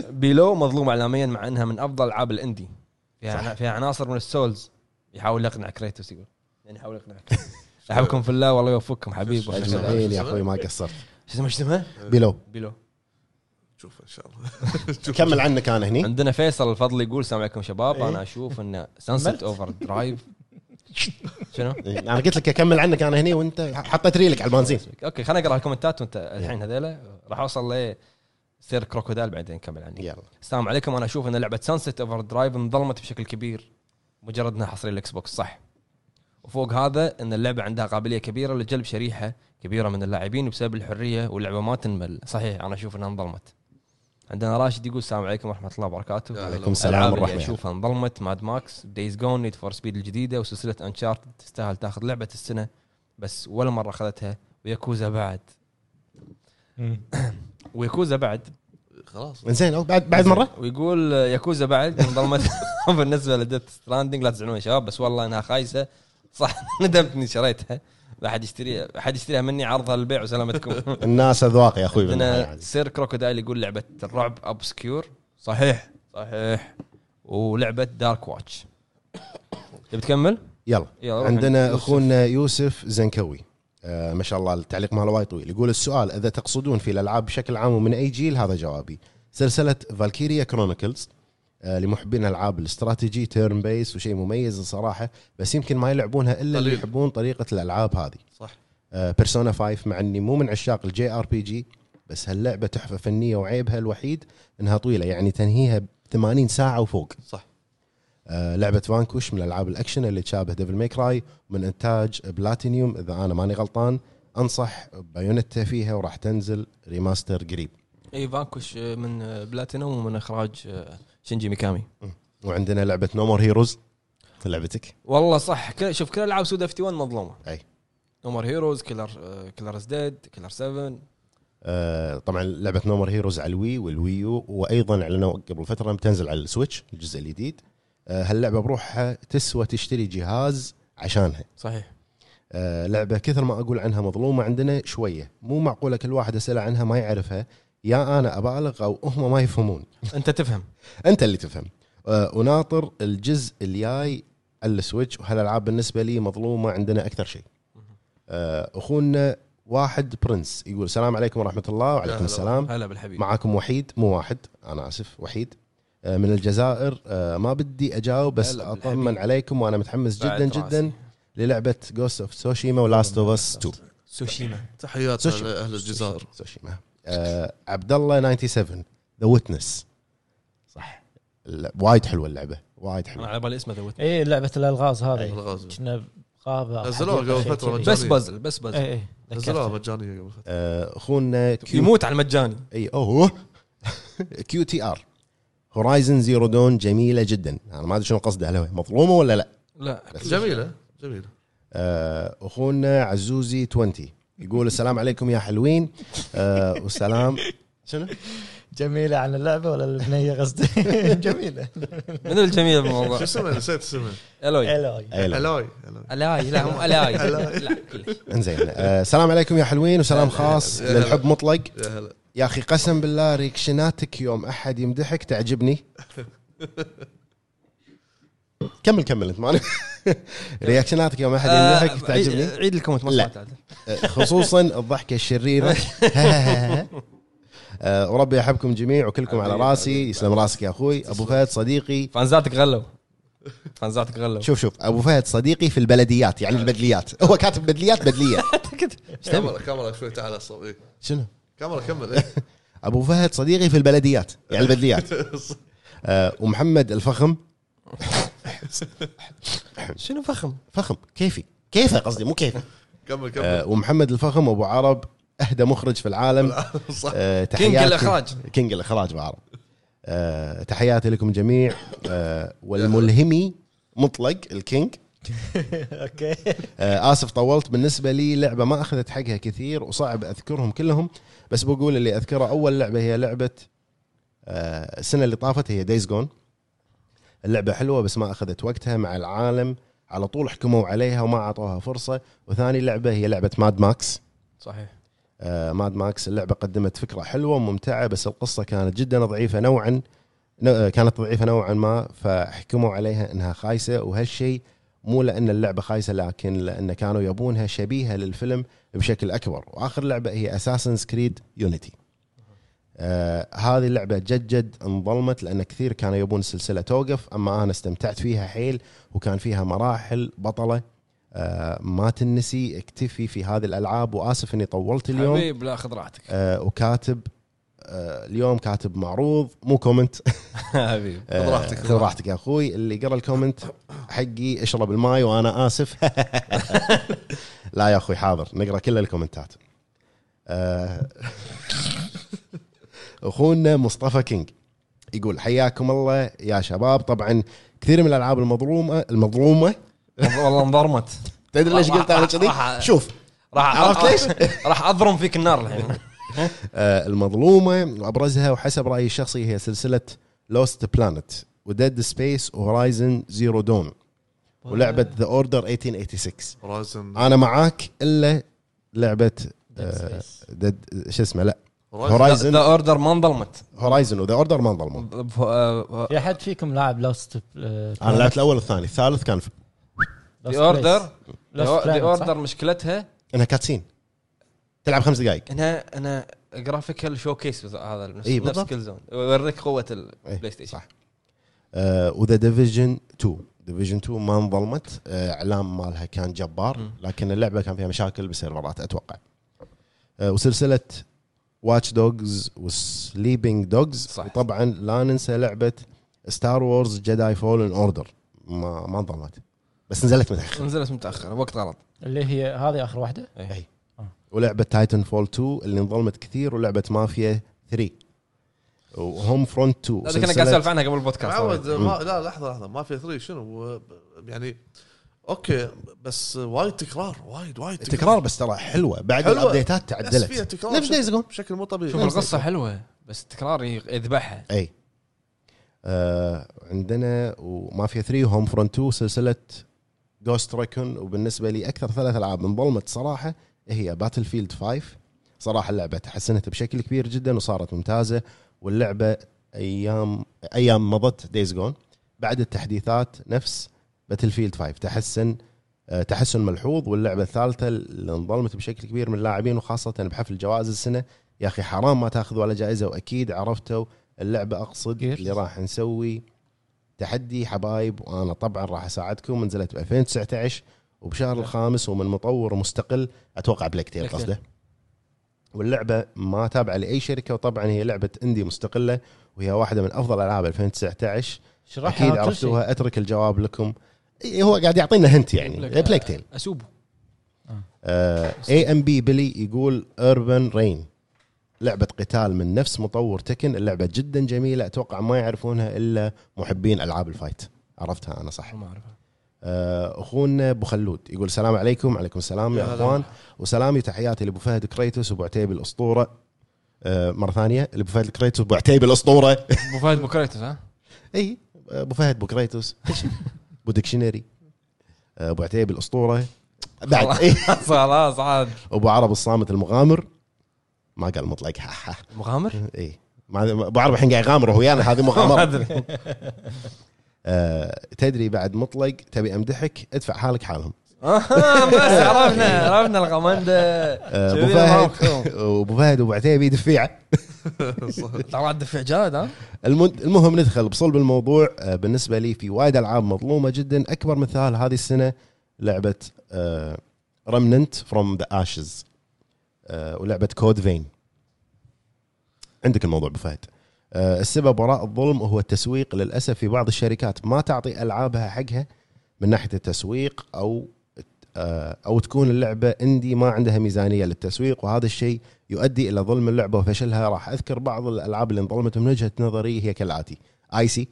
Speaker 1: بيلو مظلوم اعلاميا مع انها من افضل العاب الاندي
Speaker 3: صح.
Speaker 1: فيها فيها عناصر من السولز يحاول يقنع كريتوس يقول يعني يحاول يقنع احبكم في الله والله يوفقكم حبيب وحش
Speaker 2: أجمعين.
Speaker 1: الله.
Speaker 3: اجمعين يا اخوي ما قصرت
Speaker 1: شو اسمه شو اسمه
Speaker 3: بلو
Speaker 1: بيلو
Speaker 2: شوف ان شاء الله شوف.
Speaker 3: كمل عنك انا هني
Speaker 1: عندنا فيصل الفضل يقول السلام عليكم شباب
Speaker 4: إيه.
Speaker 1: انا اشوف ان سانست اوفر درايف شنو؟
Speaker 3: انا إيه، قلت لك اكمل عنك انا هني وانت حطيت ريلك على البنزين
Speaker 1: اوكي خلينا نقرا الكومنتات وانت الحين هذيلا راح اوصل ل سير كروكودال بعدين نكمل عني
Speaker 3: يلا
Speaker 1: السلام عليكم انا اشوف ان لعبه سانست اوفر درايف انظلمت بشكل كبير مجرد انها حصريه الاكس بوكس صح وفوق هذا ان اللعبه عندها قابليه كبيره لجلب شريحه كبيره من اللاعبين بسبب الحريه واللعبه ما تنمل صحيح انا اشوف انها انظلمت عندنا راشد يقول السلام عليكم ورحمه الله وبركاته
Speaker 2: يا هلا.
Speaker 3: عليكم السلام
Speaker 1: الألعاب اللي
Speaker 3: والرحمه
Speaker 1: اشوفها انظلمت ماد ماكس دايز جون نيد فور سبيد الجديده وسلسله انشارتد تستاهل تاخذ لعبه السنه بس ولا مره اخذتها وياكوزا بعد وياكوزا بعد
Speaker 2: خلاص
Speaker 3: زين أو بعد بعد مره
Speaker 1: ويقول ياكوزا بعد انظلمت بالنسبه لديث ستراندنج لا تزعلون يا شباب بس والله انها خايسه صح ندمت اني شريتها لا احد يشتريها احد يشتريها مني عرضها للبيع وسلامتكم
Speaker 3: الناس اذواق يا اخوي بالله
Speaker 1: عندنا
Speaker 3: يعني.
Speaker 1: سير كروكودايل يقول لعبه الرعب ابسكيور صحيح صحيح ولعبه دارك واتش تبي تكمل؟
Speaker 3: يلا
Speaker 1: يلا روح
Speaker 3: عندنا
Speaker 1: يوسف.
Speaker 3: اخونا يوسف زنكوي آه ما شاء الله التعليق ماله وايد طويل يقول السؤال اذا تقصدون في الالعاب بشكل عام ومن اي جيل هذا جوابي سلسله فالكيريا كرونيكلز آه لمحبين العاب الاستراتيجي تيرن بيس وشيء مميز الصراحه بس يمكن ما يلعبونها الا اللي
Speaker 2: قليل.
Speaker 3: يحبون طريقه الالعاب هذه
Speaker 2: صح
Speaker 3: بيرسونا 5 مع اني مو من عشاق الجي ار بي جي بس هاللعبه تحفه فنيه وعيبها الوحيد انها طويله يعني تنهيها ب 80 ساعه وفوق
Speaker 2: صح.
Speaker 3: آه لعبه فانكوش من العاب الاكشن اللي تشابه ديفل ميك راي من انتاج بلاتينيوم اذا انا ماني غلطان انصح بايونتا فيها وراح تنزل ريماستر قريب
Speaker 1: اي فانكوش آه، من آه، بلاتينوم ومن اخراج آه، شينجي ميكامي
Speaker 3: وعندنا لعبه نومور هيروز لعبتك
Speaker 1: والله صح كل شوف كل العاب سودا 51 مظلومه
Speaker 3: أي.
Speaker 1: نمر هيروز كلر آه، كلرز ديد كلر 7
Speaker 3: آه طبعا لعبه نومر هيروز على الوي والويو وايضا اعلنوا قبل فتره بتنزل على السويتش الجزء الجديد آه هاللعبه بروحها تسوى تشتري جهاز عشانها
Speaker 1: صحيح
Speaker 3: آه لعبه كثر ما اقول عنها مظلومه عندنا شويه مو معقوله كل واحد اسال عنها ما يعرفها يا انا ابالغ او هم ما يفهمون
Speaker 1: انت تفهم
Speaker 3: انت اللي تفهم آه وناطر الجزء الجاي على السويتش وهالالعاب بالنسبه لي مظلومه عندنا اكثر شيء آه اخونا واحد برنس يقول السلام عليكم ورحمه الله
Speaker 2: يا
Speaker 3: وعليكم
Speaker 2: هلا
Speaker 3: السلام
Speaker 1: هلا بالحبيب
Speaker 3: معاكم وحيد مو واحد انا اسف وحيد آه، من الجزائر آه، ما بدي اجاوب بس
Speaker 1: هلا
Speaker 3: اطمن
Speaker 1: بالحبيب.
Speaker 3: عليكم وانا متحمس
Speaker 1: بعد
Speaker 3: جدا
Speaker 1: راسي.
Speaker 3: جدا للعبه جوست اوف سوشيما ولاست اوف اس 2
Speaker 1: سوشيما
Speaker 2: تحيات
Speaker 3: سوشي.
Speaker 2: لاهل الجزائر
Speaker 3: سوشيما آه، عبد الله 97 ذا ويتنس صح لا، وايد حلوه اللعبه وايد
Speaker 1: انا
Speaker 3: حلوه
Speaker 1: على بالي اسمه ذا ويتنس.
Speaker 4: اي لعبه الالغاز هذه
Speaker 2: الغاز
Speaker 4: كنا بغابه
Speaker 2: نزلوها قبل
Speaker 4: حديقة،
Speaker 2: فترة
Speaker 4: شيء كذي.
Speaker 1: بس بازل بس بازل
Speaker 4: اي اي
Speaker 2: نزلوها
Speaker 4: ذكرتها.
Speaker 2: مجانيه قبل فتره
Speaker 3: آه، اخونا كيو
Speaker 1: يموت على المجاني
Speaker 3: اي اوه كيو تي ار هورايزن زيرو دون جميله جدا انا ما ادري شنو قصده هل هو مظلومه ولا لا
Speaker 1: لا
Speaker 3: بس-
Speaker 2: جميله جميله
Speaker 3: آه، اخونا عزوزي 20 يقول السلام عليكم يا حلوين آه، والسلام شنو؟
Speaker 4: جميله عن اللعبه ولا البنيه قصدي جميله
Speaker 1: من الجميع
Speaker 2: شو
Speaker 1: بالموضوع
Speaker 2: اسمه نسيت اسمه طيب.
Speaker 1: الوي
Speaker 4: الوي
Speaker 3: أيلا.
Speaker 2: الاي الاي
Speaker 1: الاي لا مو الاي لا كلش
Speaker 3: انزين آه، السلام عليكم يا حلوين وسلام خاص
Speaker 2: يا هلا.
Speaker 3: للحب مطلق
Speaker 2: يا هلا
Speaker 3: يا اخي قسم بالله ريكشناتك يوم احد يمدحك تعجبني كمل كمل انت ماني رياكشناتك يوم احد يمدحك
Speaker 1: آه،
Speaker 3: تعجبني آه،
Speaker 1: عيد- عيد الكومنت ما
Speaker 3: لا.
Speaker 1: سمعت عدل.
Speaker 3: خصوصا الضحكه الشريره آه، وربي يحبكم جميع وكلكم على
Speaker 1: حبيب،
Speaker 3: راسي
Speaker 1: حبيب.
Speaker 3: يسلم راسك يا اخوي ابو فهد صديقي
Speaker 1: فانزاتك غلوا فانزاتك غلوا
Speaker 3: شوف شوف ابو فهد صديقي في البلديات يعني البدليات هو كاتب بدليات بدليه
Speaker 2: كاميرا كاميرا شوي تعال الصوت إيه.
Speaker 3: شنو
Speaker 2: كاميرا كمل إيه.
Speaker 3: ابو فهد صديقي في البلديات يعني البدليات آه ومحمد الفخم
Speaker 1: شنو فخم
Speaker 3: فخم كيفي كيفه قصدي مو كيفي
Speaker 2: كمل كمل
Speaker 3: آه ومحمد الفخم ابو عرب اهدى مخرج في العالم
Speaker 2: صح
Speaker 3: آه
Speaker 1: كينج
Speaker 3: تحياتي
Speaker 1: الاخراج
Speaker 3: كينج الاخراج بعرب آه تحياتي لكم جميع آه والملهمي مطلق الكينج
Speaker 4: اوكي
Speaker 3: آه اسف طولت بالنسبه لي لعبه ما اخذت حقها كثير وصعب اذكرهم كلهم بس بقول اللي اذكره اول لعبه هي لعبه آه السنه اللي طافت هي دايز جون اللعبه حلوه بس ما اخذت وقتها مع العالم على طول حكموا عليها وما اعطوها فرصه وثاني لعبه هي لعبه ماد ماكس
Speaker 1: صحيح
Speaker 3: آه، ماد ماكس اللعبه قدمت فكره حلوه وممتعه بس القصه كانت جدا ضعيفه نوعا نو- آه، كانت ضعيفه نوعا ما فحكموا عليها انها خايسه وهالشيء مو لان اللعبه خايسه لكن لان كانوا يبونها شبيهه للفيلم بشكل اكبر واخر لعبه هي اساسن كريد يونيتي آه هذه اللعبه جد جد انظلمت لان كثير كانوا يبون السلسله توقف اما انا استمتعت فيها حيل وكان فيها مراحل بطله آه ما تنسي اكتفي في هذه الالعاب واسف اني طولت اليوم
Speaker 1: حبيب لا خذ راحتك
Speaker 3: آه وكاتب آه اليوم كاتب معروض مو كومنت
Speaker 1: حبيب
Speaker 2: خذ راحتك.
Speaker 3: آه، خذ راحتك يا اخوي اللي قرا الكومنت حقي اشرب الماي وانا اسف لا يا اخوي حاضر نقرا كل الكومنتات آه، اخونا مصطفى كينج يقول حياكم الله يا شباب طبعا كثير من الالعاب المظلومه المظلومه
Speaker 1: والله انضرمت
Speaker 3: تدري ليش قلت انا كذي
Speaker 1: راح-
Speaker 3: شوف
Speaker 1: راح
Speaker 3: عرفت ليش؟
Speaker 1: راح اضرم فيك النار الحين
Speaker 3: آه، المظلومه وابرزها وحسب رايي الشخصي هي سلسله لوست بلانت وديد سبيس وهورايزن زيرو دون ولعبه ذا اوردر 1886
Speaker 2: رايزن
Speaker 3: انا معاك الا لعبه
Speaker 4: Dead
Speaker 2: آه،
Speaker 4: Space.
Speaker 3: ديد شو اسمه لا
Speaker 2: رايزن
Speaker 3: هورايزن
Speaker 1: ذا اوردر ما انضلمت
Speaker 3: هورايزن وذا اوردر ما انظلموا
Speaker 1: ب- آه،
Speaker 4: في احد فيكم لاعب آه، لوست
Speaker 3: انا لعبت الاول والثاني الثالث كان في
Speaker 1: The Order
Speaker 4: Lost
Speaker 1: The
Speaker 4: Planet،
Speaker 1: Order
Speaker 4: صح؟
Speaker 1: مشكلتها
Speaker 3: انها كاتسين تلعب خمس دقائق
Speaker 1: انها انا جرافيكال شو كيس هذا نفس
Speaker 3: إي،
Speaker 1: نفس
Speaker 3: إيه، بالضبط.
Speaker 1: كل زون يوريك قوه البلاي
Speaker 3: إيه،
Speaker 1: ستيشن
Speaker 3: صح. آه وذا ديفيجن 2 ديفيجن 2 ما انظلمت آه اعلام مالها كان جبار
Speaker 1: مم.
Speaker 3: لكن اللعبه كان فيها مشاكل بالسيرفرات اتوقع آه وسلسله واتش دوجز وسليبنج دوجز
Speaker 1: صح.
Speaker 3: وطبعا لا ننسى لعبه ستار وورز جداي فولن اوردر ما ما انظلمت بس نزلت متاخر
Speaker 1: نزلت متاخر وقت غلط
Speaker 4: اللي هي هذه اخر واحده
Speaker 3: ولعبه تايتن فول 2 اللي انظلمت كثير ولعبه مافيا 3 وهوم فرونت 2
Speaker 1: هذا كنا قاعد
Speaker 3: سلسلة-
Speaker 1: نسولف عنها قبل
Speaker 2: تعود
Speaker 1: البودكاست
Speaker 2: ما لا لحظه لحظه ما في 3 شنو و- يعني اوكي بس وايد تكرار وايد وايد
Speaker 3: تكرار بس ترى حلوه بعد
Speaker 2: حلوة.
Speaker 3: الابديتات
Speaker 2: بس فيها
Speaker 3: تعدلت
Speaker 2: تكرار
Speaker 3: نفس دايز جون
Speaker 2: بشكل مو طبيعي
Speaker 1: شوف القصه حلوه بس التكرار يذبحها
Speaker 3: اي آه عندنا ومافيا 3 هوم فرونت 2 سلسله جوست ريكون وبالنسبه لي اكثر ثلاث العاب انظلمت صراحه هي باتل فيلد 5 صراحه اللعبه تحسنت بشكل كبير جدا وصارت ممتازه واللعبه ايام ايام مضت دايز جون بعد التحديثات نفس باتل فيلد 5 تحسن آه، تحسن ملحوظ واللعبه الثالثه اللي انظلمت بشكل كبير من اللاعبين وخاصه بحفل جوائز السنه يا اخي حرام ما تاخذ ولا جائزه واكيد عرفتوا اللعبه اقصد
Speaker 4: Gears.
Speaker 3: اللي راح نسوي تحدي حبايب وانا طبعا راح اساعدكم نزلت ب 2019 وبشهر الخامس ومن مطور مستقل اتوقع بلاك تيل
Speaker 1: نعم. Black Tail.
Speaker 3: قصده واللعبه ما تابعه لاي شركه وطبعا هي لعبه اندي مستقله وهي واحده من افضل العاب 2019
Speaker 4: شرحها
Speaker 3: اكيد
Speaker 4: كل شيء.
Speaker 3: عرفتوها اترك الجواب لكم إي، هو قاعد يعطينا هنت يعني
Speaker 1: Black-
Speaker 3: بلاك تيل آه،
Speaker 1: اسوبه
Speaker 3: اي ام بي بيلي يقول اربن رين لعبة قتال من نفس مطور تكن اللعبة جدا جميلة اتوقع ما يعرفونها الا محبين العاب الفايت عرفتها انا صح
Speaker 1: ما اعرفها
Speaker 3: آه، اخونا ابو خلود يقول السلام عليكم عليكم السلام
Speaker 2: يا
Speaker 3: يا
Speaker 2: هلا.
Speaker 3: اخوان وسلامي وتحياتي لابو فهد كريتوس وابو عتيبي الاسطوره آه، مره ثانيه لابو فهد كريتوس وابو عتيبي الاسطوره
Speaker 1: ابو فهد بوكريتس ها
Speaker 3: اي ابو فهد ابو كريتوس ابو ديكشنري آه، ابو عتيبي الاسطوره بعد إيه.
Speaker 1: خلاص عاد
Speaker 3: ابو عرب الصامت المغامر ما قال مطلق ها ها
Speaker 1: مغامر
Speaker 3: اي ما ابو عرب الحين قاعد يغامر هو ويانا هذه
Speaker 1: ما
Speaker 3: مغامره
Speaker 1: ادري
Speaker 3: آه، تدري بعد مطلق تبي امدحك ادفع حالك حالهم
Speaker 1: آه، بس عرفنا عرفنا الغمندة
Speaker 3: آه، ابو فهد ابو فهد وابو عتيبي دفيعه
Speaker 1: ترى الدفع جاد ها
Speaker 3: المن- المهم ندخل بصلب الموضوع آه، بالنسبه لي في وايد العاب مظلومه جدا اكبر مثال هذه آه، السنه لعبه رمننت فروم ذا اشز ولعبه آه، كود فين عندك الموضوع ابو فهد آه، السبب وراء الظلم هو التسويق للاسف في بعض الشركات ما تعطي العابها حقها من ناحيه التسويق او آه، او تكون اللعبه اندي ما عندها ميزانيه للتسويق وهذا الشيء يؤدي الى ظلم اللعبه وفشلها راح اذكر بعض الالعاب اللي انظلمت من وجهه نظري هي كالاتي ايسي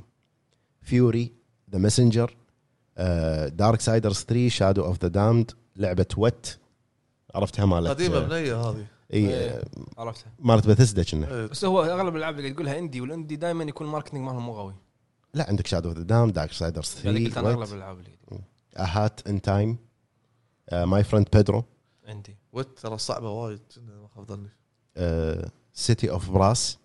Speaker 3: فيوري ذا ماسنجر دارك سايدرز 3 شادو اوف ذا دامد لعبه وات عرفتها مالت
Speaker 2: قديمه بنيه هذه
Speaker 3: اي
Speaker 1: إيه.
Speaker 3: آه،
Speaker 1: عرفتها
Speaker 3: مالت بثسدا كنا
Speaker 2: إيه.
Speaker 1: بس هو اغلب الالعاب اللي تقولها اندي والاندي دائما يكون الماركتنج مالهم مو قوي
Speaker 3: لا عندك شادو اوف ذا دامد دارك سايدرز
Speaker 1: يعني قلت انا اغلب
Speaker 3: 3
Speaker 1: الالعاب اللي
Speaker 3: هات ان تايم ماي فريند بيدرو
Speaker 1: عندي
Speaker 2: وات ترى صعبه وايد جنة، ما خاب ظني
Speaker 3: آه، سيتي اوف براس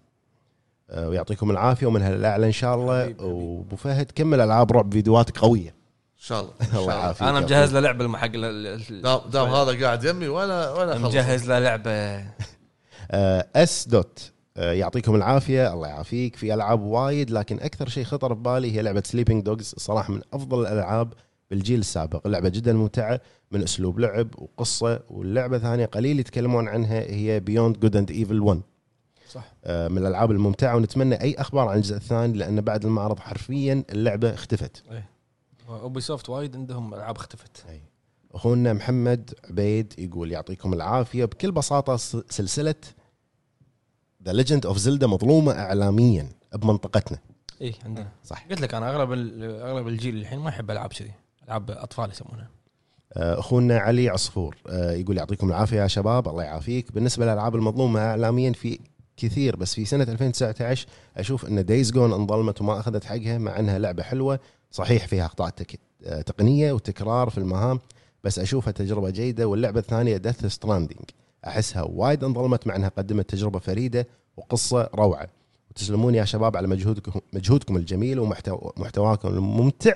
Speaker 3: آه، ويعطيكم العافيه ومن هالاعلى ان شاء الله
Speaker 1: حبيبي، حبيبي.
Speaker 3: وابو فهد كمل العاب رعب فيديوهات قويه
Speaker 2: ان شاء الله إن شاء
Speaker 3: الله يعافيك
Speaker 1: انا مجهز له لعبه حق ال- ال-
Speaker 2: دام دام هذا قاعد يمي وانا وانا خلص
Speaker 1: مجهز له لعبه
Speaker 3: اس دوت آه، يعطيكم العافيه الله يعافيك في العاب وايد لكن اكثر شيء خطر ببالي هي لعبه سليبنج دوجز صراحه من افضل الالعاب بالجيل السابق اللعبه جدا ممتعه من اسلوب لعب وقصه واللعبه ثانيه قليل يتكلمون عنها هي بيوند جود اند ايفل 1
Speaker 1: صح.
Speaker 3: آه، من الالعاب الممتعه ونتمنى اي اخبار عن الجزء الثاني لان بعد المعرض حرفيا اللعبه اختفت
Speaker 1: اوبي سوفت وايد عندهم العاب اختفت
Speaker 3: أي. اخونا محمد عبيد يقول يعطيكم العافيه بكل بساطه س- سلسله ذا ليجند اوف زلدا مظلومه اعلاميا بمنطقتنا
Speaker 1: اي عندنا
Speaker 3: صح
Speaker 1: قلت لك انا اغلب ال- اغلب الجيل الحين ما يحب العاب كذي العاب اطفال يسمونها
Speaker 3: آه، اخونا علي عصفور آه، يقول يعطيكم العافيه يا شباب الله يعافيك بالنسبه للالعاب المظلومه اعلاميا في كثير بس في سنه 2019 اشوف ان دايز جون انظلمت وما اخذت حقها مع انها لعبه حلوه صحيح فيها اخطاء تك... آه، تقنيه وتكرار في المهام بس اشوفها تجربه جيده واللعبه الثانيه دث ستراندنج احسها وايد انظلمت مع انها قدمت تجربه فريده وقصه روعه وتسلمون يا شباب على مجهودكم مجهودكم الجميل ومحتواكم الممتع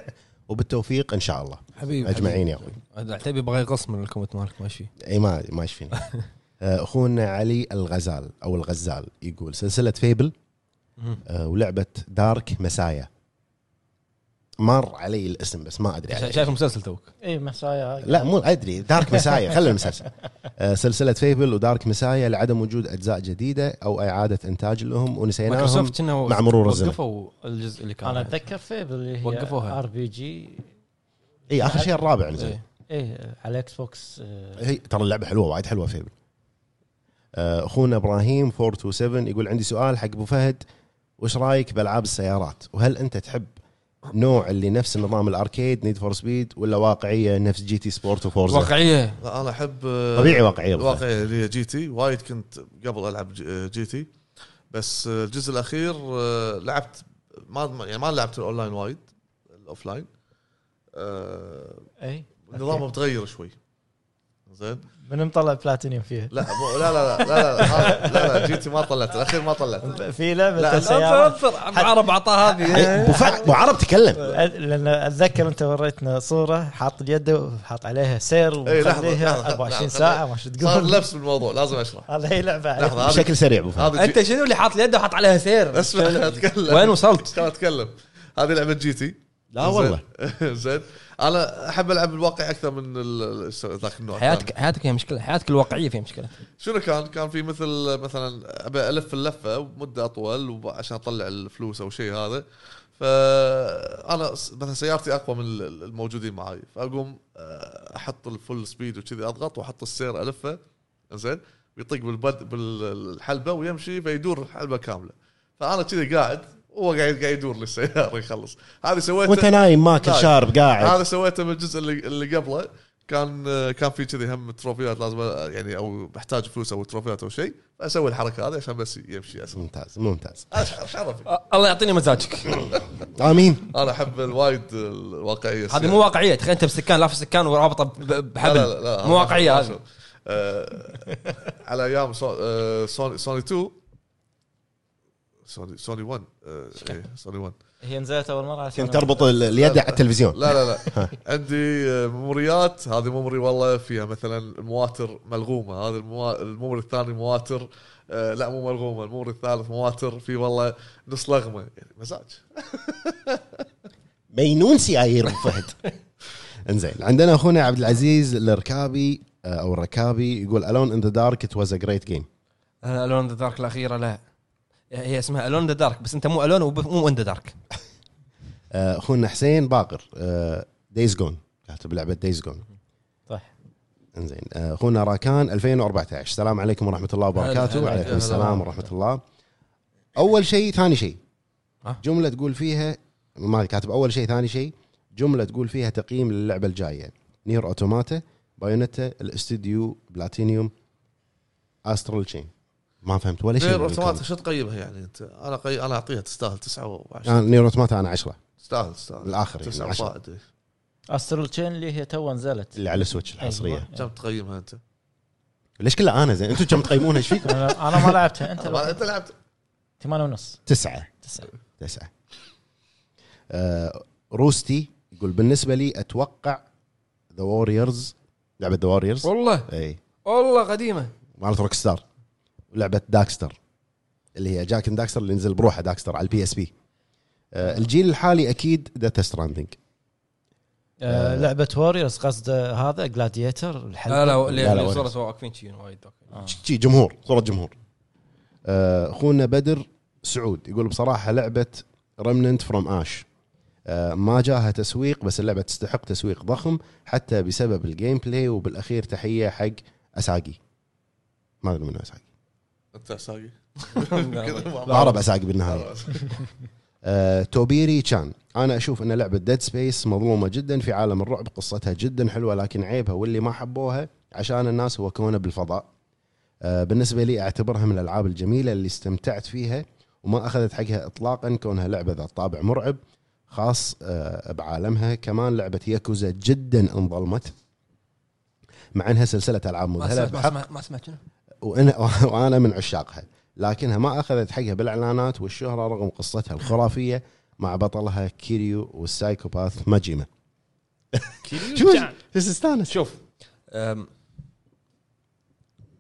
Speaker 3: وبالتوفيق ان شاء الله
Speaker 1: حبيبي
Speaker 3: اجمعين يا اخوي
Speaker 1: عتيبي بغى يقص من الكومنت مالك ماشي
Speaker 3: اي ما ما يشفيني آه، اخونا علي الغزال او الغزال يقول سلسله فيبل آه، ولعبه دارك مسايا مر علي الاسم بس ما ادري عليه.
Speaker 1: شايف المسلسل توك
Speaker 4: اي إيه، مسايا
Speaker 3: لا مو ادري دارك مسايا خلي المسلسل آه، سلسله فيبل ودارك مسايا لعدم وجود اجزاء جديده او اعاده انتاج لهم ونسيناهم
Speaker 1: مايكروسوفت كنا
Speaker 3: يعني مع مرور الزمن.
Speaker 1: وقفوا الجزء اللي كان
Speaker 4: انا اتذكر فيبل اللي هي
Speaker 1: وقفوها.
Speaker 4: ار بي جي
Speaker 3: اي اخر شيء الرابع نزل
Speaker 1: إيه.
Speaker 4: ايه على اكس بوكس آه،
Speaker 3: هي ترى اللعبه حلوه وايد حلوه فيبل آه، اخونا ابراهيم 427 يقول عندي سؤال حق ابو فهد وش رايك بالعاب السيارات وهل انت تحب نوع اللي نفس نظام الاركيد نيد فور سبيد ولا واقعيه نفس جي تي سبورت وفورزا
Speaker 1: واقعيه
Speaker 2: لا انا احب آه،
Speaker 3: طبيعي واقعيه أبو فهد.
Speaker 2: الواقعيه اللي هي جي تي وايد كنت قبل العب ج- جي تي بس آه، الجزء الاخير آه، لعبت ما ما- يعني ما لعبت الاونلاين وايد الاوفلاين آه،
Speaker 4: اي
Speaker 2: نظامه متغير شوي زين
Speaker 4: من مطلع بلاتينيوم فيها
Speaker 2: لا مو لا لا لا لا لا, لا, لا جي تي ما طلعت الاخير ما طلعت
Speaker 4: في
Speaker 2: لا،
Speaker 4: لعبه السيارات
Speaker 1: انطر عرب عطاه
Speaker 3: إيه،
Speaker 1: هذه
Speaker 3: ابو فهد ابو عرب تكلم
Speaker 4: أ- لان اتذكر انت وريتنا صوره حاط اليد وحاط عليها سير
Speaker 2: إيه، لحظة،
Speaker 4: ومخليها
Speaker 2: لحظة،
Speaker 4: 24
Speaker 2: لحظة.
Speaker 4: ساعه ما شو
Speaker 2: صار
Speaker 4: تقول
Speaker 2: لبس بالموضوع لازم اشرح
Speaker 4: هذا هي لعبه عليها.
Speaker 2: لحظه هذه
Speaker 3: بشكل سريع ابو فهد
Speaker 2: هذه
Speaker 1: انت شنو اللي حاط اليد وحاط عليها سير
Speaker 2: اسمع خليني اتكلم
Speaker 1: وين وصلت؟ آه،
Speaker 2: خليني اتكلم هذه لعبه جي تي
Speaker 3: لا والله
Speaker 2: زين انا احب العب الواقع اكثر من ال- ال- ذاك النوع
Speaker 1: حياتك حياتك فيها مشكله حياتك الواقعيه فيها مشكله
Speaker 2: شنو كان؟ كان في مثل مثلا ابي الف اللفه مده اطول وب- عشان اطلع الفلوس او شيء هذا فانا س- مثلا سيارتي اقوى من ال- الموجودين معاي فاقوم آه، احط الفل سبيد وكذي اضغط واحط السير الفه زين ويطق بالبد بالحلبه ويمشي فيدور الحلبه كامله فانا كذي قاعد وهو قاعد قاعد يدور لي السياره يخلص هذه سويتها
Speaker 3: وانت نايم ماكل
Speaker 2: نايم.
Speaker 3: شارب قاعد
Speaker 2: هذا سويته بالجزء اللي, اللي قبله كان كان في كذي هم تروفيات لازم يعني او احتاج فلوس او تروفيات او شيء اسوي الحركه هذه عشان بس يمشي اسرع
Speaker 3: ممتاز ممتاز
Speaker 2: أش- شرفي
Speaker 1: الله يعطيني مزاجك
Speaker 3: امين
Speaker 2: انا احب الوايد الواقعيه
Speaker 1: هذه مو واقعيه تخيل انت بسكان لافس سكان ورابطه ب- بحبل
Speaker 2: لا، لا، لا،
Speaker 1: مو واقعيه
Speaker 2: أحب-
Speaker 1: هذه
Speaker 2: آه، على ايام سو- آه، سوني سوني 2 سوني سوني 1 آه، إيه، سوني 1
Speaker 4: هي نزلت اول مره عشان
Speaker 3: كنت تربط ال- اليد على التلفزيون
Speaker 2: لا لا لا عندي آه، ميموريات هذه ميموري والله فيها مثلا مواتر ملغومه هذا الموا- الميموري الثاني مواتر آه، لا مو ملغومه الميموري الثالث مواتر في والله نص لغمه يعني مزاج
Speaker 3: مينون سيايير ابو فهد انزين عندنا اخونا عبد العزيز الركابي آه، او الركابي يقول الون ان ذا دارك ات واز ا جريت جيم
Speaker 1: الون ذا دارك الاخيره لا هي اسمها الون ذا دارك بس انت مو الون ومو ان ذا دارك
Speaker 3: آه، اخونا حسين باقر دايز جون كاتب لعبه دايز جون
Speaker 4: صح
Speaker 3: انزين آه، اخونا راكان 2014 السلام عليكم ورحمه الله
Speaker 1: هلا،
Speaker 3: وبركاته
Speaker 1: هلا،
Speaker 3: وعليكم
Speaker 1: هلا.
Speaker 3: السلام ورحمه الله اول شيء ثاني شيء
Speaker 1: ها؟
Speaker 3: جمله تقول فيها ما كاتب اول شيء ثاني شيء جمله تقول فيها تقييم للعبه الجايه نير اوتوماتا بايونيتا الاستوديو بلاتينيوم استرال تشين ما فهمت ولا شيء
Speaker 2: نير
Speaker 3: من الكلام.
Speaker 2: اوتوماتا شو تقيمها يعني انت انا قي... انا اعطيها تستاهل 9 و10
Speaker 3: آه، أنا نير اوتوماتا انا 10
Speaker 2: تستاهل تستاهل
Speaker 3: الآخر يعني
Speaker 2: 9
Speaker 3: عشرة.
Speaker 2: فائده
Speaker 4: استرال تشين اللي هي تو نزلت
Speaker 3: اللي على السويتش الحصريه
Speaker 2: كم تقيمها انت؟
Speaker 3: ليش كلها انا زين انتم كم تقيمونها ايش فيكم؟
Speaker 4: انا أنا ما لعبتها انت
Speaker 2: طبعاً
Speaker 4: لعبت.
Speaker 2: انت لعبت
Speaker 4: ثمانية ونص
Speaker 3: تسعه
Speaker 4: تسعة
Speaker 3: تسعة آه روستي يقول بالنسبة لي أتوقع ذا ووريرز لعبة ذا ووريرز
Speaker 1: والله
Speaker 3: اي
Speaker 1: والله قديمه
Speaker 3: مالت روك ستار لعبة داكستر اللي هي جاكن داكستر اللي نزل بروحه داكستر على البي اس بي آه الجيل الحالي أكيد داتا ستراندنج
Speaker 4: آه، لعبه ووريرز قصده هذا جلاديتر الحلقه
Speaker 1: لا لا
Speaker 3: لا، لا،
Speaker 1: اللي
Speaker 3: ولا.
Speaker 1: صورة واقفين شي وايد
Speaker 3: شي جمهور صورة جمهور آه، اخونا بدر سعود يقول بصراحه لعبه رمننت فروم اش آه، ما جاها تسويق بس اللعبه تستحق تسويق ضخم حتى بسبب الجيم بلاي وبالاخير تحيه حق اساقي ما ادري منو اساقي
Speaker 2: انت ساقي
Speaker 3: عرب اساقي بالنهايه آه، توبيري تشان انا اشوف ان لعبه ديد سبيس مظلومه جدا في عالم الرعب قصتها جدا حلوه لكن عيبها واللي ما حبوها عشان الناس هو كونه بالفضاء آه، بالنسبه لي اعتبرها من الالعاب الجميله اللي استمتعت فيها وما اخذت حقها اطلاقا كونها لعبه ذات طابع مرعب خاص آه، بعالمها كمان لعبه ياكوزا جدا انظلمت مع انها سلسله العاب مذهله بحق
Speaker 1: ما سمعت شنو
Speaker 3: وانا وانا من عشاقها لكنها ما اخذت حقها بالاعلانات والشهره رغم قصتها الخرافيه مع بطلها كيريو والسايكوباث ماجيما شو بس استانس
Speaker 1: شوف أم،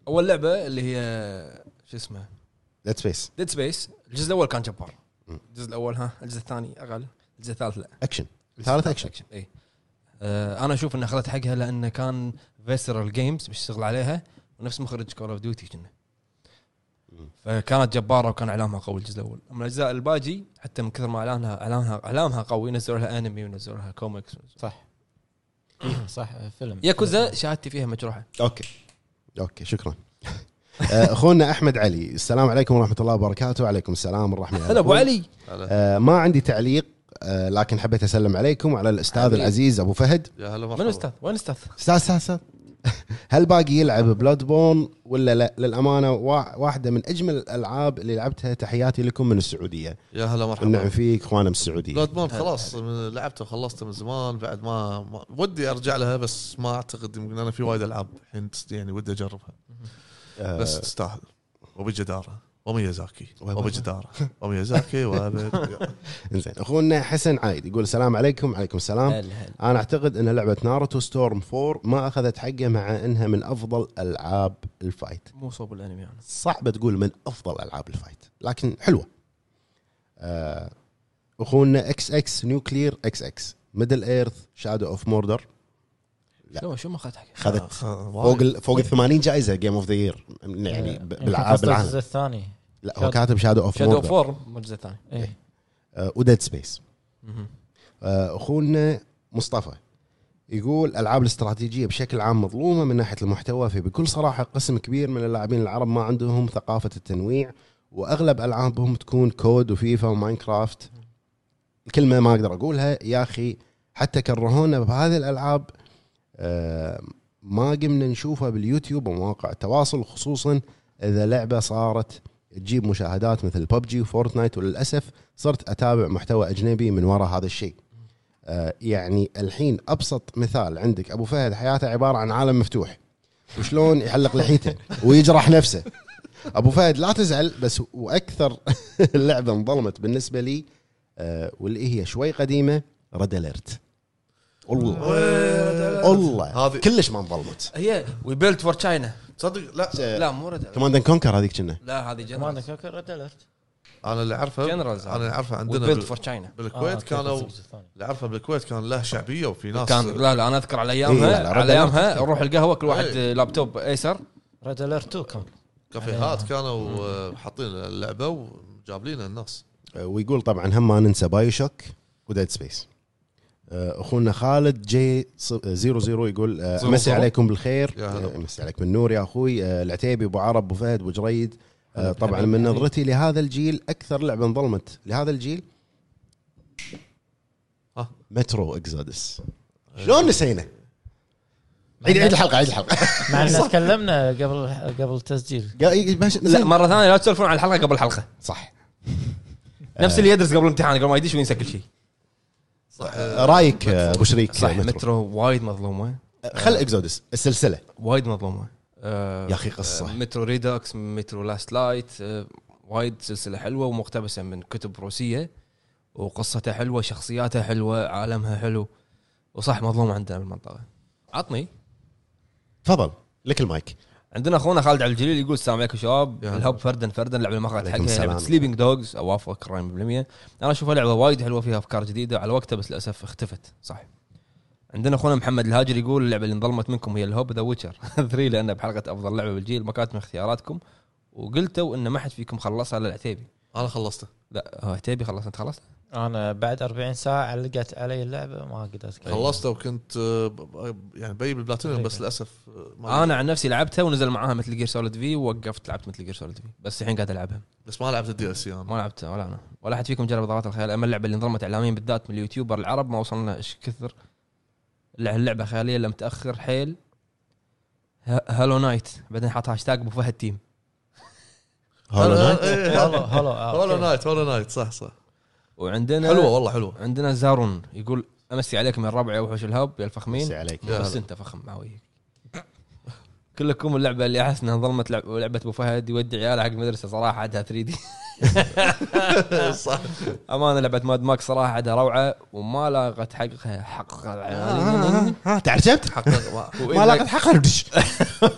Speaker 1: اول لعبه اللي هي شو اسمه
Speaker 3: ديد سبيس
Speaker 1: ديد سبيس الجزء الاول كان جبار الجزء الاول ها الجزء الثاني اقل الجزء الثالث لا
Speaker 3: اكشن ثالث اكشن
Speaker 1: اي إيه. آه، انا اشوف انها اخذت حقها لان كان فيسرال جيمز بيشتغل عليها ونفس مخرج كول اوف ديوتي كنا فكانت جباره وكان اعلامها قوي الجزء الاول اما الاجزاء الباجي حتى من كثر ما اعلانها اعلانها اعلامها قوي نزلوا لها انمي ونزلوا لها كوميكس
Speaker 4: صح إيه، صح فيلم
Speaker 1: ياكوزا شهادتي فيها مجروحه
Speaker 3: اوكي اوكي شكرا آه، اخونا احمد علي السلام عليكم ورحمه الله وبركاته وعليكم السلام ورحمه الله
Speaker 1: هلا ابو علي
Speaker 3: آه، ما عندي تعليق آه، لكن حبيت اسلم عليكم وعلى الاستاذ
Speaker 1: حبيبي.
Speaker 3: العزيز ابو فهد
Speaker 2: يا هلا
Speaker 1: من
Speaker 2: مرحبا
Speaker 1: استاذ وين استاذ
Speaker 3: استاذ استاذ استاذ هل باقي يلعب بلاد بون ولا لا للامانه وا- واحده من اجمل الالعاب اللي لعبتها تحياتي لكم من السعوديه
Speaker 2: يا هلا
Speaker 3: والنعم
Speaker 2: مرحبا
Speaker 3: فيك اخوانا من السعوديه
Speaker 1: إيه.
Speaker 2: بلاد بورن خلاص من- لعبته وخلصته من زمان بعد ما, ما ودي ارجع لها بس ما اعتقد يمكن انا في وايد العاب الحين تس- يعني ودي اجربها
Speaker 3: آه،
Speaker 2: بس تستاهل وبجداره وميازاكي
Speaker 3: وبابا.
Speaker 2: وبجداره وميازاكي وابد
Speaker 3: انزين اخونا حسن عايد يقول السلام عليكم وعليكم السلام
Speaker 1: هلا هلا
Speaker 3: انا اعتقد ان لعبه ناروتو ستورم 4 ما اخذت حقه مع انها من افضل العاب الفايت
Speaker 1: مو صوب الانمي انا
Speaker 3: صعبه تقول من افضل العاب الفايت لكن حلوه آه، اخونا اكس اكس نيوكلير اكس اكس ميدل ايرث شادو اوف موردر لا.
Speaker 1: شو شو ما آه. اخذت حقها
Speaker 3: خذت
Speaker 2: خ- وايد.
Speaker 3: فوق ال فوق ال 80 جائزه جيم اوف ذا يير
Speaker 4: إيه.
Speaker 3: يعني ب- بالع- بالعالم
Speaker 4: الجزء الثاني
Speaker 3: لا هو كاتب شادو اوف
Speaker 1: شادو
Speaker 3: موردر
Speaker 1: فور مو الجزء الثاني
Speaker 3: إيه.
Speaker 4: ايه
Speaker 3: وديد سبيس اخونا آه، مصطفى يقول الالعاب الاستراتيجيه بشكل عام مظلومه من ناحيه المحتوى فبكل صراحه قسم كبير من اللاعبين العرب ما عندهم ثقافه التنويع واغلب العابهم تكون كود وفيفا وماينكرافت الكلمه ما اقدر اقولها يا اخي حتى كرهونا بهذه الالعاب آه، ما قمنا نشوفها باليوتيوب ومواقع التواصل خصوصا اذا لعبه صارت تجيب مشاهدات مثل ببجي وفورتنايت وللاسف صرت اتابع محتوى اجنبي من وراء هذا الشيء آه، يعني الحين ابسط مثال عندك ابو فهد حياته عباره عن عالم مفتوح وشلون يحلق لحيته ويجرح نفسه ابو فهد لا تزعل بس واكثر اللعبه انظلمت بالنسبه لي آه، واللي هي شوي قديمه ريد اليرت والله والله
Speaker 2: هذه-
Speaker 3: كلش ما انظلمت
Speaker 1: هي وي بيلت فور تشاينا
Speaker 2: تصدق لا
Speaker 1: لا مو رد
Speaker 3: آه. كمان كونكر هذيك كنا
Speaker 1: لا هذه
Speaker 4: كمان
Speaker 1: جنرالز
Speaker 4: كوكر ريد اليرت
Speaker 2: انا اللي اعرفه
Speaker 1: Generals.
Speaker 2: انا اللي اعرفه عندنا
Speaker 1: بيلت
Speaker 2: بال-
Speaker 1: فور تشاينا
Speaker 4: آه،
Speaker 2: بالكويت كانوا اللي اعرفه بالكويت كان له شعبيه وفي ناس
Speaker 1: كان لا لا انا اذكر على
Speaker 3: إيه، لا،
Speaker 1: ايامها
Speaker 3: لا،
Speaker 1: على
Speaker 3: رد
Speaker 1: ايامها نروح القهوه كل واحد
Speaker 2: إيه.
Speaker 1: لابتوب ايسر
Speaker 4: ريد اليرت 2 كان
Speaker 2: كافيهات كانوا آه، حاطين اللعبه وجابلينا الناس
Speaker 3: آه، ويقول طبعا هم ما ننسى بايو شوك وديد سبيس اخونا خالد جي ص- زيرو زيرو يقول آه،
Speaker 1: زيرو
Speaker 3: امسي
Speaker 1: زيرو.
Speaker 3: عليكم بالخير
Speaker 2: يا هلا.
Speaker 3: آه، امسي عليك بالنور يا اخوي آه، العتيبي ابو عرب ابو فهد ابو جريد آه،
Speaker 4: هلا
Speaker 3: طبعا
Speaker 4: بالحبيب.
Speaker 3: من نظرتي لهذا الجيل اكثر لعبه انظلمت لهذا الجيل
Speaker 2: ها.
Speaker 3: مترو اكزودس شلون نسينا؟ عيد عيد الحلقه عيد الحلقه
Speaker 4: مع ان تكلمنا قبل قبل تسجيل
Speaker 3: قاعد- ماشي-
Speaker 1: لا مره ثانيه لا تسولفون على الحلقه قبل الحلقه
Speaker 3: صح إيه.
Speaker 1: نفس اللي يدرس قبل الامتحان قبل ما يدش وينسى كل شيء
Speaker 2: صح
Speaker 3: رايك آه، ابو شريك
Speaker 1: صح
Speaker 3: آه، مترو
Speaker 1: مترو وايد مظلومه
Speaker 3: آه، خل اكزودس السلسله
Speaker 1: وايد مظلومه آه،
Speaker 3: يا اخي قصه
Speaker 1: آه، مترو ريدوكس مترو لاست لايت آه، وايد سلسله حلوه ومقتبسه من كتب روسيه وقصتها حلوه شخصياتها حلوه عالمها حلو وصح مظلوم عندنا بالمنطقه عطني
Speaker 3: تفضل لك المايك
Speaker 1: عندنا اخونا خالد عبد الجليل يقول السلام عليكم شباب
Speaker 2: يا
Speaker 1: الهب فردا فردا لعبه ما اخذت
Speaker 3: عليكم
Speaker 1: حقها
Speaker 3: السلام.
Speaker 1: لعبه سليبنج دوجز اوافقك راي 100% انا اشوفها لعبه وايد حلوه فيها افكار جديده على وقتها بس للاسف اختفت صح عندنا اخونا محمد الهاجر يقول اللعبه اللي انظلمت منكم هي الهوب ذا ويتشر 3 لان بحلقه افضل لعبه بالجيل ما كانت من اختياراتكم وقلتوا ان ما حد فيكم خلصها الا العتيبي
Speaker 2: انا خلصته
Speaker 1: لا هو عتيبي خلص انت خلصت
Speaker 4: انا بعد 40 ساعه علقت علي اللعبه ما قدرت
Speaker 2: خلصته وكنت آه، ب- ب- يعني بي بالبلاتينيوم بس للاسف آه، ما
Speaker 1: انا عن نفسي لعبتها ونزل معاها مثل جير سوليد في ووقفت لعبت مثل جير سوليد في بس الحين قاعد العبها
Speaker 2: بس ما لعبت الدي اس انا
Speaker 1: ما لعبتها ولا انا ولا احد فيكم جرب ضغط الخيال اما اللعبه اللي انظلمت اعلاميا بالذات من اليوتيوبر العرب ما وصلنا ايش كثر لع- اللعبه خياليه لم تاخر حيل ه- هالو نايت بعدين حط هاشتاج ابو فهد تيم
Speaker 3: هولو
Speaker 2: آه،
Speaker 3: نايت
Speaker 2: إيه.
Speaker 4: هلا هلا آه،
Speaker 2: هولو
Speaker 4: أوكي.
Speaker 1: نعم.
Speaker 2: نايت هولو نايت صح صح
Speaker 1: وعندنا
Speaker 2: حلوه والله حلوه
Speaker 1: عندنا زارون يقول امسي عليكم يا الربع يا وحوش الهب يا الفخمين
Speaker 3: مسي عليك
Speaker 2: يا
Speaker 1: بس
Speaker 2: هلا.
Speaker 1: انت فخم معوي كلكم اللعبه اللي احس انها انظلمت لعبه لعبه ابو فهد يودي عياله حق مدرسه صراحه عدها 3 دي
Speaker 2: صح
Speaker 1: امانه لعبه ماد ماكس صراحه عندها روعه وما لاقت حقها حقها يعني
Speaker 3: ها تعجبت
Speaker 2: حق
Speaker 3: ما لاقت حقها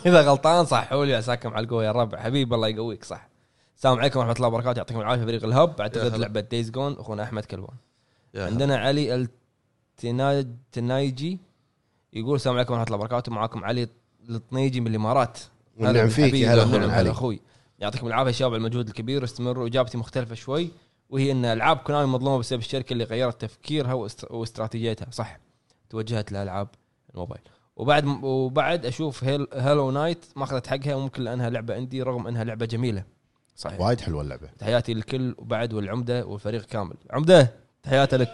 Speaker 1: اذا غلطان صحوا لي عساكم على القوه يا الربع حبيب الله يقويك صح السلام عليكم ورحمه الله وبركاته يعطيكم العافيه فريق الهب
Speaker 2: يا
Speaker 1: اعتقد
Speaker 2: هلا.
Speaker 1: لعبه دايز جون اخونا احمد كلوان
Speaker 2: عندنا
Speaker 1: عندنا علي التنايجي يقول السلام عليكم ورحمه الله وبركاته معاكم علي الطنيجي من الامارات هلا
Speaker 3: نعم فيك
Speaker 1: حبيبي،
Speaker 3: يا هلا
Speaker 1: أهلاً
Speaker 3: والله
Speaker 1: هلا
Speaker 3: علي.
Speaker 1: اخوي يعطيكم العافيه يا شباب على المجهود الكبير استمروا اجابتي مختلفه شوي وهي ان العاب كونامي مظلومه بسبب الشركه اللي غيرت تفكيرها واست- واستراتيجيتها صح توجهت لالعاب الموبايل وبعد وبعد اشوف هيل هالو نايت ما اخذت حقها وممكن لانها لعبه عندي رغم انها لعبه جميله صحيح
Speaker 3: وايد حلوه اللعبه
Speaker 1: تحياتي للكل وبعد والعمده والفريق كامل عمده تحياتي لك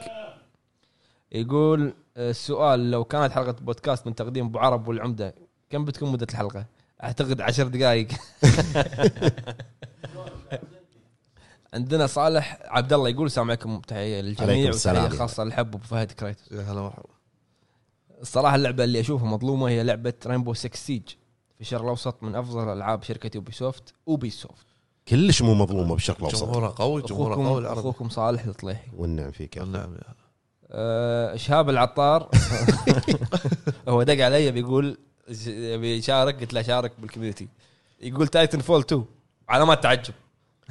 Speaker 1: يقول آه، السؤال لو كانت حلقه بودكاست من تقديم ابو عرب والعمده كم بتكون مده الحلقه؟ اعتقد عشر دقائق عندنا صالح عبد الله يقول السلام عليكم تحيه
Speaker 3: عليكم
Speaker 1: للجميع
Speaker 3: السلام.
Speaker 1: وتحيه خاصه لحب ابو فهد كريتوس
Speaker 2: يا هلا مرحبا
Speaker 1: الصراحه اللعبه اللي اشوفها مظلومه هي لعبه رينبو 6 سيج في الشرق الاوسط من افضل العاب شركه اوبي سوفت اوبي سوفت
Speaker 3: كلش مو مظلومه بالشرق الاوسط
Speaker 2: جمهورها قوي جمهورها قوي
Speaker 1: اخوكم
Speaker 2: العرب
Speaker 1: اخوكم صالح الطليحي
Speaker 3: والنعم فيك يا أخي.
Speaker 2: نعم يا هلا.
Speaker 1: آه، شهاب العطار هو دق علي بيقول ش- يبي يشارك قلت له شارك بالكوميونتي يقول تايتن فول 2 علامات تعجب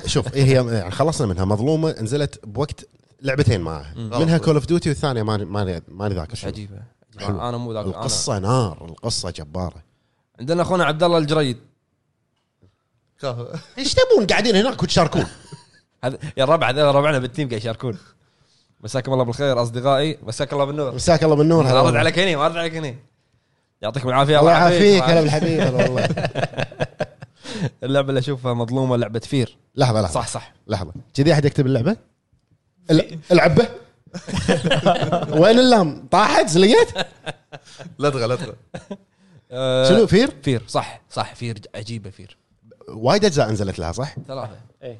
Speaker 3: شوف إيه هي يعني خلصنا منها مظلومه نزلت بوقت لعبتين معها منها كول اوف ديوتي والثانيه ماني ماني ماني ذاكر شنو.
Speaker 1: عجيبه
Speaker 3: حلو.
Speaker 1: انا مو ذاك أنا-
Speaker 3: القصه نار القصه جباره
Speaker 1: عندنا اخونا عبد الله الجريد
Speaker 2: كافي.
Speaker 3: ايش تبون قاعدين هناك وتشاركون
Speaker 1: هذا يا الربع هذول ربعنا بالتيم قاعد يشاركون مساكم الله بالخير اصدقائي مساك الله بالنور
Speaker 3: مساك الله بالنور هلا
Speaker 1: ارد
Speaker 3: والله.
Speaker 1: عليك هني ما ارد عليك هني يعطيكم العافيه
Speaker 3: الله يعافيك هلا
Speaker 1: وعافيك.
Speaker 3: بالحبيب هلا والله
Speaker 1: اللعبه اللي اشوفها مظلومه لعبه فير
Speaker 3: لحظه لحظه
Speaker 1: صح صح
Speaker 3: لحظه كذي احد يكتب اللعبه؟ ال- العبه وين اللام؟ طاحت زلقت؟
Speaker 1: أه.
Speaker 2: لا تغى لا تغى
Speaker 1: آه،
Speaker 3: شنو فير؟
Speaker 1: فير صح صح فير ج- عجيبه فير
Speaker 3: وايد اجزاء نزلت لها صح؟
Speaker 1: ثلاثه
Speaker 5: ايه
Speaker 4: إيه.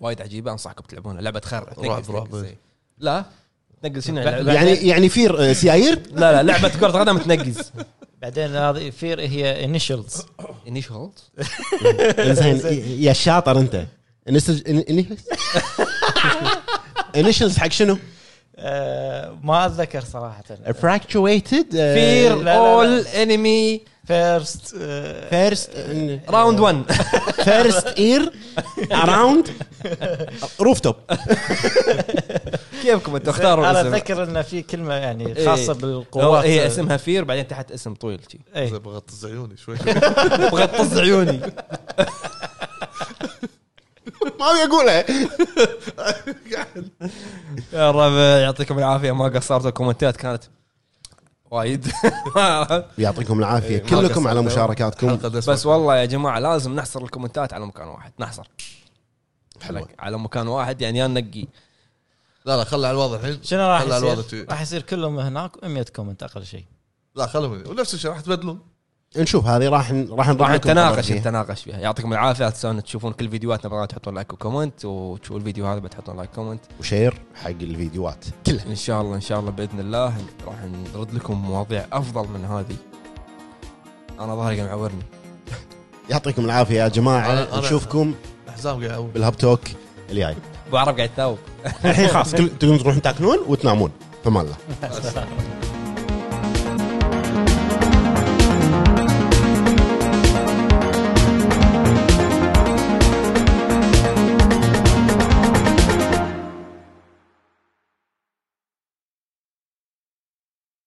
Speaker 1: وايد عجيبه انصحكم تلعبونها لعبه خير
Speaker 2: رعب،
Speaker 1: تنقز
Speaker 2: رعب.
Speaker 1: تنقز إيه. لا تنقز شنو
Speaker 3: يعني
Speaker 1: يعني
Speaker 3: يعني فير آه، سيايير؟
Speaker 1: لا لا لعبه كره قدم تنقز
Speaker 4: بعدين هذه فير هي انيشلز
Speaker 1: انيشلز
Speaker 3: زين يا الشاطر انت انيشلز حق شنو؟
Speaker 4: آه، ما اتذكر صراحه
Speaker 3: فراكتويتد
Speaker 1: فير
Speaker 4: إيه، لا، لا.
Speaker 1: اول انمي
Speaker 4: فيرست uh,
Speaker 3: فيرست
Speaker 1: راوند
Speaker 4: إيه.
Speaker 1: 1
Speaker 3: فيرست اير اراوند روف توب
Speaker 1: كيفكم انتم اختاروا
Speaker 4: انا
Speaker 1: الاسم
Speaker 4: اتذكر ان في كلمه يعني
Speaker 1: إيه.
Speaker 4: خاصه
Speaker 1: هو
Speaker 4: بالقوات
Speaker 1: هي اسمها فير بعدين تحت اسم طويل شي
Speaker 4: إيه.
Speaker 2: زي بغطس عيوني شوي
Speaker 1: ابغى تطز عيوني
Speaker 3: ما ابي اقولها
Speaker 1: يا رب يعطيكم العافيه ما قصرتوا الكومنتات كانت وايد
Speaker 3: يعطيكم العافيه
Speaker 1: ما
Speaker 3: كلكم على
Speaker 1: قصرتوا.
Speaker 3: مشاركاتكم
Speaker 2: حلقة دسمة.
Speaker 1: بس والله يا جماعه لازم نحصر الكومنتات على مكان واحد نحصر
Speaker 3: حلوة.
Speaker 1: على مكان واحد يعني يا ننقي
Speaker 2: لا لا خله على الوضع الحين
Speaker 4: شنو راح
Speaker 2: خله على الوضع
Speaker 4: يصير؟
Speaker 2: شي.
Speaker 4: راح يصير كلهم هناك 100 كومنت اقل شيء
Speaker 2: لا خلهم ونفس الشيء راح تبدلون
Speaker 3: نشوف هذه راح راح
Speaker 1: راح
Speaker 3: نراعيكم
Speaker 1: نتناقش
Speaker 3: فيها.
Speaker 1: نتناقش فيها يعطيكم العافيه لا تنسون تشوفون كل فيديوهاتنا برا تحطون لايك وكومنت وتشوفوا الفيديو هذا بتحطون لايك كومنت
Speaker 3: وشير حق الفيديوهات كلها
Speaker 1: ان شاء الله ان شاء الله باذن الله راح نرد لكم مواضيع افضل من هذه انا ظهري قاعد معورني
Speaker 3: يعطيكم العافيه يا
Speaker 2: أنا-
Speaker 3: جماعه
Speaker 2: أنا-
Speaker 3: نشوفكم
Speaker 2: حزام قاعد يعوم.
Speaker 3: بالهب توك الجاي
Speaker 1: ابو عرب قاعد يثاوب
Speaker 3: الحين خلاص تقوم تروحون تاكلون وتنامون فما الله